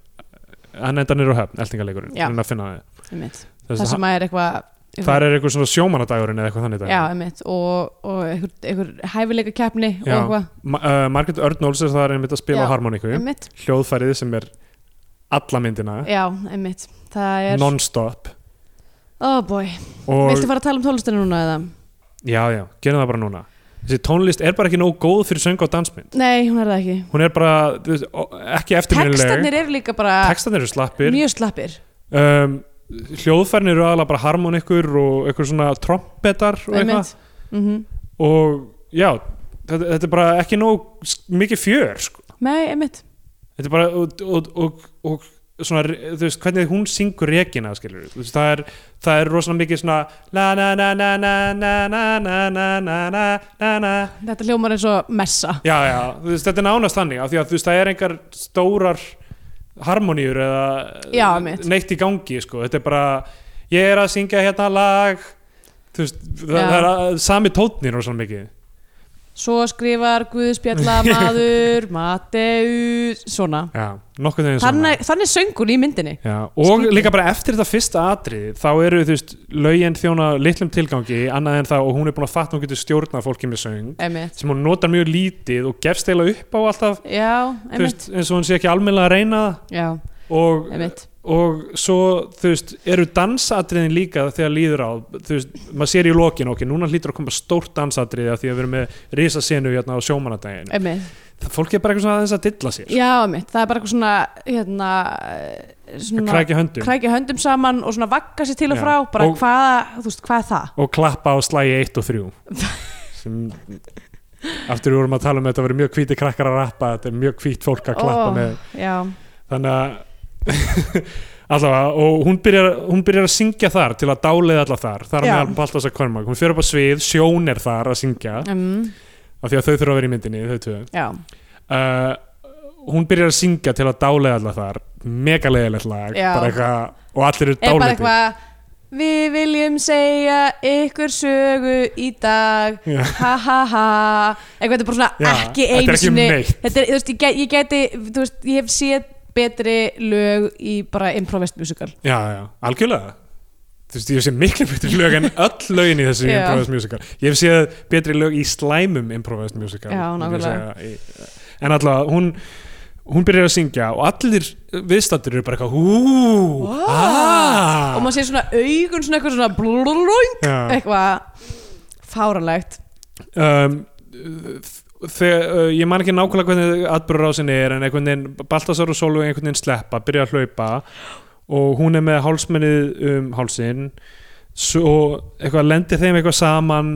[SPEAKER 3] hann enda niður á höfn, eltingarleikurinn
[SPEAKER 2] Já.
[SPEAKER 3] hann að finna það
[SPEAKER 2] einmitt.
[SPEAKER 3] Þess,
[SPEAKER 2] það
[SPEAKER 3] Þess,
[SPEAKER 2] sem að er eitthvað
[SPEAKER 3] það er eitthvað svona sjómanadagurinn eða eitthvað þannig
[SPEAKER 2] já,
[SPEAKER 3] dag
[SPEAKER 2] einmitt, og, og einhver, einhver hæfileika keppni og
[SPEAKER 3] Já.
[SPEAKER 2] eitthvað
[SPEAKER 3] Ma uh, Margrét Örnóls er það er einmitt að spila
[SPEAKER 2] Já.
[SPEAKER 3] á harmoníku
[SPEAKER 2] einmitt,
[SPEAKER 3] hljóðfærið sem er alla myndina
[SPEAKER 2] já, einmitt það er,
[SPEAKER 3] non-stop
[SPEAKER 2] oh boy
[SPEAKER 3] og
[SPEAKER 2] viltu fara að tala um tólestinu núna eða?
[SPEAKER 3] já, já, gerum það bara núna þessi tónlist er bara ekki nóg góð fyrir söng og dansmynd
[SPEAKER 2] nei, hún er það ekki
[SPEAKER 3] hún er bara þú veist, ó- ekki eftirminnileg
[SPEAKER 2] textarnir eru líka bara
[SPEAKER 3] textarnir eru slappir
[SPEAKER 2] mjög slappir
[SPEAKER 3] um, hljóðfærin eru aðalega bara harmonikur og eitthvað svona trompetar og eitthvað
[SPEAKER 2] einmitt, mm
[SPEAKER 3] og já, þetta, þetta er bara ekki nóg s- mikið fjör sko.
[SPEAKER 2] nei, einmitt
[SPEAKER 3] þetta er bara og, og, og, og svona, re- þú veist, hvernig hún syngur rekina, skilur þú veist, það er, það er rosalega mikið svona la na na na na na na na na na na na na
[SPEAKER 2] þetta hljómar eins og messa
[SPEAKER 3] já, já, þú veist, þetta er nánast þannig af því að þú veist, það er engar stórar harmoníur eða
[SPEAKER 2] Já, einmitt.
[SPEAKER 3] neitt í gangi, sko, þetta er bara ég er að syngja hérna lag þú veist, það,
[SPEAKER 2] Já.
[SPEAKER 3] það er að, sami tótnir og svona mikið
[SPEAKER 2] svo skrifar
[SPEAKER 3] [laughs]
[SPEAKER 2] Guðspjalla maður Mateus, svona
[SPEAKER 3] já, nokkuð þegar
[SPEAKER 2] þannig, þannig söngun í myndinni
[SPEAKER 3] Já, og
[SPEAKER 2] Skrítið.
[SPEAKER 3] líka bara eftir þetta fyrsta atrið þá eru þú veist lögin þjóna litlum tilgangi annað en það og hún er búin að fatta að hún getur stjórnað fólki með söng
[SPEAKER 2] einmitt,
[SPEAKER 3] sem hún notar mjög lítið og gefst eiginlega upp á alltaf
[SPEAKER 2] já,
[SPEAKER 3] þú
[SPEAKER 2] einmitt
[SPEAKER 3] veist, eins og hún sé ekki almennilega að reyna það
[SPEAKER 2] já,
[SPEAKER 3] og,
[SPEAKER 2] einmitt
[SPEAKER 3] og svo þú veist eru dansatriðin líka þegar líður á þú veist maður sér í lokin ok núna hlýtur að koma stórt dansatriði af því að við erum með risasenu hérna á sjómanadagin
[SPEAKER 2] einmitt
[SPEAKER 3] fólki er bara eitthvað svona aðeins að dilla sér
[SPEAKER 2] Já, mitt, það er bara eitthvað svona hérna, eh,
[SPEAKER 3] að
[SPEAKER 2] svona
[SPEAKER 3] krækja höndum
[SPEAKER 2] krækja höndum saman og svona vagga sér til og
[SPEAKER 3] Já.
[SPEAKER 2] frá bara
[SPEAKER 3] Og-
[SPEAKER 2] hvað, þú veist, hvað er það?
[SPEAKER 3] og klappa á slagi 1
[SPEAKER 2] [laughs]
[SPEAKER 3] og 3 sem aftur við vorum að tala um þetta að vera mjög hvíti krakkar að rappa þetta er mjög hvít fólk að klappa
[SPEAKER 2] Ó,
[SPEAKER 3] með
[SPEAKER 2] Já,
[SPEAKER 3] þannig að [laughs] allavega og hún byrjar, hún byrjar að syngja þar til að dáleiða alla þar þar
[SPEAKER 2] Já.
[SPEAKER 3] með Baltas að Kormak hún fyrir upp á svið, sjón er þar að syngja
[SPEAKER 2] um,
[SPEAKER 3] af því að þau þurfa að vera í myndinni þau tvö
[SPEAKER 2] já,
[SPEAKER 3] uh, hún byrjar að syngja til að dáleiða alla þar mega leiðilegt lag
[SPEAKER 2] Já.
[SPEAKER 3] bara eitthvað, og allir eru
[SPEAKER 2] er bara
[SPEAKER 3] dáleiti
[SPEAKER 2] eitthvað Við viljum segja ykkur sögu í dag
[SPEAKER 3] Já.
[SPEAKER 2] ha ha ha eitthvað þetta er bara svona
[SPEAKER 3] Já,
[SPEAKER 2] ekki
[SPEAKER 3] þetta er
[SPEAKER 2] einu
[SPEAKER 3] ekki um
[SPEAKER 2] sinni
[SPEAKER 3] neitt.
[SPEAKER 2] þetta er, þú veist, ég, gæ- ég gæti þú veist, ég hef séð betri lög í bara improvist musical
[SPEAKER 3] Já, já, algjörlega Þú veist, ég hef séð miklu betri lög en öll lögin í þessu
[SPEAKER 2] Já.
[SPEAKER 3] improvised musical Ég hef séð betri lög í slæmum improvised musical
[SPEAKER 2] Já,
[SPEAKER 3] myndi ég
[SPEAKER 2] nákvæmlega.
[SPEAKER 3] segja. Í- En allavega, hún hún byrjar að syngja og allir viðstattir eru bara eitthvað ah, hú,
[SPEAKER 2] Ó.
[SPEAKER 3] aaa
[SPEAKER 2] og maður sé svona augun svona eitthvað svona blululung eitthvað fáralegt
[SPEAKER 3] um, þegar, uh, ég man ekki nákvæmlega hvernig atbyrðurásinni er en einhvern veginn Baltasar og Sólu einhvern veginn sleppa, byrja að hlaupa og hún er með hálsmennið um hálsin svo eitthvað lendir þeim eitthvað saman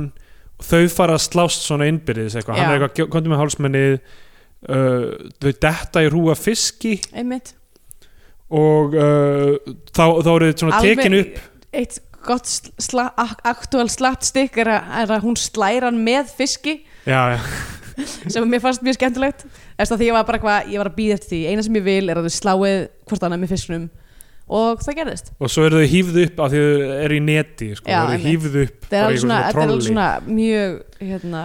[SPEAKER 3] og þau fara að slást svona innbyrðis eitthvað, hann
[SPEAKER 2] Já.
[SPEAKER 3] er eitthvað, komdu með hálsmennið uh, þau detta í rúa fiski
[SPEAKER 2] einmitt
[SPEAKER 3] og uh, þá, þá eru þau svona tekin upp
[SPEAKER 2] eitt gott sla, aktuál slatt stikk er að, er að hún slæra hann með fiski
[SPEAKER 3] já, já,
[SPEAKER 2] sem mér fannst mjög skemmtilegt eftir að því ég var bara eitthvað, ég var að býða eftir því eina sem ég vil er að þau sláið hvort annað með fisknum og það gerðist
[SPEAKER 3] og svo eru þau hýfðu upp af því þau eru í neti sko,
[SPEAKER 2] Já,
[SPEAKER 3] þau eru
[SPEAKER 2] einmitt.
[SPEAKER 3] hýfðu upp
[SPEAKER 2] það er
[SPEAKER 3] bara í
[SPEAKER 2] alveg
[SPEAKER 3] eitthvað
[SPEAKER 2] svona, þetta er alveg
[SPEAKER 3] trolli.
[SPEAKER 2] svona mjög hérna,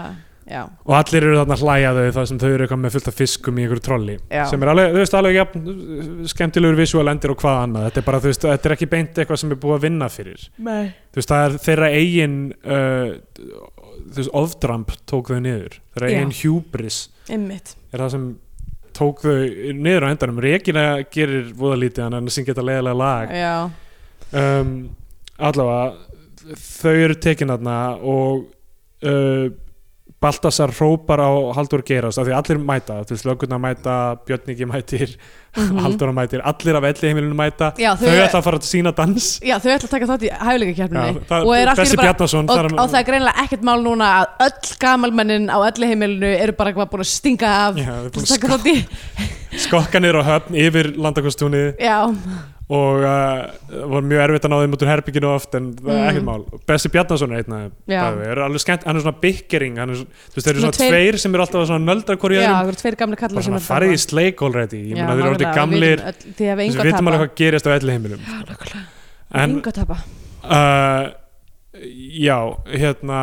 [SPEAKER 2] já,
[SPEAKER 3] og allir eru þarna að hlæja þau þar sem þau eru eitthvað með fullt af fiskum í einhverju trolli
[SPEAKER 2] Já.
[SPEAKER 3] sem er alveg, þú veist, alveg jafn, uh, skemmtilegur visual endir og hvað annað þetta er bara, þú veist, þetta er ekki beint eitthvað sem er búið að vinna fyrir
[SPEAKER 2] Nei.
[SPEAKER 3] þú veist, það er þeirra eigin uh, þú veist, ofdramp tók þau niður þeirra
[SPEAKER 2] Já.
[SPEAKER 3] eigin hubris
[SPEAKER 2] einmitt
[SPEAKER 3] er það sem tók þau niður á endanum Regina gerir voða lítið hann en syngja þetta leiðilega lag
[SPEAKER 2] já,
[SPEAKER 3] um, allavega þau eru tekin þarna og uh, Baltasar hrópar á Haldur Gerast af því allir mæta, þú veist lögurna mæta Björningi mætir, mm [laughs]
[SPEAKER 2] Mhm.
[SPEAKER 3] mætir allir af elli heimilinu mæta
[SPEAKER 2] já
[SPEAKER 3] þau ætla að fara að sína dans
[SPEAKER 2] já, þau ætla að taka þátt í hæfileika
[SPEAKER 3] Já,
[SPEAKER 2] kjærminni
[SPEAKER 3] það-
[SPEAKER 2] og er allt í
[SPEAKER 3] Bessi
[SPEAKER 2] einu bara
[SPEAKER 3] Bjarnason
[SPEAKER 2] Og,
[SPEAKER 3] þar er-
[SPEAKER 2] og það er greinilega ekkert mál núna að öll gamalmennin á öllu heimilinu eru bara eitthvað búin að stinga af
[SPEAKER 3] Já, þau er búin að
[SPEAKER 2] Taka þátt í
[SPEAKER 3] skokka niður á höfn yfir landakostúni
[SPEAKER 2] Já,
[SPEAKER 3] og uh, var mjög erfitt að ná þeim út úr herbygginu oft en það er
[SPEAKER 2] Mm.
[SPEAKER 3] ekkert mál Bessi Bjarnason er einna
[SPEAKER 2] Já.
[SPEAKER 3] er alveg skemmt, hann er svona byggering hann er, svona- þú veist, þeir eru
[SPEAKER 2] Svona
[SPEAKER 3] svona
[SPEAKER 2] tveir-
[SPEAKER 3] tveir sem eru alltaf að svona nöldra hverju
[SPEAKER 2] já,
[SPEAKER 3] öðrum
[SPEAKER 2] það eru tveir gamli kallar
[SPEAKER 3] bara
[SPEAKER 2] sem
[SPEAKER 3] svona farið í sleik already ég meina þeir eru orðið gamlir
[SPEAKER 2] Þið hefur
[SPEAKER 3] þess
[SPEAKER 2] enga
[SPEAKER 3] að
[SPEAKER 2] að
[SPEAKER 3] vitum alveg
[SPEAKER 2] tapa
[SPEAKER 3] hvað gerist á elli heimilum en
[SPEAKER 2] Enga
[SPEAKER 3] Eh,
[SPEAKER 2] að tapa
[SPEAKER 3] uh, já, hérna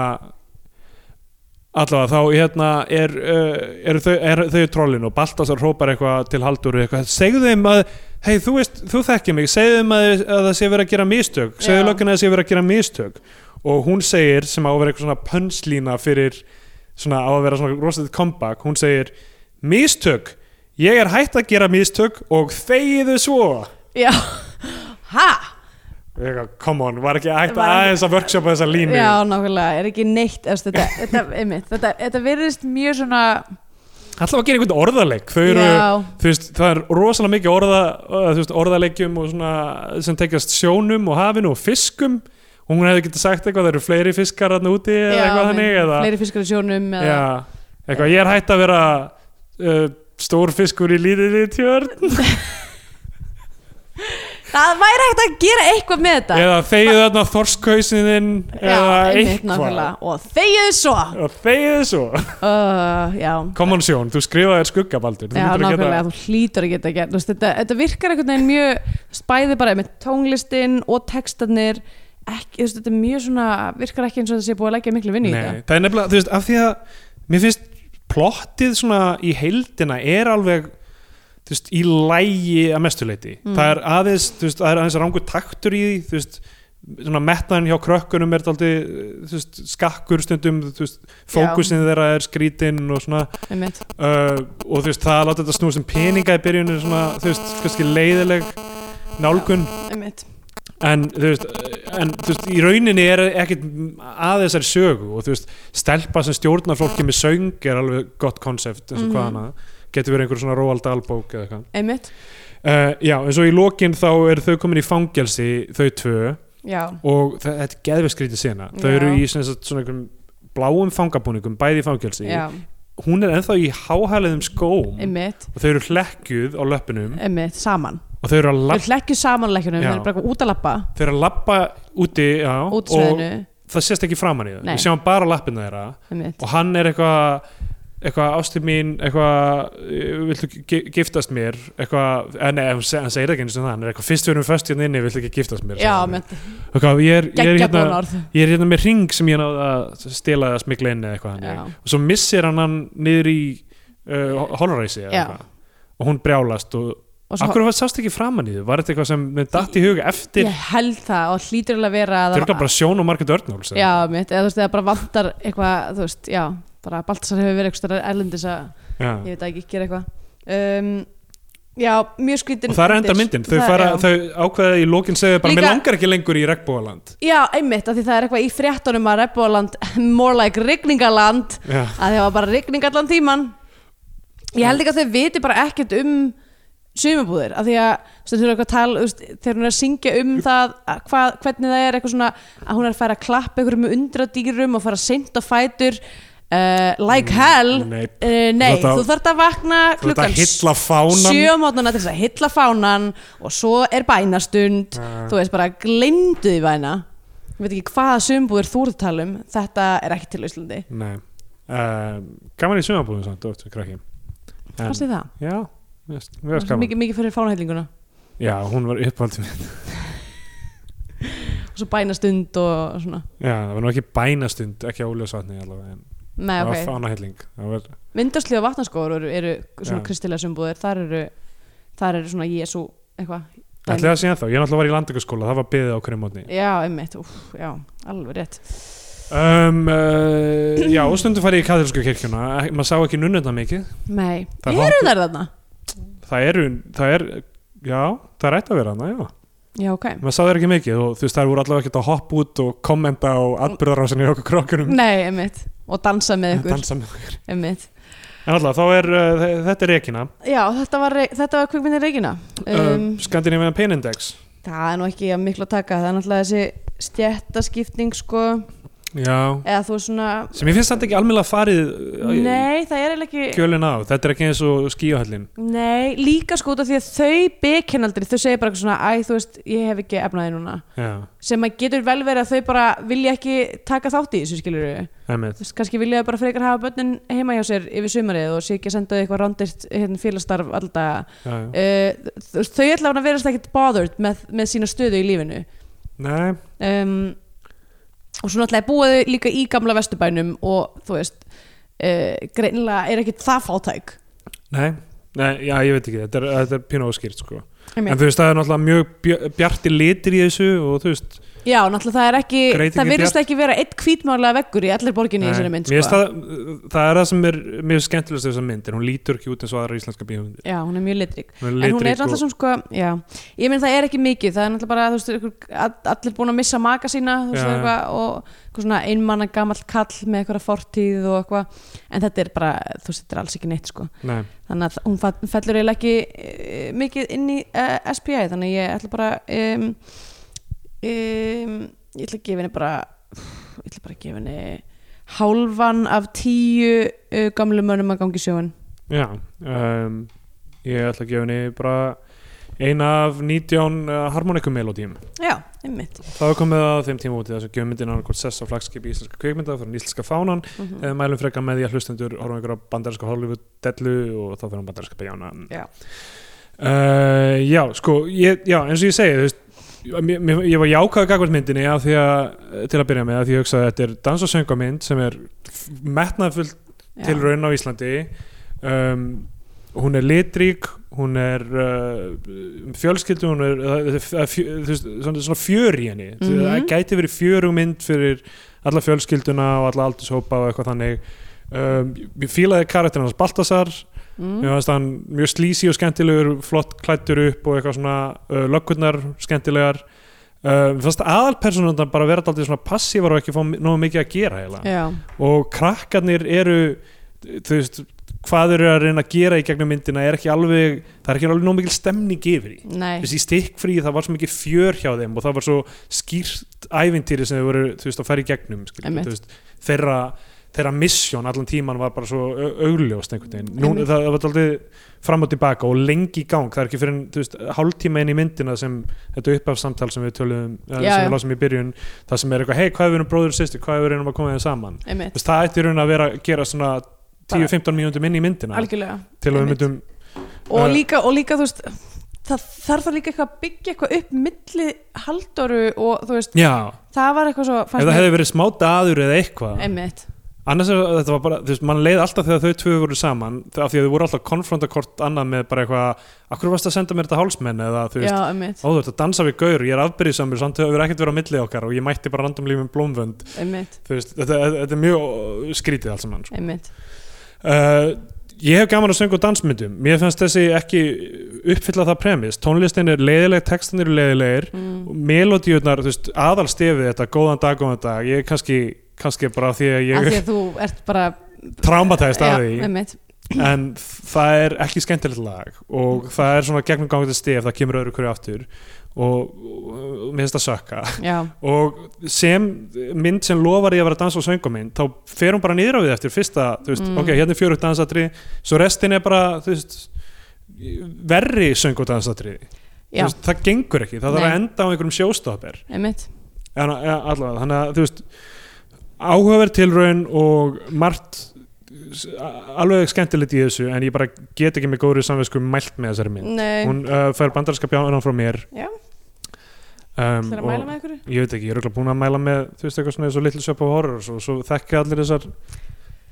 [SPEAKER 3] Allavega þá hérna er, uh, er þau, er, þau er trollin og Baltasar hrópar eitthvað til Halldóru eitthvað, segðu þeim að, hei þú veist, þú þekkir mig segðu þeim að, að það sé verið að gera mistök segðu
[SPEAKER 2] Já.
[SPEAKER 3] lögguna að það sé verið að gera mistök og hún segir, sem á að vera eitthvað svona pönslína fyrir, svona á að vera svona rosalit comeback, hún segir mistök, ég er hætt að gera mistök og þegiðu svo
[SPEAKER 2] já, ha
[SPEAKER 3] eitthvað, come on, var ekki hægt að
[SPEAKER 2] Var-
[SPEAKER 3] aðeins að workshopa þessa línu
[SPEAKER 2] já, nákvæmlega, er ekki neitt eftir, þetta, þetta, einmitt, þetta, þetta virðist mjög svona
[SPEAKER 3] allavega að gera einhvern orðaleik, þau eru
[SPEAKER 2] já,
[SPEAKER 3] þú veist, það er rosalega mikið orða, uh, þú veist, orðaleikjum og svona sem tekjast sjónum og hafinu og fiskum og hún hefði getið sagt eitthvað, það eru fleiri fiskar þarna úti eða
[SPEAKER 2] já,
[SPEAKER 3] eitthvað þannig eða,
[SPEAKER 2] fleiri fiskar í sjónum eða,
[SPEAKER 3] já, eitthvað, ég er hætt að vera uh, stór fiskur í lítiðið tjörn
[SPEAKER 2] það væri hægt að gera eitthvað með þetta
[SPEAKER 3] eða þegið þarna þorskhausiðinn eða eitthvað
[SPEAKER 2] nákvæmlega. og þegiðu svo
[SPEAKER 3] og þegið svo,
[SPEAKER 2] uh, já,
[SPEAKER 3] common sjón, þú skrifaði skuggabaldur þú
[SPEAKER 2] Já,
[SPEAKER 3] hlýtur að geta-
[SPEAKER 2] nákvæmlega, þú hlýtur að geta að gera þú veist, þetta, þetta virkar einhvern veginn mjög þú veist, bæði bara með tónlistin og textarnir ekki, þú veist, þetta er mjög svona virkar ekki eins og það sé búið að leggja miklu vinnu í
[SPEAKER 3] Nei, það er nefnilega, þú veist, af því að mér finnst plottið svona í heildina er alveg þú veist, í lægi að mestuleiti
[SPEAKER 2] Mm.
[SPEAKER 3] það er aðeins, þú veist, það er aðeins rangur taktur í því, þú veist svona metnaðin hjá krökkunum er daldi þú veist, skakkur stundum þú veist, fókusin þeirra er skrítinn og svona
[SPEAKER 2] þetta einmitt.
[SPEAKER 3] uh, og þú veist, það að láta þetta snúast um peninga í byrjun er svona, þú veist, kannski leiðileg nálgun
[SPEAKER 2] Einmitt.
[SPEAKER 3] en þú veist, en, þú veist í rauninni er ekkit að þessari sögu og þú veist, stelpa sem stjórnar fólki með söng er alveg gott konsept eins og
[SPEAKER 2] Mhm.
[SPEAKER 3] hvað hana, getur verið einhver svona Roald Dahl bók eða eitthvað
[SPEAKER 2] einmitt,
[SPEAKER 3] uh, já, en svo í lokin þá er þau komin í fangelsi þau tvö
[SPEAKER 2] já
[SPEAKER 3] og þa- þetta er geðveskrítið sena þau
[SPEAKER 2] Já.
[SPEAKER 3] eru í sem sagt, svona einhverjum bláum fangabúningum, bæði í fangelsi
[SPEAKER 2] Já,
[SPEAKER 3] hún er ennþá í háhæliðum skóm
[SPEAKER 2] einmitt, Eh.
[SPEAKER 3] og þau eru hlekkuð á löppunum
[SPEAKER 2] einmitt, saman
[SPEAKER 3] og þau eru að
[SPEAKER 2] Við
[SPEAKER 3] labba,
[SPEAKER 2] hlekkjum saman lekkjunum,
[SPEAKER 3] Já.
[SPEAKER 2] við erum bara eitthvað út að lappa
[SPEAKER 3] þau eru að labba úti já,
[SPEAKER 2] út
[SPEAKER 3] og
[SPEAKER 2] sveðinu,
[SPEAKER 3] það sést ekki framan í það
[SPEAKER 2] Nei.
[SPEAKER 3] við sjáum bara lappina þeirra
[SPEAKER 2] einmitt
[SPEAKER 3] og hann er eitthvað eitthvað ástu mín, eitthvað eh, viltu gi- giftast mér eitthvað, eh, nei, hann se- hann segir ekki eins og það hann er eitthvað, fyrst við erum föst hérna inni, viltu ekki giftast mér
[SPEAKER 2] Já,
[SPEAKER 3] sagði hann.
[SPEAKER 2] einmitt,
[SPEAKER 3] eitthvað, ég er, ég, er
[SPEAKER 2] geggja góðan
[SPEAKER 3] hérna,
[SPEAKER 2] orð
[SPEAKER 3] ég er hérna með ring sem ég náði að stela eða smikla inn eða eitthvað
[SPEAKER 2] Já,
[SPEAKER 3] hann og svo missir hann hann niður í uh, holræsi eða
[SPEAKER 2] Já.
[SPEAKER 3] eitthvað og hún brjálast og
[SPEAKER 2] og svo,
[SPEAKER 3] akkur var sást ekki framan í þau, var þetta eitthvað sem með datt í hug eftir,
[SPEAKER 2] ég held það og hlýtur alveg að vera að það
[SPEAKER 3] þetta er
[SPEAKER 2] var-
[SPEAKER 3] bara sjón og margir dörnúls
[SPEAKER 2] já, mitt, eða þú veist, eða bara vantar eitthvað, þú veist, já, bara Baltasar hefur verið eitthvað erlendis að,
[SPEAKER 3] já.
[SPEAKER 2] ég veit ekki, gera eitthvað um, já, mjög skrítin
[SPEAKER 3] og það er enda myndin, þau,
[SPEAKER 2] Það-
[SPEAKER 3] fara,
[SPEAKER 2] já.
[SPEAKER 3] þau ákveða í lókin segja bara,
[SPEAKER 2] Líka-
[SPEAKER 3] mér langar ekki lengur í regnbóðaland
[SPEAKER 2] já, einmitt, af því það er eitthvað í fréttunum að Rebbóland, [laughs] more like rigningaland
[SPEAKER 3] já,
[SPEAKER 2] að það var bara rigning allan tíman ég held ekki að þau viti bara ekkert um sumabúðir, af því að þú veist, þau eru eitthvað að tala, þú veist, þegar hún er að syngja um það, að hvað, hvernig það er eitthvað svona að hún er að fara að klappa einhverjum með undradýrum og fara seint á fætur uh, like hell
[SPEAKER 3] Mm, nei.
[SPEAKER 2] Uh, nei,
[SPEAKER 3] Þú þarft að-
[SPEAKER 2] þú þarft að vakna
[SPEAKER 3] þú veist
[SPEAKER 2] klukkan
[SPEAKER 3] að hitla fánan
[SPEAKER 2] sjö á mótnana til þess að hitla fánan og svo er bænastund
[SPEAKER 3] Mm.
[SPEAKER 2] þú veist bara gleymdu því væna ég veit ekki hvaða sumbúður þú eru að tala um þetta er ekki til á Íslandi
[SPEAKER 3] nei uh, gaman í sumabúðum samt, oft, krakki en,
[SPEAKER 2] hvað sé það?
[SPEAKER 3] já, mér finnst- mér
[SPEAKER 2] Það
[SPEAKER 3] finnst
[SPEAKER 2] er svo
[SPEAKER 3] gaman
[SPEAKER 2] mikið, mikið fyrir fánaheilinguna
[SPEAKER 3] já, hún var uppáldum já,
[SPEAKER 2] og svo bænastund og svona
[SPEAKER 3] það var nú ekki bænastund, ekki óljósvatni allavega, en
[SPEAKER 2] Nei,
[SPEAKER 3] það var
[SPEAKER 2] Ah, ok,
[SPEAKER 3] fánahelling það var,
[SPEAKER 2] myndarslið og vatnaskóður eru, eru svona
[SPEAKER 3] Já.
[SPEAKER 2] kristilega sumbúðir þar eru, þar eru svona Jésu eitthvað Dæmi.
[SPEAKER 3] ætlaði að segja þá, ég náttúrulega var í landingaskóla það var byðið á hverju mótni
[SPEAKER 2] Já, einmitt, úf, já, alveg rétt
[SPEAKER 3] um, uh, já, og stundum farið í katholsku kirkjuna Ek- maður sá ekki nunnuna mikið
[SPEAKER 2] Nei,
[SPEAKER 3] Það
[SPEAKER 2] eru þær þarna?
[SPEAKER 3] það eru, það er, já, það er ætti að vera hana, já
[SPEAKER 2] Já, ok
[SPEAKER 3] maður sá þeir ekki mikið og þú veist þær voru allavega ekkert að hoppa út og kommenta á atbyrðarásinni okkur krókunum
[SPEAKER 2] Nei, einmitt, og dansa með
[SPEAKER 3] en
[SPEAKER 2] ykkur
[SPEAKER 3] Mm. dansa með okkur
[SPEAKER 2] Einmitt
[SPEAKER 3] en allavega þá er, uh, þe- þetta er rekina
[SPEAKER 2] Já, þetta var, rei- þetta var kvikmyndin Reykjana um,
[SPEAKER 3] um, Scandinavian Pain Index
[SPEAKER 2] Það er nú ekki að miklu að taka Það er náttúrulega þessi stjættaskipting sko,
[SPEAKER 3] já,
[SPEAKER 2] eða þú svona
[SPEAKER 3] sem ég finnst þetta ekki almennilega farið uh,
[SPEAKER 2] Nei, það er eiginlega ekki
[SPEAKER 3] kjölin á, þetta er ekki eins og skíahöllin
[SPEAKER 2] Nei, líka sko út af því að þau byggin aldrei, þau segir bara eitthvað svona æ, þú veist, ég hef ekki efnaði núna
[SPEAKER 3] já,
[SPEAKER 2] sem að getur vel verið að þau bara vilja ekki taka þátt í þessu skilur
[SPEAKER 3] emmitt
[SPEAKER 2] þú veist, kannski vilja þau bara frekar hafa börnin heima hjá sér yfir sumarið og sé ekki að senda þau eitthvað rándirt hérna, félagsstarf alltaf
[SPEAKER 3] nei,
[SPEAKER 2] uh, þú veist, þau ætla að vera ekkert bothered með, með sína stöðu í lífinu um, og svo náttúrulega búaðu líka í gamla vesturbænum og þú veist uh, greinilega er ekkit það fátæk
[SPEAKER 3] Nei, nei, já, ég veit ekki, þetta er, þetta er pínu óskýrt sko. En þú veist, það er náttúrulega mjög bj- bjartir litir í þessu og þú veist
[SPEAKER 2] já, náttúrulega það er ekki
[SPEAKER 3] Greitingin
[SPEAKER 2] það virðist ekki vera eitt hvítmálega veggur í allir borginni í
[SPEAKER 3] nei,
[SPEAKER 2] þessari mynd
[SPEAKER 3] mér
[SPEAKER 2] sko.
[SPEAKER 3] finnst það, það er það sem er mjög skemmtilegst þessar mynd, en hún lítur ekki út eins og aðra íslenska bíómyndir.
[SPEAKER 2] já, hún er mjög litrík
[SPEAKER 3] Hún
[SPEAKER 2] en hún er
[SPEAKER 3] litrík og-
[SPEAKER 2] náttúrulega svona sko já. ég minn það er ekki mikið, það er náttúrulega bara þú veist, ykkur, all- allir búin að missa maka sína þú veist,
[SPEAKER 3] Já.
[SPEAKER 2] eitthvað, og eitthvað svona einmanna gamall kall með eitthvað fortíð og eitthvað en þetta er bara, þú veist, þetta er alls ekki neitt sko.
[SPEAKER 3] Nei,
[SPEAKER 2] þannig að hún fall- fellur eiginlega ekki e, mikið inn í e, SPI þannig að ég ætla bara um, um, ég ætla að gefa henni bara ég ætla bara að gefa henni hálfan af tíu uh, gamlu mönnum að gangi sjóin
[SPEAKER 3] já, um, ég ætla að gefa henni bara eina af 19 uh, harmonikum melodíum.
[SPEAKER 2] já, einmitt
[SPEAKER 3] Það er komið að þeim tíma út í þessu gjöfmyndin annarkvort sess á flagskipi íslenska kveikmynda fyrir íslenska fánan
[SPEAKER 2] mm
[SPEAKER 3] eða mælum frekar með því að hlustendur horfum ykkur á bandarinska Hollywood-dellu og þá fyrir hann bandarinska bjána
[SPEAKER 2] Já.
[SPEAKER 3] Eh, já, sko ég, já, eins og ég segi þú veist, mér, mér, ég var jákaðu gagvart myndinni af því að, til að byrja með, af því ég hugsaði að þetta er dans- og söngamynd sem er metnaðfull tilraun á Íslandi um, hún er litrík hún er uh, um fjölskyldu hún er það- það- það- fjö- þú veist, svona svona fjör í henni mm það
[SPEAKER 2] Mhm.
[SPEAKER 3] gæti verið fjörug mynd fyrir alla fjölskylduna og alla aldurshópa og eitthvað þannig um, ég fílaði karakterinn hans Baltasar
[SPEAKER 2] mm.
[SPEAKER 3] mér fannst hann mjög slísi og skemmtilegur flott klættur upp og eitthvað svona uh, löggurnar skemmtilegar uh, mér fannst aðalpersonundan bara vera daldið svona passívar og ekki fá mi- nógu mikið að gera heila
[SPEAKER 2] já,
[SPEAKER 3] og krakkarnir eru þú veist, hvað eru að reyna að gera í gegnum myndina er ekki alveg það er ekki alveg nóg mikil stemning yfir í
[SPEAKER 2] nei
[SPEAKER 3] þessi stikkfrí, það var svo mikið fjör hjá þeim og það var svo skýrt ævintýri sem þau voru, þú veist, að fara í gegnum skilur,
[SPEAKER 2] Einmitt.
[SPEAKER 3] þú veist, þeirra þeirra misjón allan tíman var bara svo au- augljóst einhvern veginn, Nú,
[SPEAKER 2] Einmitt.
[SPEAKER 3] það, það var aldrei fram og tilbaka og lengi í gang það er ekki fyrir, þú veist, hálftíma inn í myndina sem þetta upphafsamtal sem við töluðum já, sem
[SPEAKER 2] Já, já.
[SPEAKER 3] við lásum í byrjun, það sem er eitthvað hei, hvað er við erum bróður og sýstir, hvað er við erum að koma þeim saman Þú
[SPEAKER 2] einmitt,
[SPEAKER 3] veist, það ætti í raun að vera að gera svona 10-15 mínútum inn í myndina
[SPEAKER 2] algjörlega
[SPEAKER 3] til að við
[SPEAKER 2] einmitt.
[SPEAKER 3] myndum
[SPEAKER 2] og
[SPEAKER 3] Eh,
[SPEAKER 2] líka, og líka þú veist það þarf það líka eitthvað að byggja eitthvað upp milli haldoru og þú veist
[SPEAKER 3] já,
[SPEAKER 2] það var eitthvað svo
[SPEAKER 3] ef það hefði verið smá daður eða eitthvað
[SPEAKER 2] einmitt,
[SPEAKER 3] annars er þetta var bara, þú veist, mann leið alltaf þegar þau tvö voru saman, af því að þau voru alltaf konfronta hvort annað með bara eitthvað akkur varst að senda mér þetta hálsmenn eða þú
[SPEAKER 2] já,
[SPEAKER 3] veist,
[SPEAKER 2] einmitt
[SPEAKER 3] ó þú ert að dansa við gaur ég er afbyrðisamur, samt þau hefur ekkert verið á milli okkar og ég mætti bara random lífum blómvönd
[SPEAKER 2] einmitt,
[SPEAKER 3] þú veist, þetta, þetta, þetta er mjög ó, skrítið alls saman, sko.
[SPEAKER 2] einmitt
[SPEAKER 3] uh, ég hef gaman að söngu dansmyndum mér fannst þessi ekki uppfylla það premis, tónlistin er leiðileg textin eru leiðilegir
[SPEAKER 2] mm.
[SPEAKER 3] melodíurnar, þú veist, aðalstefið þetta, góðan dag, góðan dag, ég er kannski kannski bara af því að
[SPEAKER 2] af
[SPEAKER 3] ég
[SPEAKER 2] því að þú ert bara
[SPEAKER 3] traumatæst af
[SPEAKER 2] Já,
[SPEAKER 3] því
[SPEAKER 2] einmitt,
[SPEAKER 3] en það er ekki skemmtilegt lag og það er svona gegnum gangið stef það kemur öðru hverju aftur og, og mér finnst það sökka
[SPEAKER 2] já,
[SPEAKER 3] og sem mynd sem lofar í að vera dans og söngumynd þá fer hún bara niður á við eftir fyrsta þú veist,
[SPEAKER 2] Mm.
[SPEAKER 3] ok, hérna er fjörugt dansatri svo restin er bara, þú veist verri söng og dansatri
[SPEAKER 2] já,
[SPEAKER 3] veist, það gengur ekki, það þarf að
[SPEAKER 2] Nei.
[SPEAKER 3] enda á einhverjum sjóstopper
[SPEAKER 2] einmitt
[SPEAKER 3] en, ja, allavega, þannig að þú veist áhugaverð tilraun og margt s- a- alveg skemmtilegt í þessu en ég bara get ekki með góðri samvisku mælt með þessari mynd
[SPEAKER 2] Nei,
[SPEAKER 3] hún uh, fær bandarska bjánan frá mér
[SPEAKER 2] Já.
[SPEAKER 3] um,
[SPEAKER 2] ætlar að mæla með ykkur
[SPEAKER 3] ég veit ekki, ég er örugglega búinn að mæla með þú veist eitthvað svona eins og Little Shop of Horrors og svo þekki allir þessar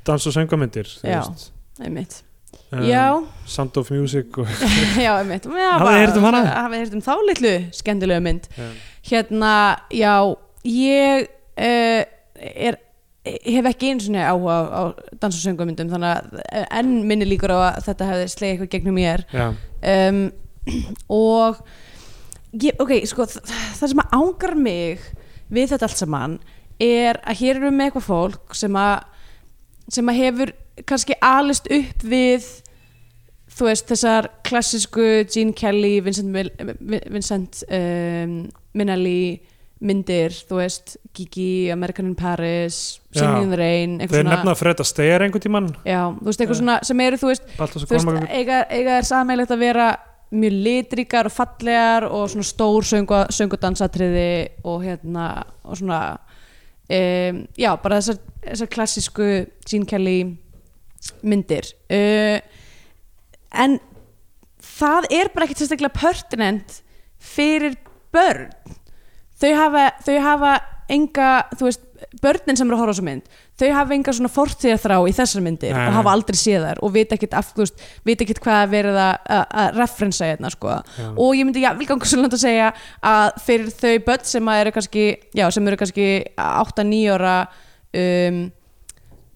[SPEAKER 3] dans og söngamyndir þú
[SPEAKER 2] Já.
[SPEAKER 3] veist.
[SPEAKER 2] einmitt,
[SPEAKER 3] um,
[SPEAKER 2] já [laughs]
[SPEAKER 3] Sound of Music og,
[SPEAKER 2] já, einmitt, já,
[SPEAKER 3] Hafið þið heyrt um hana?
[SPEAKER 2] hafið heyrt um þá litlu skemmtilegu mynd
[SPEAKER 3] um,
[SPEAKER 2] hérna, já ég uh, er hef ekki einu sinni áhuga á, á dans og söngumyndum þannig að enn minni líkur á að þetta hefði slegið eitthvað gegnum mér
[SPEAKER 3] já,
[SPEAKER 2] um, og ég, ok, sko þ- það sem að ángar mig við þetta allt saman er að hér erum við með eitthvað fólk sem að sem að hefur kannski alist upp við þú veist þessar klassísku Gene Kelly, Vincent, Mil- Vin- Vincent um, Minnelli myndir, þú veist Gigi, American in Paris Singing
[SPEAKER 3] Já.
[SPEAKER 2] in the Rain, eitthvað
[SPEAKER 3] þeir
[SPEAKER 2] svona
[SPEAKER 3] nefna Fred Astaire einhvern tímann
[SPEAKER 2] já, þú veist,
[SPEAKER 3] Já.
[SPEAKER 2] eitthvað svona sem eru, þú veist,
[SPEAKER 3] Baltas og
[SPEAKER 2] þú veist, eh,
[SPEAKER 3] Kormakur
[SPEAKER 2] eiga, eiga er sameiglegt að vera mjög litríkar og fallegar og svona stór söngu, söngudansatriði og hérna og svona um, já, bara þessar, þessar klassísku Gene Kelly myndir uh, en það er bara ekkert sérstaklega pertinent fyrir börn þau hafa, þau hafa enga, þú veist börnin sem eru að horfa á þessu mynd þau hafa enga svona fortíðarþrá í þessar myndir
[SPEAKER 3] Nei,
[SPEAKER 2] og
[SPEAKER 3] nei.
[SPEAKER 2] hafa aldrei séð þær og vita ekkit af, þú veist, vita ekkit hvað er verið að- að að referensa hérna sko. og ég myndi, já, vil ganga svo langt að segja að fyrir þau börn sem að eru kannski já, sem eru kannski 8-9 ára um,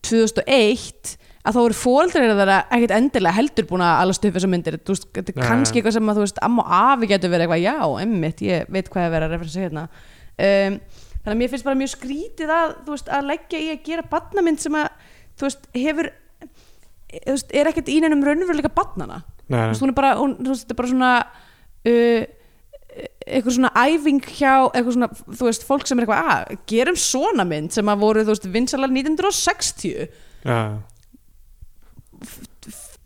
[SPEAKER 2] 2001 að þá eru fóreldrar þeirra ekkert endilega heldur búin að alast upp þessar myndir þú veist, þetta er
[SPEAKER 3] Nei.
[SPEAKER 2] kannski eitthvað sem að þú veist amma og afi getur verið eitthvað, já, emmitt ég veit hvað er verið að referensa hérna um, þannig að mér finnst bara mjög skrítið að þú veist, að leggja í að gera badnamynd sem að þú veist, hefur þú veist, er ekkert í neinum raunveruleika badnana
[SPEAKER 3] Nei,
[SPEAKER 2] þú
[SPEAKER 3] nei.
[SPEAKER 2] veist, hún er bara, hún, þú veist, þetta er bara svona uh, eitthvað svona æfing hjá, eitthvað svona, þú veist, fólk sem er eitthvað, að, gerum svona mynd sem að voru, þú veist, vinsalar 1960
[SPEAKER 3] ja.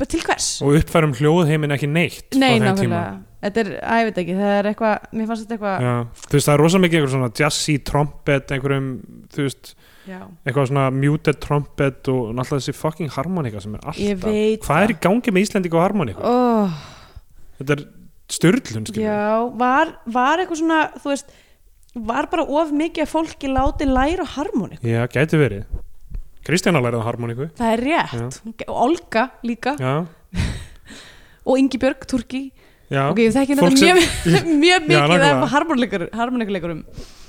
[SPEAKER 2] Bara til hvers?
[SPEAKER 3] og uppfærum hljóðheimin ekki neitt
[SPEAKER 2] Nei,
[SPEAKER 3] á þeim tíma.
[SPEAKER 2] nákvæmlega, þetta er, að ég veit ekki það er eitthvað, mér fannst þetta eitthvað
[SPEAKER 3] Já, þú veist, það er rosa mikið einhver svona jazzy trompet, einhverjum, þú veist,
[SPEAKER 2] já.
[SPEAKER 3] eitthvað svona muted trompet og náttúrulega þessi fucking harmonika sem er alltaf.
[SPEAKER 2] Ég veit
[SPEAKER 3] Hvað er í gangi með Íslendingu og harmoníku?
[SPEAKER 2] Oh,
[SPEAKER 3] Þetta er styrlun, skiljum.
[SPEAKER 2] já, var, var eitthvað svona, þú veist var bara of mikið að fólki láti læra á harmoníku,
[SPEAKER 3] Já, gæti verið. Kristjana læraði á harmoníku.
[SPEAKER 2] það er rétt Hún ge- og Olga líka
[SPEAKER 3] Já,
[SPEAKER 2] og Ingibjörg Turki
[SPEAKER 3] já.
[SPEAKER 2] ok, ég þekki
[SPEAKER 3] Fólk
[SPEAKER 2] þetta
[SPEAKER 3] sem-
[SPEAKER 2] mjög, [laughs] mjög
[SPEAKER 3] [laughs] Já,
[SPEAKER 2] mikið
[SPEAKER 3] nákvæmlega.
[SPEAKER 2] af harmoníkuleikurum
[SPEAKER 3] [laughs]
[SPEAKER 2] harmoníkuleikurum.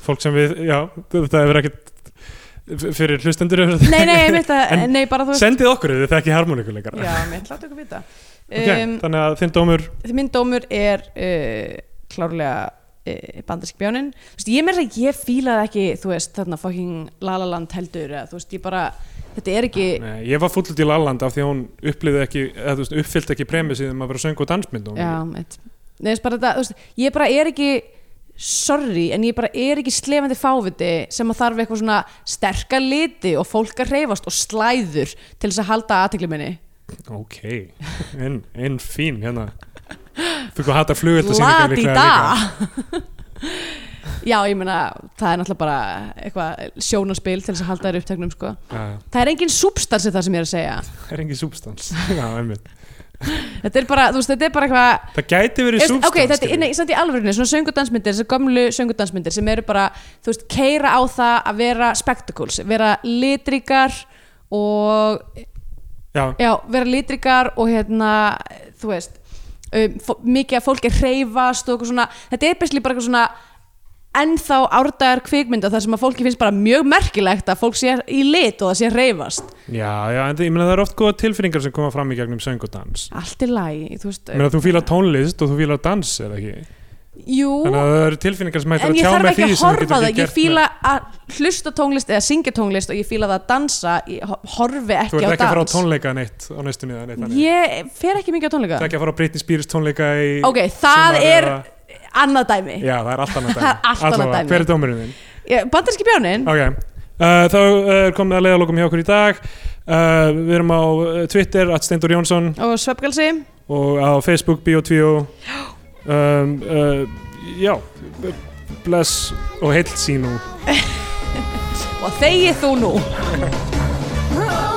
[SPEAKER 3] Fólk sem við, já, þetta hefur ekkert f- fyrir hlustendur. hefur þetta-
[SPEAKER 2] nei, nei, ég veit að,
[SPEAKER 3] En
[SPEAKER 2] nei, bara þú veist
[SPEAKER 3] Sendið okkur ef þið þekki harmoníkuleikar.
[SPEAKER 2] já, mér hlátt ykkur vita
[SPEAKER 3] Okay,
[SPEAKER 2] um,
[SPEAKER 3] þannig að þinn dómur,
[SPEAKER 2] því minn dómur er uh, klárlega uh, bandarsk bjónin þú veist, ég meira að segja, ég fílaði ekki þú veist, þarna fucking lalaland heldur eða, þú veist, ég bara, þetta er ekki
[SPEAKER 3] nei, ég var fullut í Lalland af því að hún upplýði ekki, eða, þú veist, uppfyllt ekki premissið um að vera söng og dansmynd.
[SPEAKER 2] já, mitt Nei, þú veist, bara þetta, þú veist, ég bara er ekki sorry, en ég bara er ekki slefandi fáviti sem að þarf eitthvað svona sterka liti og fólk að reyfast og slæður til þess að halda aðtekli minni
[SPEAKER 3] Ok, en, en fín hérna Þú hvað hata flugöldasýningar líklega líka
[SPEAKER 2] Ladida [laughs] Já, ég meina, það er náttúrulega bara eitthvað sjónaspil til þess að halda þér uppteknum sko.
[SPEAKER 3] Já,
[SPEAKER 2] Það er engin substansi það sem ég er að segja
[SPEAKER 3] Það er engin substans [laughs] Já, einmitt.
[SPEAKER 2] Þetta er bara, þú veist, þetta er bara eitthvað
[SPEAKER 3] Það gæti verið
[SPEAKER 2] Þú veist,
[SPEAKER 3] substans
[SPEAKER 2] ok, þetta er
[SPEAKER 3] skilur.
[SPEAKER 2] nei, samt í alvörinu, svona söngudansmyndir þessar gömlu söngudansmyndir sem eru bara þú veist, keira á það að vera spectacles vera litrikar og
[SPEAKER 3] Já,
[SPEAKER 2] já, vera litrikar og hérna þú veist um, fó- mikið að fólk er hreyfast og eitthvað svona þetta er besli bara eitthvað svona ennþá árdagar kvikmynda þar sem að fólki finnst bara mjög merkilegt að fólk sé í lit og það sé hreyfast
[SPEAKER 3] já, já en það, ég meina það eru oft góða tilfinningar sem koma fram í gegnum söng og dans
[SPEAKER 2] allt er lægi, þú veist
[SPEAKER 3] Ég meina þú fílar tónlist og þú fílar dans eða ekki
[SPEAKER 2] jú,
[SPEAKER 3] Þannig að það eru tilfinningar sem hættir
[SPEAKER 2] en
[SPEAKER 3] að
[SPEAKER 2] ég
[SPEAKER 3] tjá
[SPEAKER 2] þarf
[SPEAKER 3] með
[SPEAKER 2] ekki
[SPEAKER 3] því
[SPEAKER 2] að
[SPEAKER 3] sem þú
[SPEAKER 2] horfa á
[SPEAKER 3] getur
[SPEAKER 2] það
[SPEAKER 3] ekki
[SPEAKER 2] ég
[SPEAKER 3] gert
[SPEAKER 2] fíla
[SPEAKER 3] með-
[SPEAKER 2] að hlusta tónlist eða syngja tónlist og ég fíla það að dansa ég ho- horfi ekki
[SPEAKER 3] Þú ert
[SPEAKER 2] á
[SPEAKER 3] ekki að fara á
[SPEAKER 2] dans
[SPEAKER 3] tónleika neitt á næstunni eða neitt þannig.
[SPEAKER 2] ég fer ekki mikið á
[SPEAKER 3] Þú
[SPEAKER 2] tónleika
[SPEAKER 3] ert ekki að fara á Britney Spears tónleika í
[SPEAKER 2] ok, það
[SPEAKER 3] sumar
[SPEAKER 2] er
[SPEAKER 3] eða-
[SPEAKER 2] annað dæmi
[SPEAKER 3] Já, það er allt annað dæmi
[SPEAKER 2] [laughs] Það er allt annað
[SPEAKER 3] Allavega,
[SPEAKER 2] dæmi.
[SPEAKER 3] Hver er dómurinn þinn?
[SPEAKER 2] Ég- bandaríski bjáninn
[SPEAKER 3] Ok, uh, þá er komið að leiðalokum hjá okkur í dag uh, Við erum á uh, Twitter, at Steindur Jónsson
[SPEAKER 2] og svefgalsi
[SPEAKER 3] og á Facebook, Bio2
[SPEAKER 2] [gasps]
[SPEAKER 3] um, uh, Já, b- bless og heill sín og
[SPEAKER 2] og þegið þú nú
[SPEAKER 4] Oh